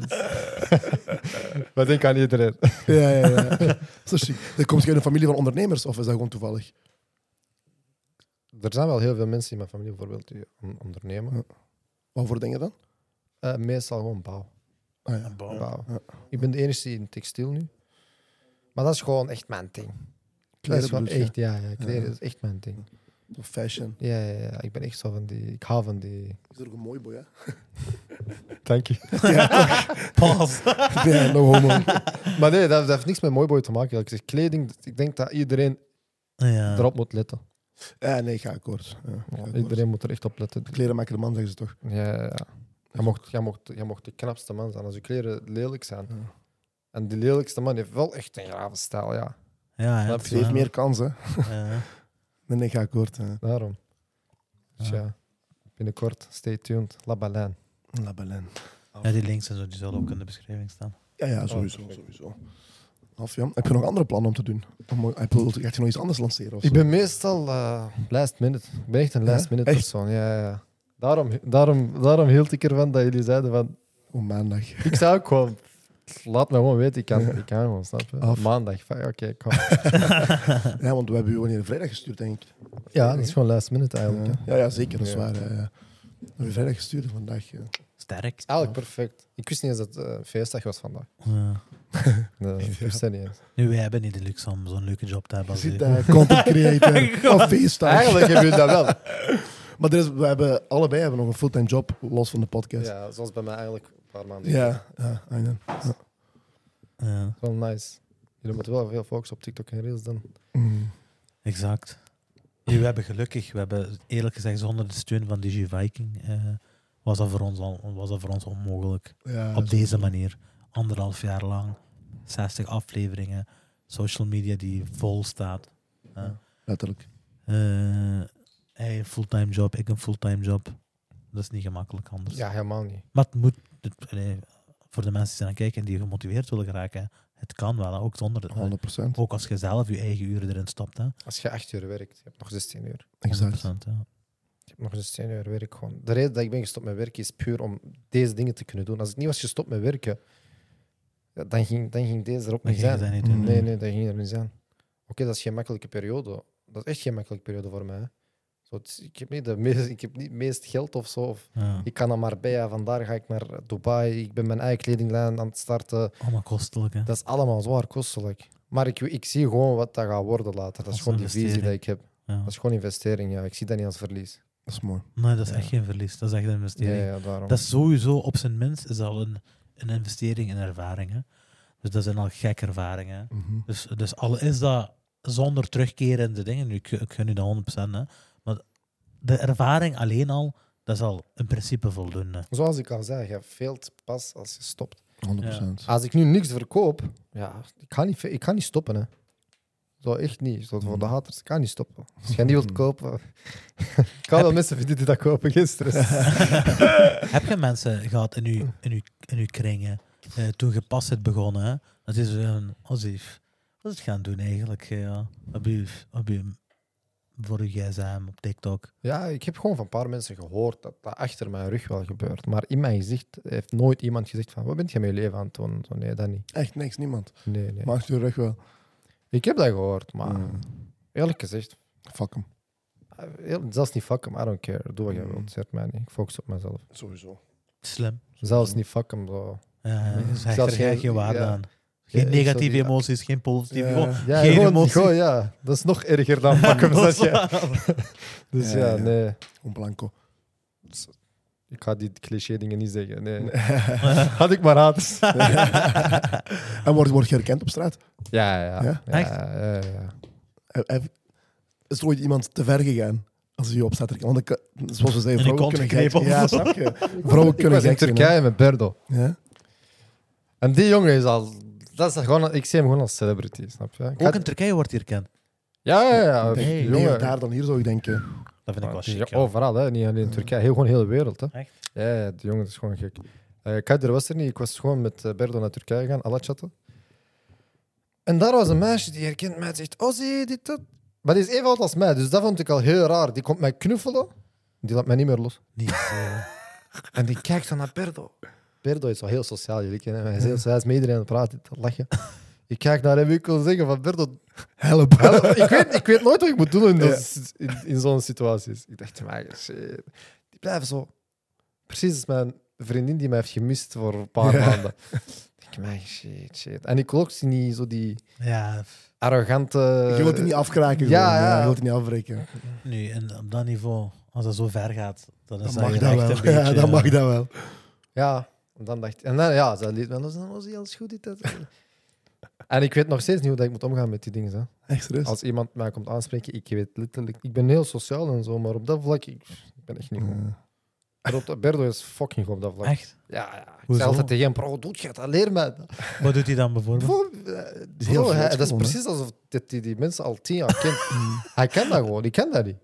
Wat denk aan iedereen? ja, ja, ja. Zo chic. Dan Komt je uit een familie van ondernemers of is dat gewoon toevallig? Er zijn wel heel veel mensen in mijn familie bijvoorbeeld die on- ondernemen. Wat voor dingen dan? Eh, meestal gewoon bouw. Ah, ja. Bom. bouw. Ja. Ik ben de enige in textiel nu. Maar dat is gewoon echt mijn ding. Dat is Kleren gewoon bedoel je? echt, ja, ja, kleren Ja. is echt mijn ding. Of Fashion. Ja, ja, ja, ik ben echt zo van die... Ik hou van die... Is er ook een mooi boy, hè? Dank je. Pas. Ja, no homo. Maar nee, dat, dat heeft niks met mooiboy te maken. Ik zeg kleding, ik denk dat iedereen Ja. erop moet letten. Ja, nee, ga akkoord. Ja, ga akkoord. Iedereen moet er echt op letten. Kleren maken de man, zeggen ze toch? Ja, ja, ja. Jij mocht, jij, mocht, jij mocht de knapste man zijn als je kleren lelijk zijn. Ja. En die lelijkste man heeft wel echt een grave stijl, ja. Ja, ja. Snap het is Ze heeft waar. meer kansen. Ja. Nee, nee, ga akkoord. hè. Daarom. Dus ja, binnenkort, stay tuned. La Baleine. La Baleine. Ja, die links en zo, die zullen ook in de beschrijving staan. Ja, ja, sowieso. perfect. sowieso. Af, ja. Heb je nog andere plannen om te doen? Om, eh, heb je, gaat je nog iets anders lanceren? Of Ik zo? ben meestal eh, last minute. Ik ben echt een last minute Echt? persoon. Ja, ja, ja. Daarom, daarom, daarom hield ik ervan dat jullie zeiden van... Op Oh, maandag. Ik zou ook gewoon... Laat me gewoon weten, ik kan, ik kan gewoon, snap je? Af. Maandag, van, ja, oké, kom. Ja, want we hebben u wanneer vrijdag gestuurd, denk ik. Ja, dat is gewoon last minute eigenlijk. Ja, hè. ja, ja, zeker. Dat is Ja. waar. ja, ja. We hebben u vrijdag gestuurd en vandaag. ja. Sterk. Eigenlijk Ah, perfect. Ik wist niet eens dat het eh, feestdag was vandaag. Ja. Nee, ik wist dat niet eens. Nu, wij hebben niet de luxe om zo'n leuke job te hebben. Je Als ziet u. daar content creator of feestdag. Eigenlijk heb je dat wel. Maar er is, we hebben, allebei hebben nog een fulltime job los van de podcast. Ja, zoals bij mij eigenlijk een paar maanden. Ja, ja, I know. ja. Ja, Wel nice. Jullie moeten wel veel focussen op TikTok en Reels dan. Mm. exact. Nu, we hebben gelukkig, we hebben eerlijk gezegd, zonder de steun van Digi Viking, eh, was, dat voor ons al, was dat voor ons onmogelijk. Ja, Op deze manier. Anderhalf jaar lang, 60 afleveringen, social media die vol staat. Ja. letterlijk. Eh, hij een fulltime job, ik een fulltime job. Dat is niet gemakkelijk anders. Ja, helemaal niet. Maar het moet, het- allee, voor de mensen die aan het kijken en die gemotiveerd willen geraken, het kan wel, hè, ook zonder het. 100 Ook als je zelf je eigen uren erin stopt. Hè. Als je acht uur werkt, je hebt nog 16 uur. Exact. 100%, ja. Je hebt nog 16 uur werk gewoon. De reden dat ik ben gestopt met werken is puur om deze dingen te kunnen doen. Als ik niet was gestopt met werken, ja, dan, ging, dan ging deze er ook Dat niet ging je zijn. dat niet Mm. doen. Nee, nee, dat ging er niet zijn. Oké, dat is geen makkelijke periode. Dat is echt geen makkelijke periode voor mij. hè. Zo, het is- ik, heb niet de meest, ik heb niet het meest geld of zo. Of Ja. ik kan naar Marbella, vandaar ga ik naar Dubai. Ik ben mijn eigen kledinglijn aan het starten. Allemaal Oh, kostelijk. Hè. Dat is allemaal zwaar kostelijk. Maar ik, ik zie gewoon wat dat gaat worden later. Dat is Als gewoon die visie investering. die ik heb. Ja. Dat is gewoon investering, ja. Ik zie dat niet als verlies. Dat is mooi. Nee, dat is echt Ja. geen verlies. Dat is echt een Ja, investering. ja daarom. Dat is sowieso op zijn minst is al een, een investering in ervaringen. Dus dat zijn al gekke ervaringen. hè. Mhm. Dus, dus al is dat zonder terugkerende dingen, nu, ik, ik gun u dat 100%, hè, maar de ervaring alleen al, dat is al in principe voldoende. Zoals ik al zei, je veelt pas als je stopt. 100 Als ik nu niks verkoop, ja, ik ga niet, ik ga niet stoppen, hè. Zo echt niet. Zo voor de haters, ik kan niet stoppen. Als jij niet wilt kopen... ik kan wel mensen vinden die dat kopen, gisteren. Heb je mensen gehad in uw, in uw, in uw kringen, eh, toen je pas het begonnen, hè, dat is een ozief. Wat is het gaan doen eigenlijk? eh, Ja? Op uw, op uw, voor uw gsm, op TikTok. Ja, ik heb gewoon van een paar mensen gehoord dat dat achter mijn rug wel gebeurt. Maar in mijn gezicht heeft nooit iemand gezegd van, wat bent je met je leven aan het doen? Zo, nee, dat niet. Echt niks, niemand. Nee, nee. Maakt u rug wel. Ik heb dat gehoord, maar Mm. eerlijk gezegd, Fuck hem. eh, heel- zelfs niet fuck hem, I don't care. Doe wat je Mm. wilt, zegt mij niet. Ik focus op mezelf. Sowieso. Slim. Zelfs niet fuck hem, zo. Ja, Ja. dus hecht Zelfs er geen, geen- geen waarde ja. aan. Ja, Geen ik zou negatieve die- emoties, geen positieve. Ja. gewoon Ja, geen gewoon, emotie. gewoon, ja. Dat is nog erger dan fuck hem, zeg je. Dus Ja, ja, ja. nee. Gewoon blanco. Ik ga die cliché dingen niet zeggen, nee. Had ik maar haters. En wordt word je herkend op straat? Ja, ja. Ja? ja, Echt? ja, ja. Heb- heb- Is er ooit iemand te ver gegaan als hij op staat? te- Want ik, eh, zoals we zeiden, En die vrouwen kont kunnen gek geknepen zijn. Ja, of zo. snap je? Vrouwen Ik kunnen was in gek zijn. hè. Turkije met Berdo. Ja? En die jongen is al. Dat is gewoon, ik zie hem gewoon als celebrity, snap je? Ik Ook had- in Turkije wordt hier kent. ja, ja, ja. Nee, die nee, jongen, daar dan hier zou ik denken. Dat vind ik wel die- chic. ja. overal, hè? niet alleen in Turkije, heel, gewoon heel de wereld. Hè? Echt? Ja, ja, die jongen is gewoon gek. Eh Kader was er niet, ik was gewoon met eh, Berdo naar Turkije gegaan, Alachatten. En daar was een meisje die herkent mij en zegt: Oh, zie je dit? Dat? Maar die is even oud als mij, dus dat vond ik al heel raar. Die komt mij knuffelen, die laat mij niet meer los. Niet, eh, En die kijkt dan naar Berdo. Berdo is wel heel sociaal, jullie kennen hem. Hij is, heel, sociaal, hij is met iedereen aan het praten, te lachen. Ik kijk naar hem, ik wil zeggen van Berdo, Help. Help, ik, weet, ik weet nooit wat ik moet doen in, Ja. dat- in, in zo'n situaties. Ik dacht, maar shit. Die blijven zo. Precies als mijn vriendin die mij heeft gemist voor een paar Ja. maanden. Ik dacht, man, shit, shit. En ik wil ook niet zo die ja, f- arrogante... Je wilt het niet afkraken. Eh, Ja, gewoon, ja. Je wilt het niet afbreken. nu, en op dat niveau, als dat zo ver gaat, dan is Dat dat, mag hier dat echt een wel. beetje... eh, Ja, eh, dat mag dat wel. Ja, en dan dacht En dan, ja, ze liet mij los. En was alles goed? Dit, dat. En ik weet nog steeds niet hoe dat ik moet omgaan met die dingen. Hè. Echt serieus. Als iemand mij komt aanspreken, ik weet letterlijk... Ik ben heel sociaal en zo, maar op dat vlak... Ik, ik ben echt niet goed. Ja. Rob- Berdo is fucking goed op dat vlak. Echt? Ja, ja. Ik Hoezo? zei altijd tegen hem, bro, doet je dat? Leer mij. dat." Wat doet hij dan bijvoorbeeld? Bro, eh, is heel bro, hij- vlot dat is gewoon, hè? Mm. precies alsof dat hij die mensen al tien jaar kent. hij kent dat gewoon, die kent dat niet.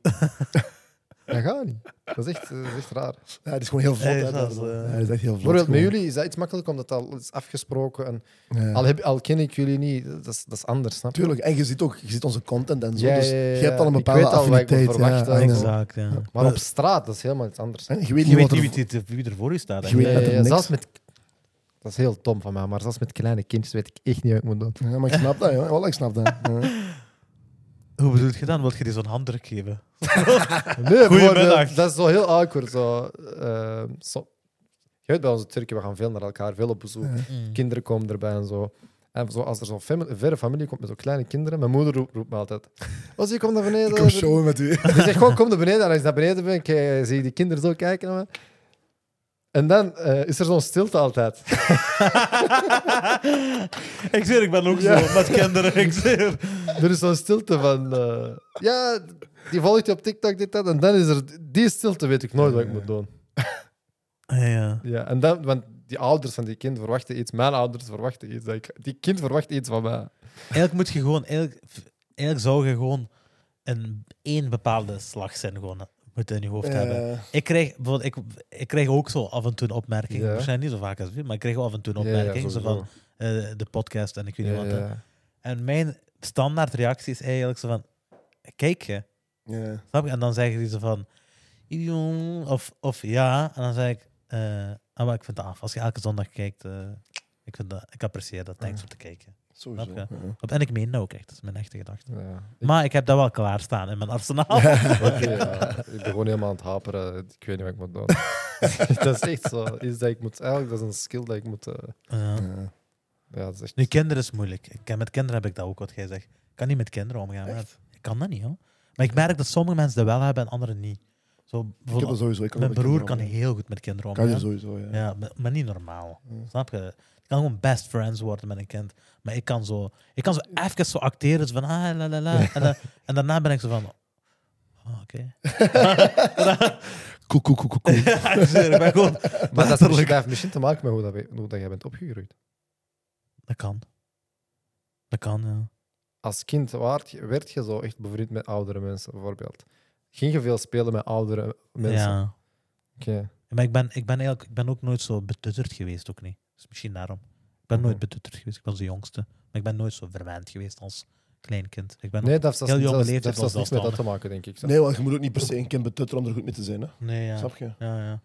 Dat gaat niet. Dat is echt, dat is echt raar. Ja, het is gewoon heel vlot. Hey, hè, dat is, dat- eh, ja, het is echt heel vlot. Bijvoorbeeld met gewoon. jullie is dat iets makkelijker, omdat dat is afgesproken. En Ja. al, heb, al ken ik jullie niet, dat is, dat is anders, snap je? Tuurlijk, en je ziet ook je ziet onze content en zo. Ja, dus ja, ja, je hebt al een ja. Ik bepaalde weet al wat ik moet affiniteit. verwachten. ja, I know. Exact, ja. Maar op straat, dat is helemaal iets anders. En je weet Je niet weet wat er... niet wie, dit- wie er voor je staat. Je weet- eigenlijk. Ja, ja, dat er ja, niks- zelfs met... Dat is heel dom van mij, maar zelfs met kleine kindjes weet ik echt niet wat ik moet doen. Ja, maar ik snap dat, ja. Wel, ik snap dat. Ja. Hoe bedoel je dan? Wil je die zo'n handdruk geven? Nee, Goedemiddag. maar Dat is zo heel awkward. Zo, eh, zo. Je weet, bij onze Turken, we gaan veel naar elkaar, veel op bezoek. Kinderen komen erbij en zo. En zo, als er zo'n fami- een verre familie komt met zo'n kleine kinderen, mijn moeder roept, roept me altijd. Als je komt naar beneden. Ik kom showen met u. Die zegt gewoon, kom naar beneden. En als ik naar beneden ben, kijk, zie ik die kinderen zo kijken naar me. En dan eh, is er zo'n stilte altijd. ik zweer, ik ben ook Ja. zo met kinderen. Ik zweer. er is zo'n stilte van... eh, ja, die volgt je op TikTok, dit, dat. En dan is er... Die stilte weet ik nooit wat ik moet doen. Ah, Ja, ja. Ja, en dan... Want die ouders van die kind verwachten iets. Mijn ouders verwachten iets. dat ik- Die kind verwacht iets van mij. Eigenlijk moet je gewoon, eigenlijk, eigenlijk zou je gewoon een één bepaalde slag zijn gewoon moet in je hoofd hebben. Ja. Ik krijg, bijvoorbeeld, ik, ik krijg ook zo af en toe een opmerking. Ja. Waarschijnlijk niet zo vaak als wie, maar ik krijg wel af en toe een Ja, ja, opmerking zo van sowieso. eh, de podcast en ik weet niet Ja, wat. hè. ja. En mijn standaard reactie is eigenlijk zo van, kijk je, Ja. snap je? En dan zeggen die zo van, "Jong," of, of ja, en dan zeg ik, eh, ah, maar ik vind het af. Als je elke zondag kijkt, eh, ik, vind dat, ik apprecieer dat, Ah. thanks om te kijken. Sowieso. Snap ja. En ik meen dat ook echt, dat is mijn echte gedachte. Ja. Maar ik heb dat wel klaarstaan in mijn arsenaal. Oké, ja. Ik ben gewoon helemaal aan het haperen. Ik weet niet wat ik moet doen. dat is echt zo. Is dat ik moet, eigenlijk, dat is een skill dat ik moet... eh, Ja. Ja. ja, dat is echt... Nu, kinderen is moeilijk. Ik, ken- met kinderen heb ik dat ook, wat jij zegt. Ik kan niet met kinderen omgaan. maar Ik kan dat niet, hoor. Maar ik merk dat sommige mensen dat wel hebben en anderen niet. Zo, Ik heb dat bijvoorbeeld, sowieso. Ik kan mijn dat broer ook kan wel. heel goed met kinderen Kan omgaan. je sowieso, ja. Ja, maar, maar niet normaal. Snap je? Ik kan gewoon best friends worden met een kind. Maar ik kan zo, ik kan zo even zo acteren. Zo van, ah, la, la, la. En, dan- en daarna ben ik zo van... Oh, oké. Koe, koe, koe, koe, koe. Ja, ik zweer, ik ben gewoon... Maar dat, is misschien, dat heeft misschien te maken met hoe, dat, we- hoe dat jij bent opgegroeid. Dat kan. Dat kan, ja. Als kind waard, werd je zo echt bevriend met oudere mensen, bijvoorbeeld. Ging je veel spelen met oudere mensen? Ja. Oké. Maar ik ben, ik, ben eigenlijk, ik ben ook nooit zo betutterd geweest, ook niet. Dus misschien daarom. Ik ben nooit Mhm. betutterd geweest. Ik was de jongste. Maar ik ben nooit zo verwend geweest als klein kind. Ik ben Nee, dat heeft zelfs- Heel jonge dat heeft- leeftijd dat heeft zelfs was niks met dat zelfstandig. te maken, denk ik. Nee, want je moet ook niet per se een kind betutteren om er goed mee te zijn. Hè? Nee, ja. Snap je? Ja, ja.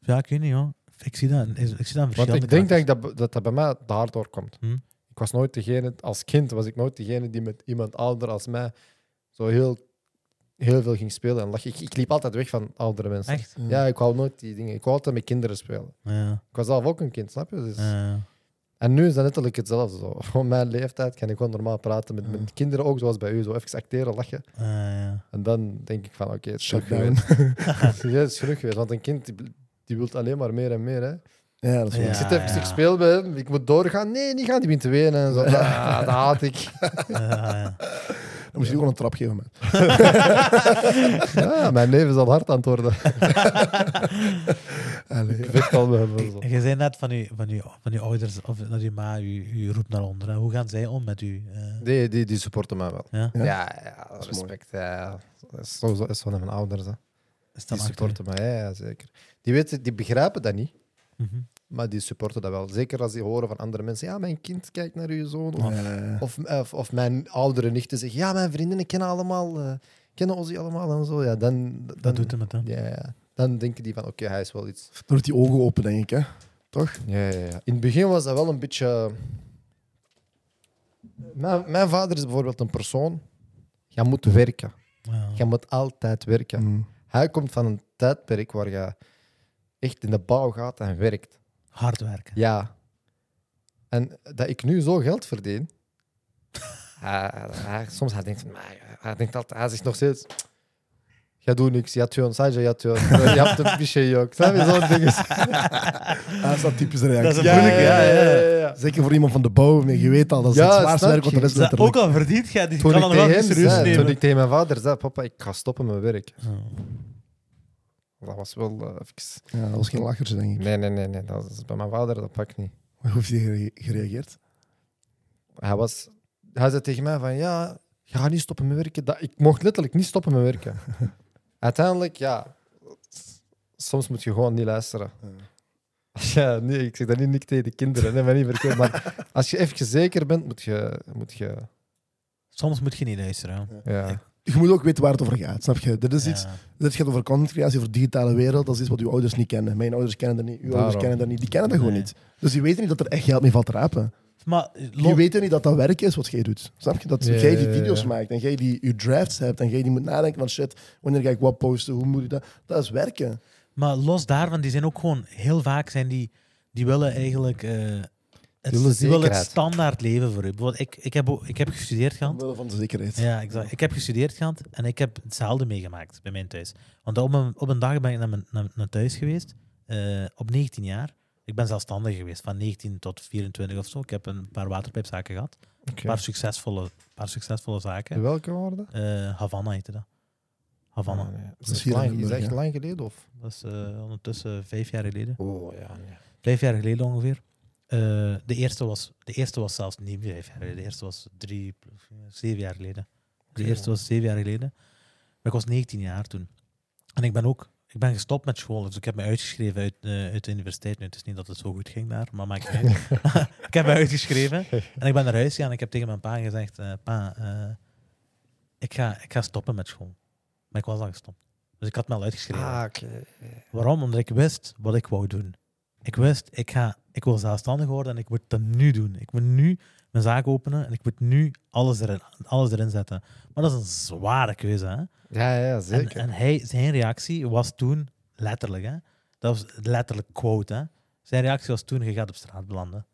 Ja, ik weet niet, hoor. Ik zie dat, ik zie dat in Want verschillende ik denk dat, karakters. ik dat, dat dat bij mij daardoor komt. Hm. Ik was nooit degene, als kind was ik nooit degene die met iemand ouder als mij zo heel, heel veel ging spelen. En lag- ik, ik liep altijd weg van oudere mensen. Echt? Ja, ik wou nooit die dingen. Ik wou altijd met kinderen spelen. Ja. Ik was zelf ook een kind, snap je? Dus- ja. En nu is dat letterlijk hetzelfde. Zo. Op mijn leeftijd kan ik gewoon normaal praten met, met kinderen, ook zoals bij u. Zo even acteren, lachen. Ah, ja. En dan denk ik van, oké, het is Shut terug down. geweest. ja, het is terug geweest. Want een kind, die, die wil alleen maar meer en meer. Hè. Ja, dat is wel Ja. ik zit even, ik speel bij hem, ik moet doorgaan. Nee, niet gaan, die begint te wenen. En zo. Ah, dat haat ik. Ah, ja. Dan moet je die gewoon een trap geven, man. Ja, mijn leven zal hard antwoorden. Allee. Ik vecht al met hem. en zo. Je zei net van je, van je, van je ouders of dat je ma je, je roept naar onder. hè. Hoe gaan zij om met u? Eh, Die, die, die supporten mij wel. ja? Ja? Ja, ja, is respect. Ja. Dat is sowieso is van mijn ouders. Hè. Is dat Die achter? supporten mij, ja, ja, zeker. Die, weten, die begrijpen dat niet, Mhm. maar die supporten dat wel. Zeker als die horen van andere mensen. Ja, mijn kind kijkt naar uw zoon. Of, Ja. of, eh, of, of mijn oudere nichten zeggen. Ja, mijn vriendinnen kennen allemaal, eh, kennen Ozzy allemaal en zo. Ja, dan, dan, Dat doet hem het, hè? ja, ja. dan denken die van, oké, hij is wel iets. Dan doet die ogen open, denk ik. Hè? Toch? Ja, ja, ja. In het begin was dat wel een beetje. eh, Mijn, mijn vader is bijvoorbeeld een persoon. Je moet werken. Ja. Je moet altijd werken. Mm. Hij komt van een tijdperk waar je echt in de bouw gaat en werkt. Hard werken. Ja. En dat ik nu zo geld verdien. hij, hij- soms hij denkt van, "Maar, eh," hij denkt altijd, hij zegt nog steeds. Jij doet niks, ja, tuurlijk, zei je, ja, tuurlijk. Je hebt een piché, jok. Snap je zo'n ding? Ah, dat is dat typische reactie. Dat is een moeilijke, ja, ja, ja. Zeker voor iemand van de bouw, je weet al, dat is Ja, het zwaarste snap werk wat er je. is. Dus dat- ook letterlijk. al verdient jij, die Toen kan ik, dan wel tegen niet hem serieus zei, toen nemen. ik tegen mijn vader zei, papa, ik ga stoppen met werk. Ja. Dat was wel eh, even... Ja, dat was geen lachertje, denk ik. Nee, nee, nee, nee, dat is bij mijn vader, dat pak ik niet. Hoe heeft hij gere- gereageerd? Hij, was, hij zei tegen mij van, ja, ga niet stoppen met werken. Dat, ik mocht letterlijk niet stoppen met werken. Uiteindelijk, ja, soms moet je gewoon niet luisteren. Als je, nee, ik zeg dat niet, niet tegen de kinderen, nee, maar niet verkeerd. Maar als je even zeker bent, moet je. Moet je Soms moet je niet luisteren. hè. ja. Je moet ook weten waar het over gaat, snap je? Dit is iets, Ja. dit gaat over contentcreatie, over digitale wereld. Dat is iets wat uw ouders niet kennen. Mijn ouders kennen dat niet, uw ouders Daarom. kennen dat niet. Die kennen dat gewoon Nee. niet. Dus die weten niet dat er echt geld mee valt te rapen. Maar Die lo- weten niet dat dat werk is wat jij doet. Snap je? Dat Ja, jij die ja, ja, video's ja. maakt en jij die je drafts hebt en jij die moet nadenken van shit, wanneer ga ik wat posten, hoe moet ik dat? Dat is werken. Maar los daarvan, die zijn ook gewoon heel vaak zijn die, die willen eigenlijk eh, het, willen die willen het zekerheid. standaard leven voor u. Bijvoorbeeld, ik, ik, heb, ook- ik heb gestudeerd gehad. Omwille van de zekerheid. Ja, exact. Ik heb gestudeerd gehad en ik heb hetzelfde meegemaakt bij mijn thuis. Want op een, op een dag ben ik naar, mijn, naar, naar thuis geweest, eh, op 19 jaar. Ik ben zelfstandig geweest, van 19 tot 24 of zo. Ik heb een paar waterpijpzaken gehad. Een paar succesvolle, paar succesvolle zaken. Welke woorden? Eh Havana heette dat. Havana. Is, is dat hier in lang, is dat echt Limburg, lang geleden? Of? Dat is eh, ondertussen vijf jaar geleden. Oh ja. Nee. vijf jaar geleden ongeveer. Eh, de, eerste was, de eerste was zelfs niet vijf jaar geleden. De eerste was drie, plus, eh, zeven jaar geleden. De Oké. eerste was zeven jaar geleden. Maar ik was 19 jaar toen. En ik ben ook ik ben gestopt met school. Dus ik heb me uitgeschreven uit, eh, uit de universiteit. Nu, het is niet dat het zo goed ging daar, maar maakt niet uit. ik heb me uitgeschreven en ik ben naar huis gegaan. En ik heb tegen mijn pa gezegd: eh, Pa, eh, ik, ga, ik ga stoppen met school. Maar ik was al gestopt. Dus ik had me al uitgeschreven. Ah, oké. Waarom? Omdat ik wist wat ik wou doen. Ik wist, ik, ga, ik wil zelfstandig worden en ik moet dat nu doen. Ik moet nu mijn zaak openen en ik moet nu alles erin, alles erin zetten. Maar dat is een zware keuze. Hè? Ja, ja, En, zeker. en hij, zijn reactie was toen letterlijk, hè? dat was letterlijk quote. Hè? Zijn reactie was toen: je gaat op straat belanden.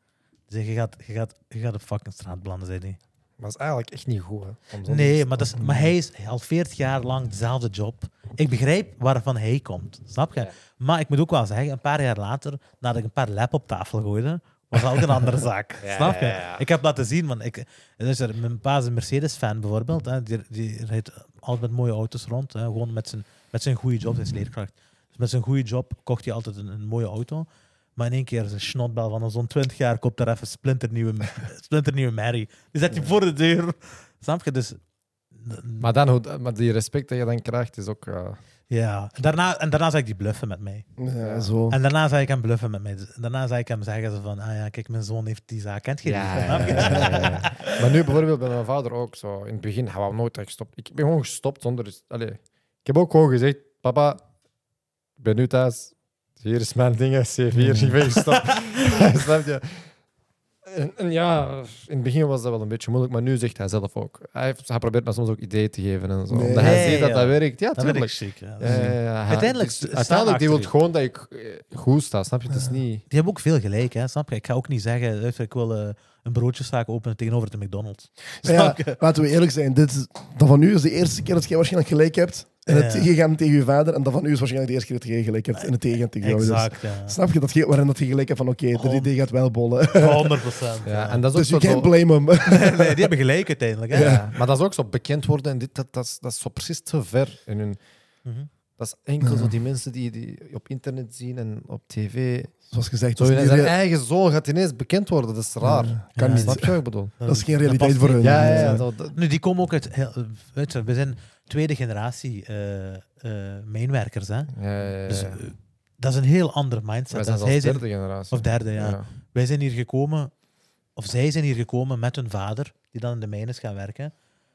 Dus je gaat, je, gaat, je gaat op fucking straat belanden, zei hij. Maar is eigenlijk echt niet goed. Hè, om zonder Nee, te maar, dat is, stoppen. maar hij is al 40 jaar lang dezelfde job. Ik begrijp waarvan hij komt, snap je? Ja. Maar ik moet ook wel zeggen, een paar jaar later, nadat ik een paar lap op tafel gooide, was dat ook een andere zaak, Ja, snap je? ja, ja. Ik heb laten zien, want ik, dus er, mijn pa is een Mercedes-fan bijvoorbeeld, hè, die, die rijdt altijd met mooie auto's rond, hè, gewoon met zijn, met zijn goede job, hij is leerkracht. Dus met zijn goede job kocht hij altijd een, een mooie auto. Maar in één keer is een snotbel van zo'n 20 jaar koopt daar even splinternieuwe, splinternieuwe merrie. Die zet hij voor de deur. Snap je? Dus Maar, dan, hoe- maar die respect dat je dan krijgt is ook. eh, ja, en daarna, en daarna zag ik die bluffen met mij. Ja, zo. En daarna zag ik hem bluffen met mij. Dus Daarna zag ik hem zeggen zo van, ah ja, kijk, mijn zoon heeft die zaak. Kent je die? Snap je? ja, ja, ja. Maar nu bijvoorbeeld bij mijn vader ook zo. In het begin hij wou nooit dat ik stop. Ik ben gewoon gestopt zonder. dus, Allee, ik heb ook gewoon gezegd: Papa, ik ben nu thuis. Hier is mijn dingen. C4, ik ben gestopt. Snap je? En, en ja, in het begin was dat wel een beetje moeilijk, maar nu zegt hij zelf ook. Hij, heeft- hij probeert me soms ook ideeën te geven en zo. Nee. Omdat hij Nee, ziet dat ja. dat werkt. Ja, Dat ben ik tuurlijk. ziek. Ja. Ja, ja, ja. Hij- Uiteindelijk dus- staan uiteindelijk die achter wil je. gewoon dat ik eh, goed sta. Snap je? Het is niet. Die hebben ook veel gelijk, hè, snap je? Ik ga ook niet zeggen, luister, ik wil eh, een broodjeszaak openen tegenover de McDonald's. Maar ja, Snap je? laten we eerlijk zijn. Dit is, dat van u is de eerste keer dat jij waarschijnlijk gelijk hebt. En het Ja. je gaat tegen je vader. En dat van u is waarschijnlijk de eerste keer dat jij gelijk hebt. En het tegen tegen je ouders. Exact, ja. Snap je dat je, waarin dat je gelijk hebt van oké, Oh. dit Hond- idee gaat wel bollen. 100 procent. Ja, en dat is Dus you ook zo- can't blame hem. Nee, die hebben gelijk uiteindelijk. Hè? Ja. Maar dat is ook zo bekend worden en dit, dat, dat, is, dat is zo precies te ver. In hun, Mhm. Dat is enkel zo die mensen die, die op internet zien en op tv. Zoals gezegd, Zo, dat is zijn niet rea- eigen zoon gaat ineens bekend worden, dat is raar. kan Ja, niet. Snap je wat ik bedoel? Dat is geen past realiteit niet. voor hun. Ja, ja, ja. zo, dat- Nu, die komen ook uit... heel- eh, weet je, we zijn tweede generatie eh, eh, mijnwerkers, hè? ja, ja, ja. Dus eh, dat is een heel andere Wij mindset. zijn Dan zelfs zij zijn, derde generatie. of derde, ja. Ja. Wij zijn hier gekomen, of zij zijn hier gekomen met hun vader, die dan in de mijn is gaan werken.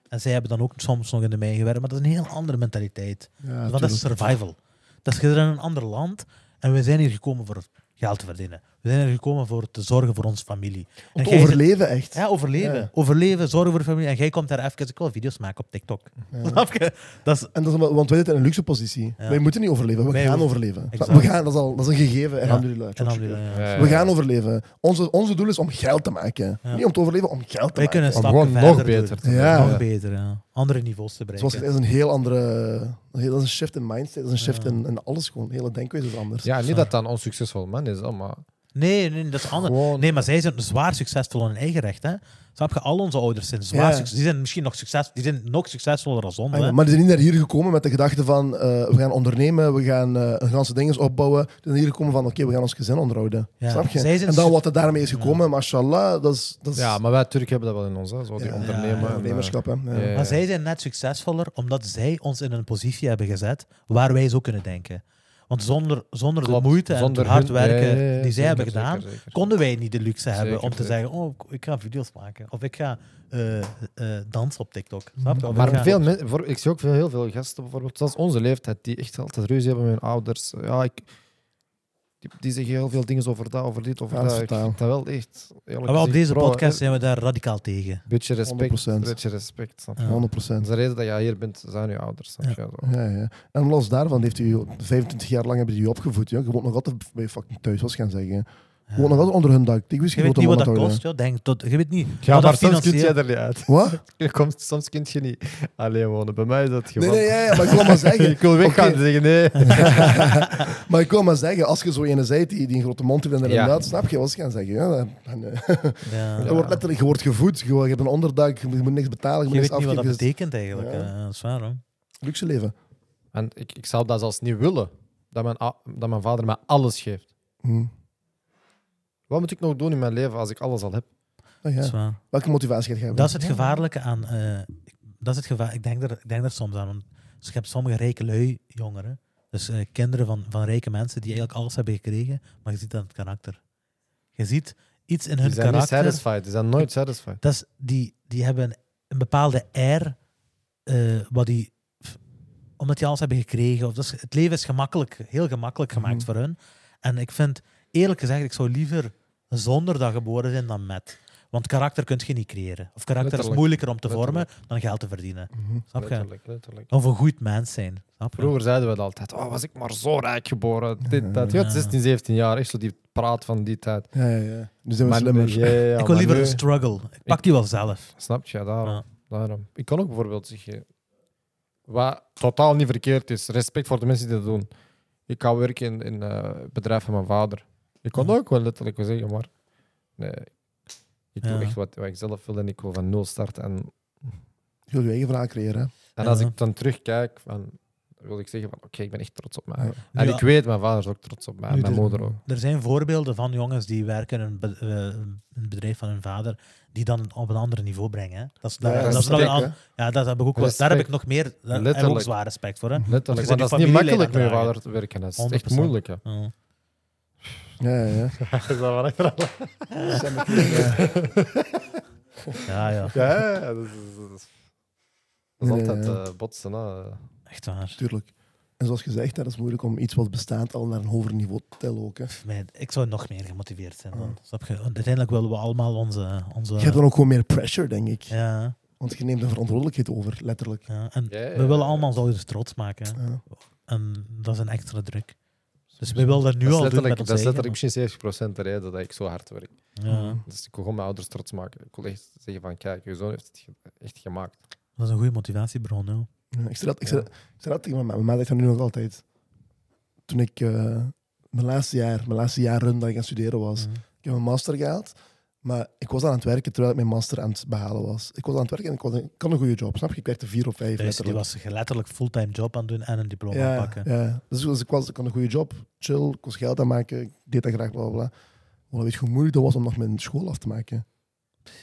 En zij hebben dan ook soms nog in de mijn gewerkt, maar dat is een heel andere mentaliteit. Ja, Want dat is tuurlijk. survival. Dat is je bent in een ander land en we zijn hier gekomen voor geld te verdienen. We zijn hier gekomen voor te zorgen voor onze familie. En Om te jij zit- overleven echt. ja, overleven. Ja. Overleven, zorgen voor de familie. En jij komt daar even, ik wil video's maken op TikTok. Snap je? Dat is, En dat is, omdat- want wij zitten in een luxe positie. Ja. Wij moeten niet overleven, we Wij gaan hoeven- overleven. Exact. We gaan, dat, is al, dat is een gegeven. En en dan weer, ja. Ja, We ja. gaan overleven. Onze, onze doel is om geld te maken. Ja. Niet om te overleven, om geld te Wij maken. kunnen een Om stapje gewoon nog verder doen. beter te Ja. worden. Nog beter, ja. Andere niveaus te bereiken. Zoals gezegd, dat is een heel andere... een heel- Dat is een shift in mindset, dat is een shift in, in alles gewoon. De hele denkwijze is anders. Ja, niet dat dat een onsuccesvol man is, hè, maar Nee, nee, dat is anders. Gewoon- Nee, maar zij zijn zwaar succesvol in hun eigen recht. Hè? Snap je? Al onze ouders zijn zwaar Ja. succesvol. Die zijn misschien nog succesvol. Die zijn nog succesvoller dan ons. Ah, hè. ja, maar die zijn niet naar hier gekomen met de gedachte van eh, we gaan ondernemen, we gaan eh een ganse dingen opbouwen. Die zijn hier gekomen van oké, we gaan ons gezin onderhouden. Ja. Snap je? Zij zijn En dan su- wat er daarmee is gekomen, mashallah, dat is... Dat is Ja, maar wij Turken hebben dat wel in ons, hè, zo die Ja, ondernemen. ja, en, eh, ondernemerschap, hè. Ja. ja, ja. Maar zij zijn net succesvoller omdat zij ons in een positie hebben gezet waar wij zo kunnen denken. Want zonder, zonder de Klopt. moeite en Zonder het hard hun- werken ja, ja, ja, die zij zeker, hebben zeker, gedaan, zeker. konden wij niet de luxe hebben om te zeker. zeggen: Oh, ik- ik ga video's maken. Of ik ga eh, eh, dansen op TikTok. Snap je? Of ik Maar ga- veel men- voor, ik zie ook veel, heel veel gasten, bijvoorbeeld, zelfs onze leeftijd, die echt altijd ruzie hebben met hun ouders. Ja, ik, die, die zeggen heel veel dingen over dat, over dit, over Ja, dat. dat is Ik vertaal. vind dat wel echt... eerlijk Maar op gezegd, deze bro, podcast eh, zijn we daar radicaal tegen. Beetje respect. 100%. Beetje respect. snap je? Ja. 100 procent. Dat is de reden dat jij hier bent, zijn je ouders. Snap je? Zo. Ja, ja. En los daarvan heeft u 25 jaar lang hebben die u opgevoed. Ja. Je moet nog altijd bij je fucking thuis was gaan zeggen. Je woont nog altijd onder hun dak. Ik wist Je geen weet grote niet wat dat mond kost, houden. joh. Denk, tot, je weet niet. Ja, wat maar dat soms kun financieel- je er niet uit. Wat? Je komt- soms kun je niet alleen wonen. Bij mij is dat Nee, gewoon... nee, ja, ja, maar ik wil maar zeggen. Ik wil weggaan Oké. en zeggen nee. dus. Maar ik wil maar zeggen, als je zo ene zijt die, die een grote mond heeft en inderdaad, Ja. snap je wat ze gaan zeggen. Ja, dan, dan, eh, Ja. je wordt letterlijk, je wordt gevoed. Je, je hebt een onderdak, je moet, je moet niks betalen, je moet Je weet niks niet wat dat afgeven. Het is betekent eigenlijk. Ja. eh, dat is waar, hoor. luxe leven. En ik, ik zou dat zelfs niet willen. Dat mijn, a- dat mijn vader mij alles geeft. Hm. Wat moet ik nog doen in mijn leven als ik alles al heb? Ah, Dat ja. is waar. Welke motivatie gaat je hebben? Dat is het gevaarlijke aan. eh, ik- dat is het gevaar. Ik denk er, ik denk er soms aan. Want dus je hebt sommige rijke lui jongeren. Dus eh, kinderen van, van rijke mensen die eigenlijk alles hebben gekregen. Maar je ziet dat aan het karakter. Je ziet iets in Die hun zijn niet karakter. satisfied. Die zijn nooit satisfied. Dat is, die, die hebben een, een bepaalde air. eh, wat die, f- omdat die alles hebben gekregen. Of dat is- het leven is gemakkelijk, heel gemakkelijk gemaakt Mhm. voor hun. En ik vind, eerlijk gezegd, ik zou liever zonder dat geboren zijn dan met. Want karakter kun je niet creëren. Of karakter is Letterlijk. moeilijker om te vormen Letterlijk. dan geld te verdienen. Mhm. Snap je? Letterlijk, letterlijk. Of een goed mens zijn. Snap je? Vroeger zeiden we dat altijd. Oh, was ik maar zo rijk geboren. Dit, dat. Je Ja. had 16, 17 jaar. Echt zo die praat van die tijd. Ja, ja, ja. Dus Nu zijn we Maar- slimmer. ja, ja, ja, ik wil maar liever nu- een struggle. Ik pak die wel zelf. Snap je? Daarom. Ja. daarom. Ik kan ook bijvoorbeeld zeggen... Wat totaal niet verkeerd is. Respect voor de mensen die dat doen. Ik kan werken in, in eh, het bedrijf van mijn vader. Ik kon Ja. ook wel letterlijk wel zeggen, maar... Nee. Ik Ja. doe echt wat, wat ik zelf wil en ik wil van nul starten. En Je wil je eigen verhaal creëren. hè. En Ja. als ik dan terugkijk, van, wil ik zeggen van oké, ik ben echt trots op mij. Ja. dus. En Ja. ik weet, mijn vader is ook trots op mij, Nu en mijn de- moeder ook. Er zijn voorbeelden van jongens die werken in een, be- eh, een bedrijf van hun vader, die dan op een ander niveau brengen. hè. Dat is, Ja, dat, dat is wel respect, een hè. an- ja, dat heb ik ook wel, daar heb ik nog meer daar heb ik ook Letterlijk. zwaar respect voor. Hè? Letterlijk, zijn want dat die is niet familieleden makkelijk met je dragen. vader te werken. Dat is echt 100%. moeilijk. Hè. Ja. Ja, ja, ja. Dat zijn mijn kinderen, ja. Ja, ja, Ja, dat is, dat is- dat is Nee, altijd ja. eh, botsen. Hè. echt waar. Tuurlijk. En zoals gezegd, hè, dat is moeilijk om iets wat bestaat al naar een hoger niveau te tellen ook. Hè. Nee, Ik zou nog meer gemotiveerd zijn. Dan. Mhm. Snap je? Want Uiteindelijk willen we allemaal onze... onze Je hebt dan ook gewoon meer pressure, denk ik. ja, Want je neemt een verantwoordelijkheid over, letterlijk. ja. En Ja, ja, we willen ja. allemaal onze ouders trots maken. hè. Ja. En dat is een extra druk. Dus we willen dat nu Dat is al doen letterlijk, met ons dat is eigen. letterlijk misschien 70% de reden dat ik zo hard werk. Ja, Dus ik wil gewoon mijn ouders trots maken. Ik wil echt zeggen van kijk, je zoon heeft het ge- echt gemaakt. dat is een goede motivatiebron. joh. Ja, ik zei dat, ik zei, dat- ik zei dat tegen mijn ma. Mijn ma zegt dat nu nog altijd. Toen ik eh, mijn laatste jaar, mijn laatste jaar run dat ik aan het studeren was. Mhm. Ik heb een master gehaald, maar ik was aan het werken terwijl ik mijn master aan het behalen was. Ik was aan het werken en ik, was, ik had een goede job, snap je? Ik werkte vier of vijf, Dus die letterlijk. was letterlijk fulltime job aan het doen en een diploma ja, pakken. Ja. Dus, dus ik, was, ik had een goede job, chill, ik kon geld aanmaken, ik deed dat graag, bla bla bla. Maar weet je hoe moeilijk dat was om nog mijn school af te maken?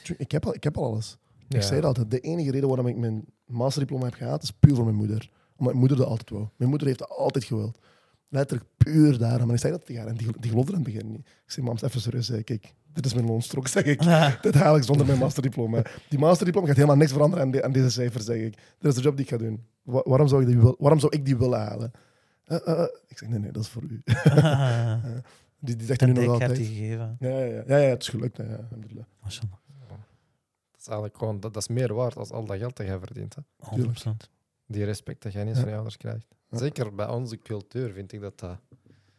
Tju- Ik heb al, ik heb al alles. Ik zei dat altijd. De enige reden waarom ik mijn masterdiploma heb gehaald is puur voor mijn moeder. Omdat mijn moeder dat altijd wou. Mijn moeder heeft dat altijd gewild. Letterlijk puur daarom. En ik zei dat tegen haar en die, gel- die geloofde er in het begin niet. Ik zei, mam, is even serieus. hè. Kijk, dit is mijn loonstrook, zeg ik. Dit haal ik zonder mijn masterdiploma. Die masterdiploma gaat helemaal niks veranderen aan, de- aan deze cijfers, zeg ik. Dit is de job die ik ga doen. Wa- waarom, zou ik die wil- waarom zou ik die willen halen? Eh, eh, eh. Ik zeg, nee, nee, dat is voor u. Die, die zegt dat en nu nog ik heb altijd. die gegeven. Ja, ja, ja, ja, ja, het is gelukt. hè. Ja, eh. alhamdulillah. Mashallah. Dat is eigenlijk gewoon, dat, dat is meer waard als al dat geld dat jij verdient. Hè. 100%. Die respect dat jij niet Ja. van je ouders krijgt. Ja. Zeker bij onze cultuur vind ik dat eh, dat...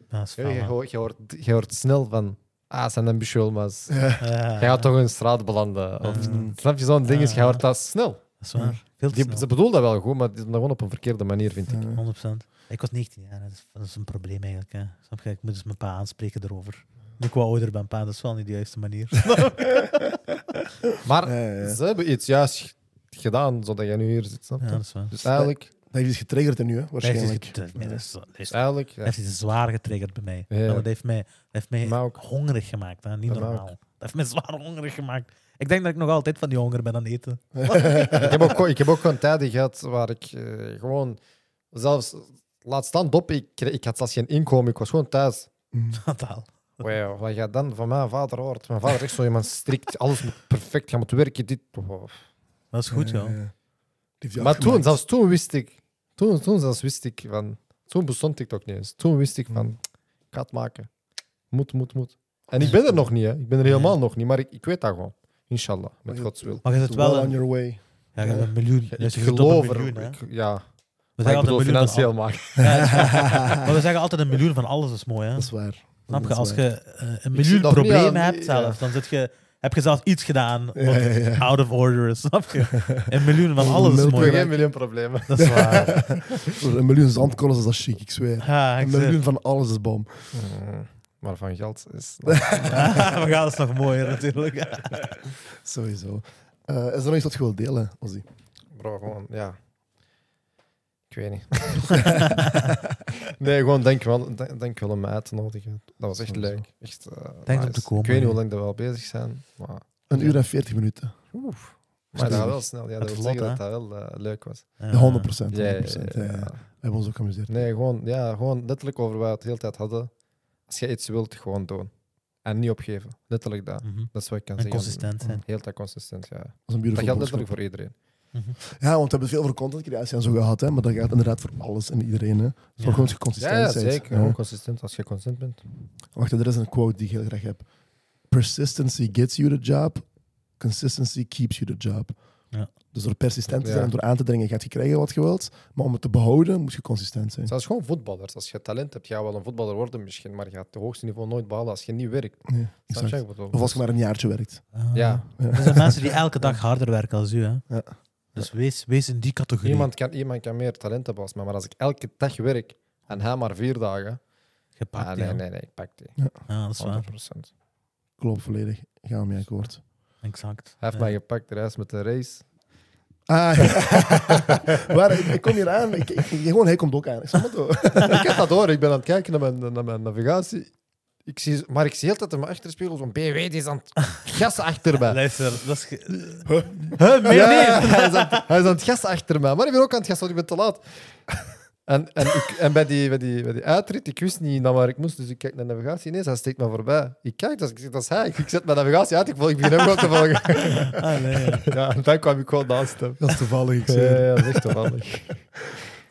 Ja, is Ja, je, fijn, hè. hoort, je, hoort, je hoort snel van... Ah, ze zijn ambitieus, maar ze- Ja. Ja, jij gaat toch in de straat belanden. Of, Mm. Snap je, zo'n ding is, je Ja. hoort dat snel. Dat is waar. Veel te Die, snel. ze bedoelen dat wel goed, maar die doen dat gewoon op een verkeerde manier, vind ik. Ja. 100%. Ik was 19 jaar, hè. dat is, dat is een probleem eigenlijk. Hè. Snap je? Ik moet dus mijn pa aanspreken erover. Nu ik wat ouder ben, pa, dat is wel niet de juiste manier. Maar Ja, ja, ja. ze hebben iets juist g- gedaan, zodat jij nu hier zit, snap je? ja, dat is waar. Dus eigenlijk... Dat heeft iets getriggerd hè, nu, hè, Hij heeft waarschijnlijk. iets getriggerd. Nee, dat is- dat is- Dus eigenlijk dat ja. heeft iets zwaar getriggerd bij mij. Ja. Maar Dat heeft mij, dat heeft mij Maar ook- hongerig gemaakt, hè? niet Ja, maar normaal. Dat heeft mij zwaar hongerig gemaakt. Ik denk dat ik nog altijd van die honger ben aan het eten. ik, heb ook, ik heb ook gewoon tijden gehad waar ik eh, gewoon zelfs laat staan dop. Ik, kreeg- ik had zelfs geen inkomen. Ik was gewoon thuis. eh, Mm. Totaal. Wow, wat je dan van mijn vader hoort. Mijn vader is echt zo iemand strikt. Alles moet perfect. Je moet werken. Dit. wow. Dat is goed, joh. Ja, ja. Die heeft jou Maar toen, afgemaakt. zelfs toen wist ik. Toen, toen zelfs wist ik van. Toen bestond TikTok niet eens. Toen wist Hm. ik van. Ik ga het maken. Moet, moet, moet. En ik ben er nog niet. Hè. Ik ben er helemaal nog niet. Maar ik, ik weet dat gewoon. Inshallah. Met Gods wil. Maar je zit wel Well een, on your way. ja, je hebt een miljoen. Ik Dus je zit op geloof een miljoen, er. hè. ik- Ja. We Maar ik zeggen bedoel altijd een miljoen. van financieel al- maken. Ja, dat is waar. Maar we zeggen altijd een miljoen van alles is mooi, hè? Dat is waar. Snap Dat je? is Als waar. je eh, een Ik zit miljoen nog niet problemen aan- hebt zelf, dan zit je, heb je zelf iets gedaan wat Ja, ja, ja. out of order is, snap je? Een miljoen van alles is Milk Ik mooi. heb hè. geen miljoen problemen. Dat is waar. Voor Een miljoen zandkorrels is dat chic, ik zweer. Ja, ik Een zeg- miljoen van alles is bom. Mm. Maar van geld is. we gaan het nog mooier natuurlijk. Sowieso. Eh, is er nog iets wat je wilt delen, Ozzy? Bro, gewoon, ja. Ik weet niet. nee, gewoon denk wel, denk, denk wel om me uit te nodigen. Dat was echt Sowieso. leuk. Echt, eh, om nice. te komen, Ik weet niet hè. hoe lang dat we al bezig zijn. Maar, Een Ja. uur en veertig minuten. oef. Maar Snel. dat was wel snel. Ja, Het dat wil vlot, zeggen dat hè? dat wel eh, leuk was. 100 procent. Ja, ja, We ja, ja. hebben ons ook geamuseerd. Nee, gewoon, ja, gewoon letterlijk over wat we het de hele tijd hadden. Als je iets wilt, gewoon doen. En niet opgeven. Letterlijk dat. Mhm. Dat is wat ik kan En zeggen. Mm, consistent zijn. Heel tijd consistent, ja. Dat is een Dat beautiful geldt boodschap. letterlijk voor iedereen. Ja, want we hebben veel over contentcreatie en zo gehad, hè, maar dat gaat inderdaad voor alles en iedereen. Hè. Zorg gewoon dat je consistent Ja, ja, bent. zeker. Ja. Gewoon consistent als je consistent bent. Wacht, er is een quote die ik heel graag heb. Persistency gets you the job, consistency keeps you the job. Ja. Dus door persistent te zijn Ja. en door aan te dringen gaat je krijgen wat je wilt, maar om het te behouden moet je consistent zijn. Zelfs gewoon voetballers. Als je talent hebt, ga je wel een voetballer worden misschien, maar je gaat het hoogste niveau nooit behalen als je niet werkt. Ja, Snap je? exact. Ik bedoel, Of als je maar een jaartje werkt. Ja, Er zijn mensen die elke dag harder werken als u. Hè? Ja. Dus wees, wees in die categorie. iemand kan, iemand kan meer talent hebben als mij, maar als ik elke dag werk en hij maar vier dagen, gepakt. ah, nee, ja. nee, nee, ik pak die. 100%. Ja, dat is waar. Klopt, volledig. Gaan we mee akkoord. Exact. Hij heeft Ja. mij gepakt, de reis met de race. Ah, ja. maar ik, ik kom hier aan. Ik, ik- gewoon, hij komt ook aan. Ik snap het wel. ik heb dat door, ik ben aan het kijken naar mijn, naar mijn navigatie. Ik zie, maar ik zie altijd in mijn achterspiegel zo'n BW die is aan het gas achter mij. Luister, dat is. ge- Ja, hij, is aan, het- hij is aan het gas achter mij. Maar ik ben ook aan het gas, want ik ben te laat. En, en, ik, en bij, die, bij, die, bij die uitrit, ik wist niet naar waar ik moest, dus ik kijk naar de navigatie. Ineens, hij steekt me voorbij. Ik kijk, dus ik zeg, dat is hij. Ik, ik zet mijn navigatie uit, ik, volg, ik begin hem gewoon te volgen. Ah, nee. Ja, en dan kwam ik gewoon naast hem. Dat is toevallig, ik Ja, zweer. ja, dat is echt toevallig.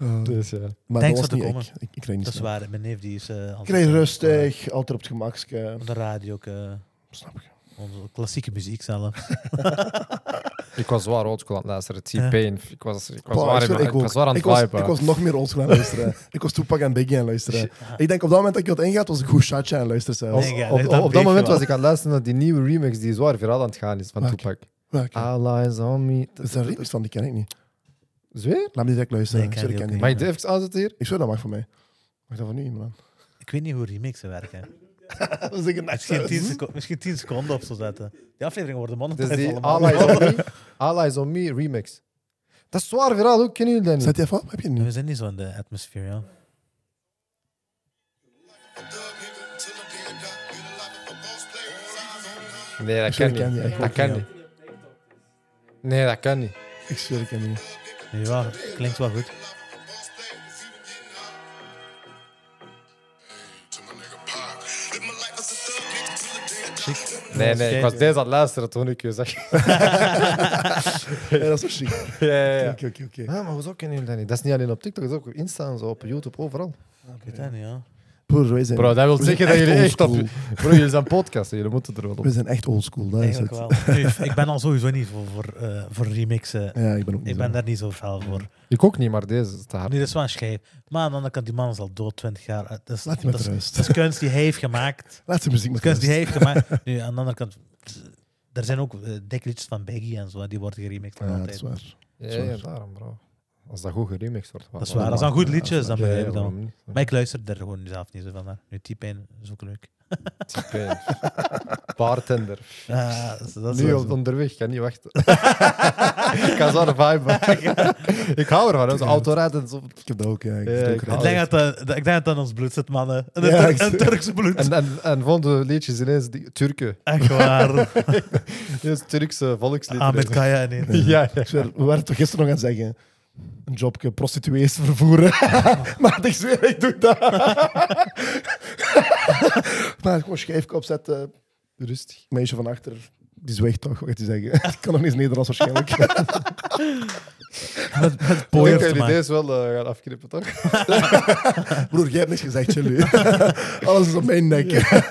Oh. Dus ja. Eh, Maar Thanks voor dat was te niet komen. ik. Ik, ik kreeg niet Dat is snel. waar, mijn neef die is. eh, altijd- Ik kreeg rustig, altijd op het gemakske. Op de radio ook. eh, Snap je. onze klassieke muziek zelf. Ik was zwaar oldschool aan het luisteren. Ja. T-Pain. Ik was, ik was, Bah, zwaar, ik in zweer, mijn- ik ook. was zwaar aan ik het was, viben. ik was nog meer oldschool aan het luisteren. ik was Tupac en Biggie aan het luisteren. Ik denk op dat moment dat ik dat ingaat, was ik Goeshatje aan het luisteren zelfs. Nee, ja, op, dat op, op weet dat je moment wel. was ik aan het luisteren naar die nieuwe remix die zwaar viraal aan het gaan is van Welke? Tupac. Welke? All eyes on me. Oh, Dat is een remix van, die ken ik niet. Zweer? Laat me direct Nee, luisteren. ik ik ken zweer, ik die ken ook die Mag niet. ik dit even aanzetten hier? Ik zweer, dat mag voor mij. Mag dat van nu, man? Ik weet niet hoe remixen werken. Dat is een Misschien 10 seconden, misschien 10 seconden op zo zetten. Die afleveringen worden mannen Dus thuis die allemaal. All Eyes on Me, All Eyes on Me remix. Dat is zwaar viraal, hoe kennen jullie dat niet? Zet je even op? Heb je het niet? We zijn niet zo in de atmosfeer, ja. Nee, dat Sorry, kan ken je niet. echt Dat niet, kan ja. niet. Nee, dat kan niet. Ik zweer, ik ken die niet. Nee, ja, klinkt wel goed. Nee, nee, ik was deze aan het luisteren toen ik je zag. Ja, dat is wel chic. Ja, ja, ja. Oké, oké, oké. Ah, maar hoezo kennen jullie dat niet? Dat is niet alleen op TikTok, dat is ook op Insta en zo, op YouTube, overal. Ik weet dat niet, ja. Broer, wij zijn... Bro, dat wil we zijn zeggen dat jullie echt op... oldschool. Bro, jullie zijn podcasten, jullie moeten er wel op. We zijn echt oldschool, dat is het. Eigenlijk wel. Nu, ik ben al sowieso niet voor, voor, eh, voor remixen. Ja, ik ben ook niet Ik ben daar niet zo fel voor. Nu, Ik ook niet, maar deze is te hard. dat is wel een schijf. Maar aan de andere kant, die man is al dood, 20 jaar. Eh, Dat is, Laat die met dat is- rust. dat is kunst die hij heeft gemaakt. Laat de muziek met kunst die hij rust. heeft gemaakt. Nu, aan de andere kant, eh, er zijn ook eh, dikke liedjes van Baggy en zo, die worden geremixed. nog Ja, dat altijd. is waar. Ja, ja, daarom, bro. Als dat goed geremixed wordt. Dat is waar, als dat een goed liedje is, dan ben begrijp ik dat Maar ik luister er gewoon zelf niet zo van. naar. Nu, type 1 is ook leuk. Bartender. Ah, dat is- dat is Nu wel op zo. onderweg, ik kan niet wachten. ik kan zo'n vibe maken. ik hou ervan, hè, zo'n autorijden. en Zo. Ik heb dat ook, ja. Ik Ja, doe ik ook raar. haal ik denk dat, dat- dat- ik denk dat dat in ons bloed zit, mannen. Een, Ja, Turk- ik- een Turks bloed. En, en, en vonden liedjes ineens die, Turken. Echt waar. Ineens Turkse volksliederen. Ahmed Kaya nee. Ja, ja. Ik zweer, we waren toch gisteren nog aan het zeggen. Een jobje, prostituees vervoeren. maar ik zweer, ik doe dat. maar gewoon schijfkop zetten. Rustig. Meisje van achter, die zweegt toch, wat je zeggen. Ik kan nog niet eens Nederlands waarschijnlijk. Met, met Ik pooiers kan te jullie maken. deze wel eh, gaan afknippen, toch? Broer, jij hebt niks gezegd, chill u. Alles is op mijn nek.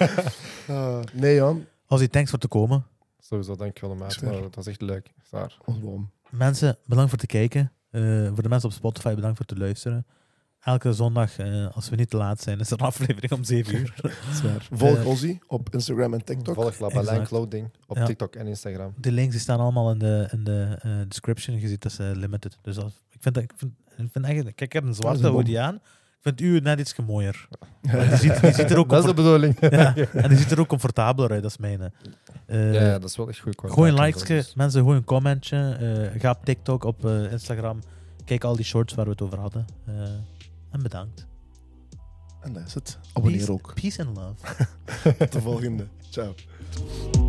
Ah, nee, Jan. Als die thanks voor te komen. Sowieso, dankjewel, maat. Zwaar. Maar het was echt leuk. Zwaar. Oh, Mensen, bedankt voor het kijken. Eh, voor de mensen op Spotify, bedankt voor het luisteren. Elke zondag, eh, als we niet te laat zijn, is er een aflevering om 7 uur. Volg Eh. Ozzy op Instagram en TikTok. Volg Labalijn Exact. Clothing op Ja. TikTok en Instagram. De links die staan allemaal in de, in de eh, description. Je ziet dat ze limited. Dus als, ik vind dat, ik vind, ik vind eigenlijk, kijk, ik heb een zwarte bom. hoodie aan. Ik vind u net iets mooier. Die ziet, die ziet er ook Dat is de comfort- bedoeling. ja, en die ziet er ook comfortabeler uit, dat is mijne. Eh, Ja, dat is wel echt goed. kwaliteit. Gooi een likeje, mensen, gooi een commentje. eh, ga op TikTok, op eh, Instagram. Kijk al die shorts waar we het over hadden. Eh, en bedankt. En dat is het. Abonneer Peace- ook. Peace and love. Tot de volgende. Ciao.